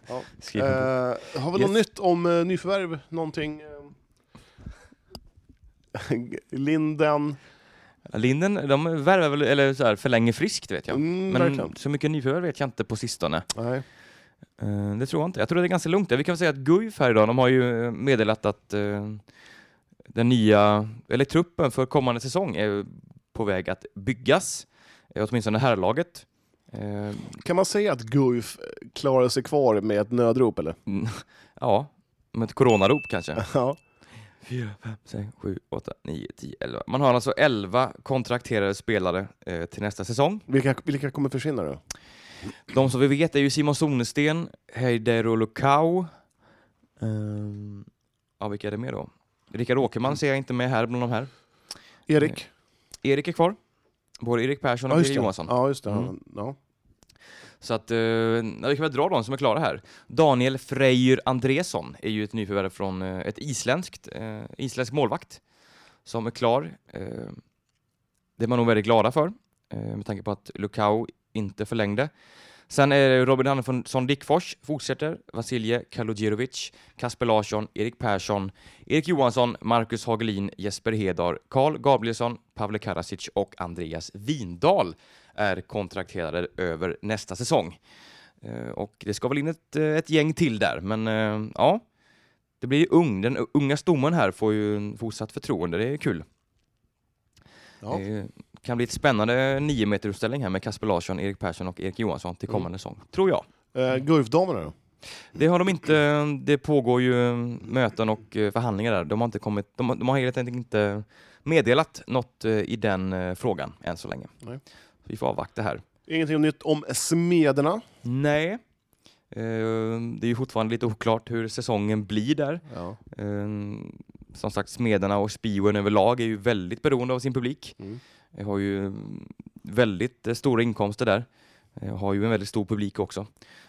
S2: Ja.
S1: Skriv en bok.
S2: Eh, har vi något
S1: Yes.
S2: nytt om eh, nyförvärv? Någonting? eh, Linden?
S1: Linden, de värvar väl, eller så här, förlänger friskt vet jag.
S2: Mm,
S1: Men
S2: verkligen.
S1: så mycket nyförvärv vet jag inte på sistone.
S2: Nej.
S1: Eh, det tror jag inte. Jag tror det är ganska lugnt där. Vi kan väl säga att Guif här idag, de har ju eh, meddelat att eh, den nya, eller truppen för kommande säsong är på väg att byggas. Eh, åtminstone herrlaget. Eh,
S2: Kan man säga att Guif klarar sig kvar med ett nödrop eller?
S1: mm, ja, med ett coronarop kanske.
S2: Ja.
S1: 4, 5, 6, 7, 8, 9, 10, 11. Man har alltså 11 kontrakterade spelare eh, till nästa säsong.
S2: Vilka, vilka kommer försvinna då?
S1: De som vi vet är ju Simon Sonesten, Heidero Lukau. Ehm, ja, vilka är det mer då? Rickard Åkerman ser jag inte med här bland de här.
S2: Erik?
S1: Erik är kvar. Både Erik Persson och
S2: just
S1: Birger
S2: det.
S1: Eh, Johansson.
S2: Ja, just det.
S1: Mm.
S2: Han- Ja.
S1: Så att, eh, ja, vi kan väl dra de som är klara här. Daniel Freyr Andresson är ju ett nyförvärv från eh, ett isländskt, eh, isländsk målvakt som är klar. Eh, det är man nog väldigt glada för eh, med tanke på att Lukau inte förlängde. Sen är det Robin Andersson Dickfors fortsätter, Vasilje Kaludjerovic, Kasper Larsson, Erik Persson, Erik Johansson, Marcus Hagelin, Jesper Hedar, Karl Gabrielsson, Pavle Karasic och Andreas Windahl är kontrakterade över nästa säsong. Eh, Och det ska väl in ett, eh, ett gäng till där, men eh, ja. Det blir ju ung. Den unga stommen här får ju en fortsatt förtroende, det är kul.
S2: Ja.
S1: Det
S2: Mm.
S1: kan bli ett spännande niometeruppställning här med Kasper Larsson, Erik Persson och Erik Johansson till kommande säsong, tror jag.
S2: Eh, Gulfdamerna då?
S1: Det har de inte. Det pågår ju möten och eh, förhandlingar där. De har inte kommit. De, har- de har helt enkelt inte meddelat något eh, i den eh, frågan än så länge.
S2: Nej.
S1: Vi får avvakta här.
S2: Ingenting nytt om smederna.
S1: Nej. Eh, Det är ju fortfarande lite oklart hur säsongen blir där.
S2: Ja.
S1: Ehm, Som sagt, Smederna och Spiwen överlag är ju väldigt beroende av sin publik.
S2: Mm.
S1: De har ju mm, väldigt eh, stora inkomster där. Eh, Har ju en väldigt stor publik också.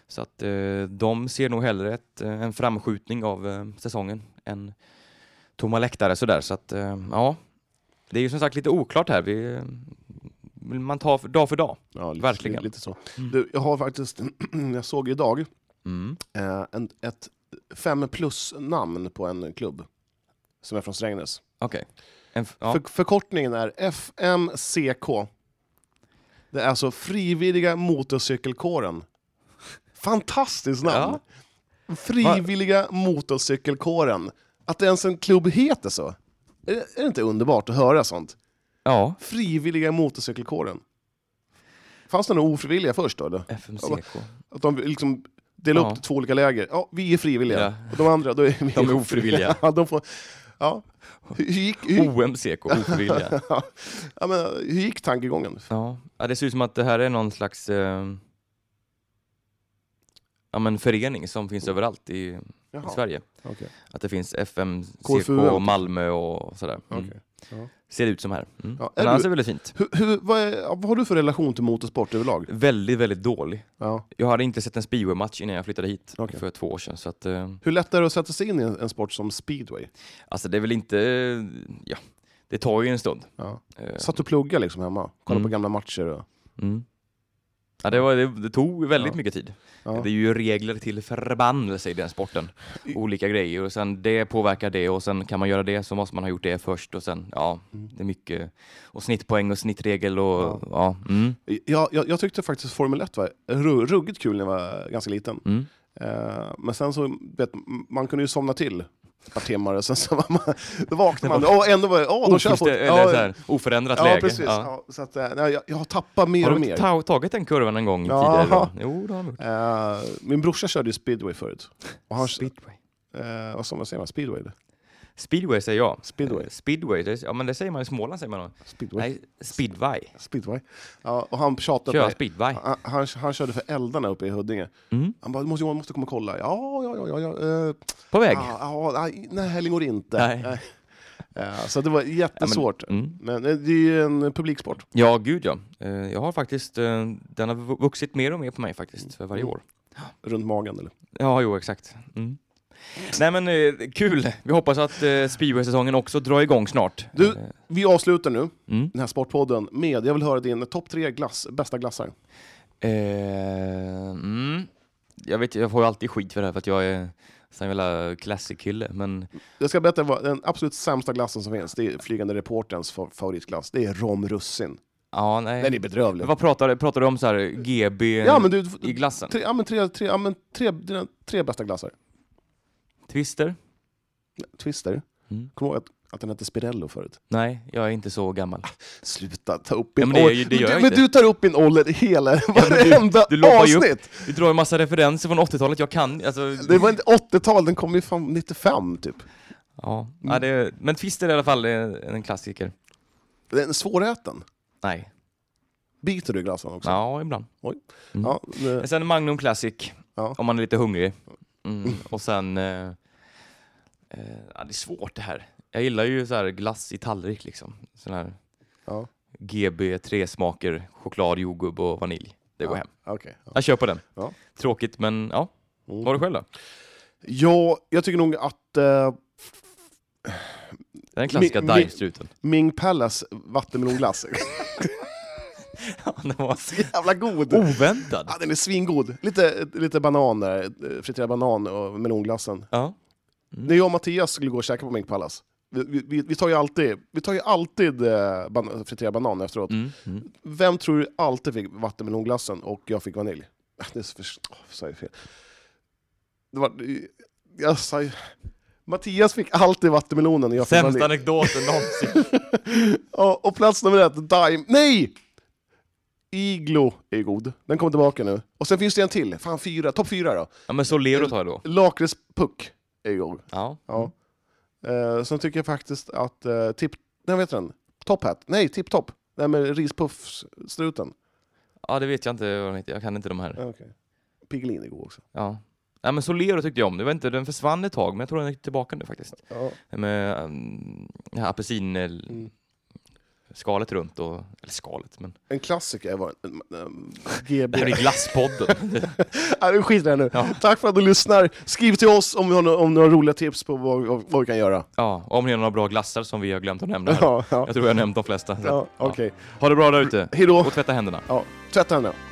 S1: Så att eh, de ser nog hellre ett, eh, en framskjutning av eh, säsongen än tomma läktare sådär. Så att eh, ja, det är ju som sagt lite oklart här. Vi, eh, man tar för, dag för dag.
S2: Ja, lite,
S1: Verkligen.
S2: Lite så.
S1: Mm.
S2: Du, jag har faktiskt, jag såg idag
S1: Mm.
S2: eh, en, ett fem plus-namn på en klubb som är från Strängnäs.
S1: Okej. En f- Ja.
S2: För, förkortningen är FMCK. Det är alltså Frivilliga Motorcykelkåren. Fantastiskt namn! Frivilliga Motorcykelkåren. Att ens en klubb heter så. Är det, är det inte underbart att höra sånt?
S1: ja.
S2: Frivilliga Motorcykelkåren. Fanns det några ofrivilliga först då? Eller?
S1: FMCK.
S2: Att de liksom delar
S1: Ja.
S2: upp det i två olika läger. Ja, vi är frivilliga.
S1: Ja.
S2: Och de andra, då är vi
S1: De är ofrivilliga. Oh,
S2: ja, de får, ja. Hur, gick, hur, gick-
S1: OMCK, ofrivilliga.
S2: ja, men, hur gick tankegången?
S1: Ja. ja, det ser ut som att det här är någon slags eh, ja, men förening som finns överallt i, i
S2: Mm. Jaha,
S1: Sverige.
S2: okej.
S1: Att det finns FMCK,
S2: KFUM.
S1: och Malmö och sådär. Mm.
S2: Okej.
S1: Ser det ut som här. Mm.
S2: Ja, är
S1: Men annars är
S2: du-
S1: det väldigt fint.
S2: Hur, hur, vad, är, ja, vad har du för relation till motorsport överlag?
S1: Väldigt, väldigt dålig.
S2: Ja.
S1: Jag hade inte sett en speedway-match innan jag flyttade hit
S2: Okej.
S1: för två år sedan. Så att, eh,
S2: Hur lätt är det att sätta sig in i en, en sport som speedway?
S1: alltså det är väl inte... Ja, det tar ju en stund.
S2: Ja.
S1: Eh,
S2: Satt och plugga liksom hemma, kolla
S1: Mm.
S2: på gamla matcher. Och,
S1: Mm. Ja, det, var, det, det tog väldigt
S2: Ja.
S1: mycket tid.
S2: ja.
S1: Det är ju regler till förbannelse i den sporten.
S2: I-
S1: Olika grejer och sen det påverkar det och sen kan man göra det så måste man ha gjort det först och sen ja,
S2: Mm.
S1: det är mycket. Och snittpoäng och snittregel och ja. mm,
S2: jag, jag, jag tyckte faktiskt Formel 1 var ru- ruggigt kul när jag var ganska liten.
S1: mm.
S2: Eh, men sen så, vet, m- man kunde ju somna till ett par timmar och sen så var man, då vaknade man och ändå var det, åh, de kör
S1: Ofullstän-
S2: fort.
S1: eller så här, oförändrat
S2: ja,
S1: läge.
S2: precis.
S1: Ja.
S2: Ja. så att, eh, nej, jag, jag har tappat mer
S1: Har
S2: och
S1: du
S2: mer.
S1: inte ta- tagit den kurvan en gång
S2: Jaha.
S1: tidigare? Då? Jo, det har han gjort.
S2: Eh, min brorsa körde ju speedway förut. Och han,
S1: Speedway.
S2: eh, vad sa man, säger man? Speedway? det?
S1: Speedway säger jag.
S2: Speedway.
S1: Eh, Speedway, det, ja men det säger man i Småland säger man då.
S2: Eh, Speedway?
S1: Nej, speedway.
S2: Speedway. Ja, och han tjatade på
S1: Kör
S2: mig.
S1: speedway.
S2: Han, han, han körde för eldarna uppe i Huddinge.
S1: Mm.
S2: Han bara, måste, Johan måste komma och kolla. Ja, ja, ja. ja, ja. eh,
S1: På väg.
S2: Ja, ja, nej, nej, det går inte.
S1: Nej.
S2: Eh, så det var jättesvårt.
S1: Mm.
S2: men... eh, det är ju en publiksport.
S1: Ja, gud ja. Eh, Jag har faktiskt, eh, den har vu- vuxit mer och mer på mig faktiskt för varje
S2: Mm.
S1: år.
S2: Runt magen eller?
S1: Ja, jo exakt. Mm. Nej men eh, kul! Vi hoppas att eh, speedway-säsongen också drar igång snart.
S2: Du-
S1: Eh,
S2: Vi avslutar nu
S1: Mm.
S2: den här sportpodden med, jag vill höra din topp tre glass, bästa glassar.
S1: Eh, mm. Jag vet, jag får ju alltid skit för det här för att jag är sån jävla classic-kille, men
S2: Jag ska berätta vad den absolut sämsta glassen som finns, det är Flygande Reporterns fa- favoritglass. Det är romrussin.
S1: ja, nej.
S2: Den är bedrövlig.
S1: Vad pratar, du- pratar du om så här GB
S2: Ja men du,
S1: i glassen?
S2: tre, ja, men tre, tre, ja, men tre, dina tre bästa glassar.
S1: Twister?
S2: Twister.
S1: Mm.
S2: Kommer du ihåg att, att den hette Spirello förut?
S1: Nej, jag är inte så
S2: Ah.
S1: gammal.
S2: Sluta ta upp
S1: Ja,
S2: min
S1: men det-
S2: ålder.
S1: det gör
S2: men,
S1: jag
S2: du- men
S1: inte.
S2: du tar upp min ålder hela
S1: du-
S2: varenda
S1: du loppar ju upp.
S2: avsnitt!
S1: Du drar en massa referenser från 80-talet, jag kan alltså,
S2: Det var inte 80-tal, den kom ju från 95 typ.
S1: Ja, ja det, men Twister i alla fall är en klassiker.
S2: Den är svåräten.
S1: Nej,
S2: Biter du i glassen också?
S1: ja ibland.
S2: Ja, det-
S1: Men sen Magnum Classic,
S2: Ja.
S1: om man är lite hungrig. Mm. Och sen... Eh, eh, ja, det är svårt det här. Jag gillar ju så här glass i tallrik liksom. Sån här
S2: Ja.
S1: GB, tre smaker, choklad, jordgubb och vanilj. Det går hem.
S2: okej, ja.
S1: Jag köper den.
S2: Ja.
S1: Tråkigt men ja. Vad har du själv då?
S2: mm. ja, jag tycker nog att eh,
S1: Den klassiska
S2: Mi- mi-
S1: divestruten.
S2: Ming Palace vattenmelonglass
S1: Ja, den var
S2: jävla god!
S1: oväntad.
S2: Ja, den är svingod. Lite, lite banan där, eh, friterad banan och melonglassen.
S1: Ja.
S2: När jag och Mattias skulle gå och käka på Ming Palace, vi, vi- vi, vi tar ju alltid, vi tar ju alltid eh, ban- friterad banan efteråt.
S1: Mm. Mm.
S2: Vem tror du alltid fick vattenmelonglassen och jag fick vanilj? Det är så för... Åh, sa jag fel. Det var... Jag sa ju... Mattias fick alltid vattenmelonen och jag fick
S1: Sämsta
S2: vanilj.
S1: anekdoten någonsin.
S2: Ja, och plats nummer ett, Dime... Nej! Iglo är ju god. Den kommer tillbaka nu. Och sen finns det en till. Fan, fyra. Topp fyra då.
S1: Ja, men Solero tar jag då.
S2: Lakritspuck är ju god.
S1: Ja.
S2: Ja. Eh, sen tycker jag faktiskt att eh, Tip... Nej, vet den? Top Hat. Nej, Tip Top. Den med rispuffstruten.
S1: ja, det vet jag inte vad de heter. Jag kan inte de här.
S2: Okay. Piggelin är god också.
S1: Ja. Nej, men Solero tyckte jag om. Det var inte, den försvann ett tag, men jag tror den är tillbaka nu faktiskt.
S2: Ja.
S1: Med um, det här apelsin...
S2: Mm.
S1: Skalet runt och... Eller skalet, men...
S2: En klassiker var... Mm, mm,
S1: Det
S2: GB.
S1: är glasspodden.
S2: Ah, vi skiter i det nu.
S1: Ja.
S2: Tack för att du lyssnar. Skriv till oss om du har, nå- om du har roliga tips på vad, vad vi kan göra.
S1: ja, om ni har några bra glassar som vi har glömt att nämna här.
S2: ja.
S1: Jag tror jag har nämnt de flesta.
S2: ja, Okej.
S1: Ha det bra där ute.
S2: Hejdå.
S1: Och tvätta händerna.
S2: Ja. Tvätta henne.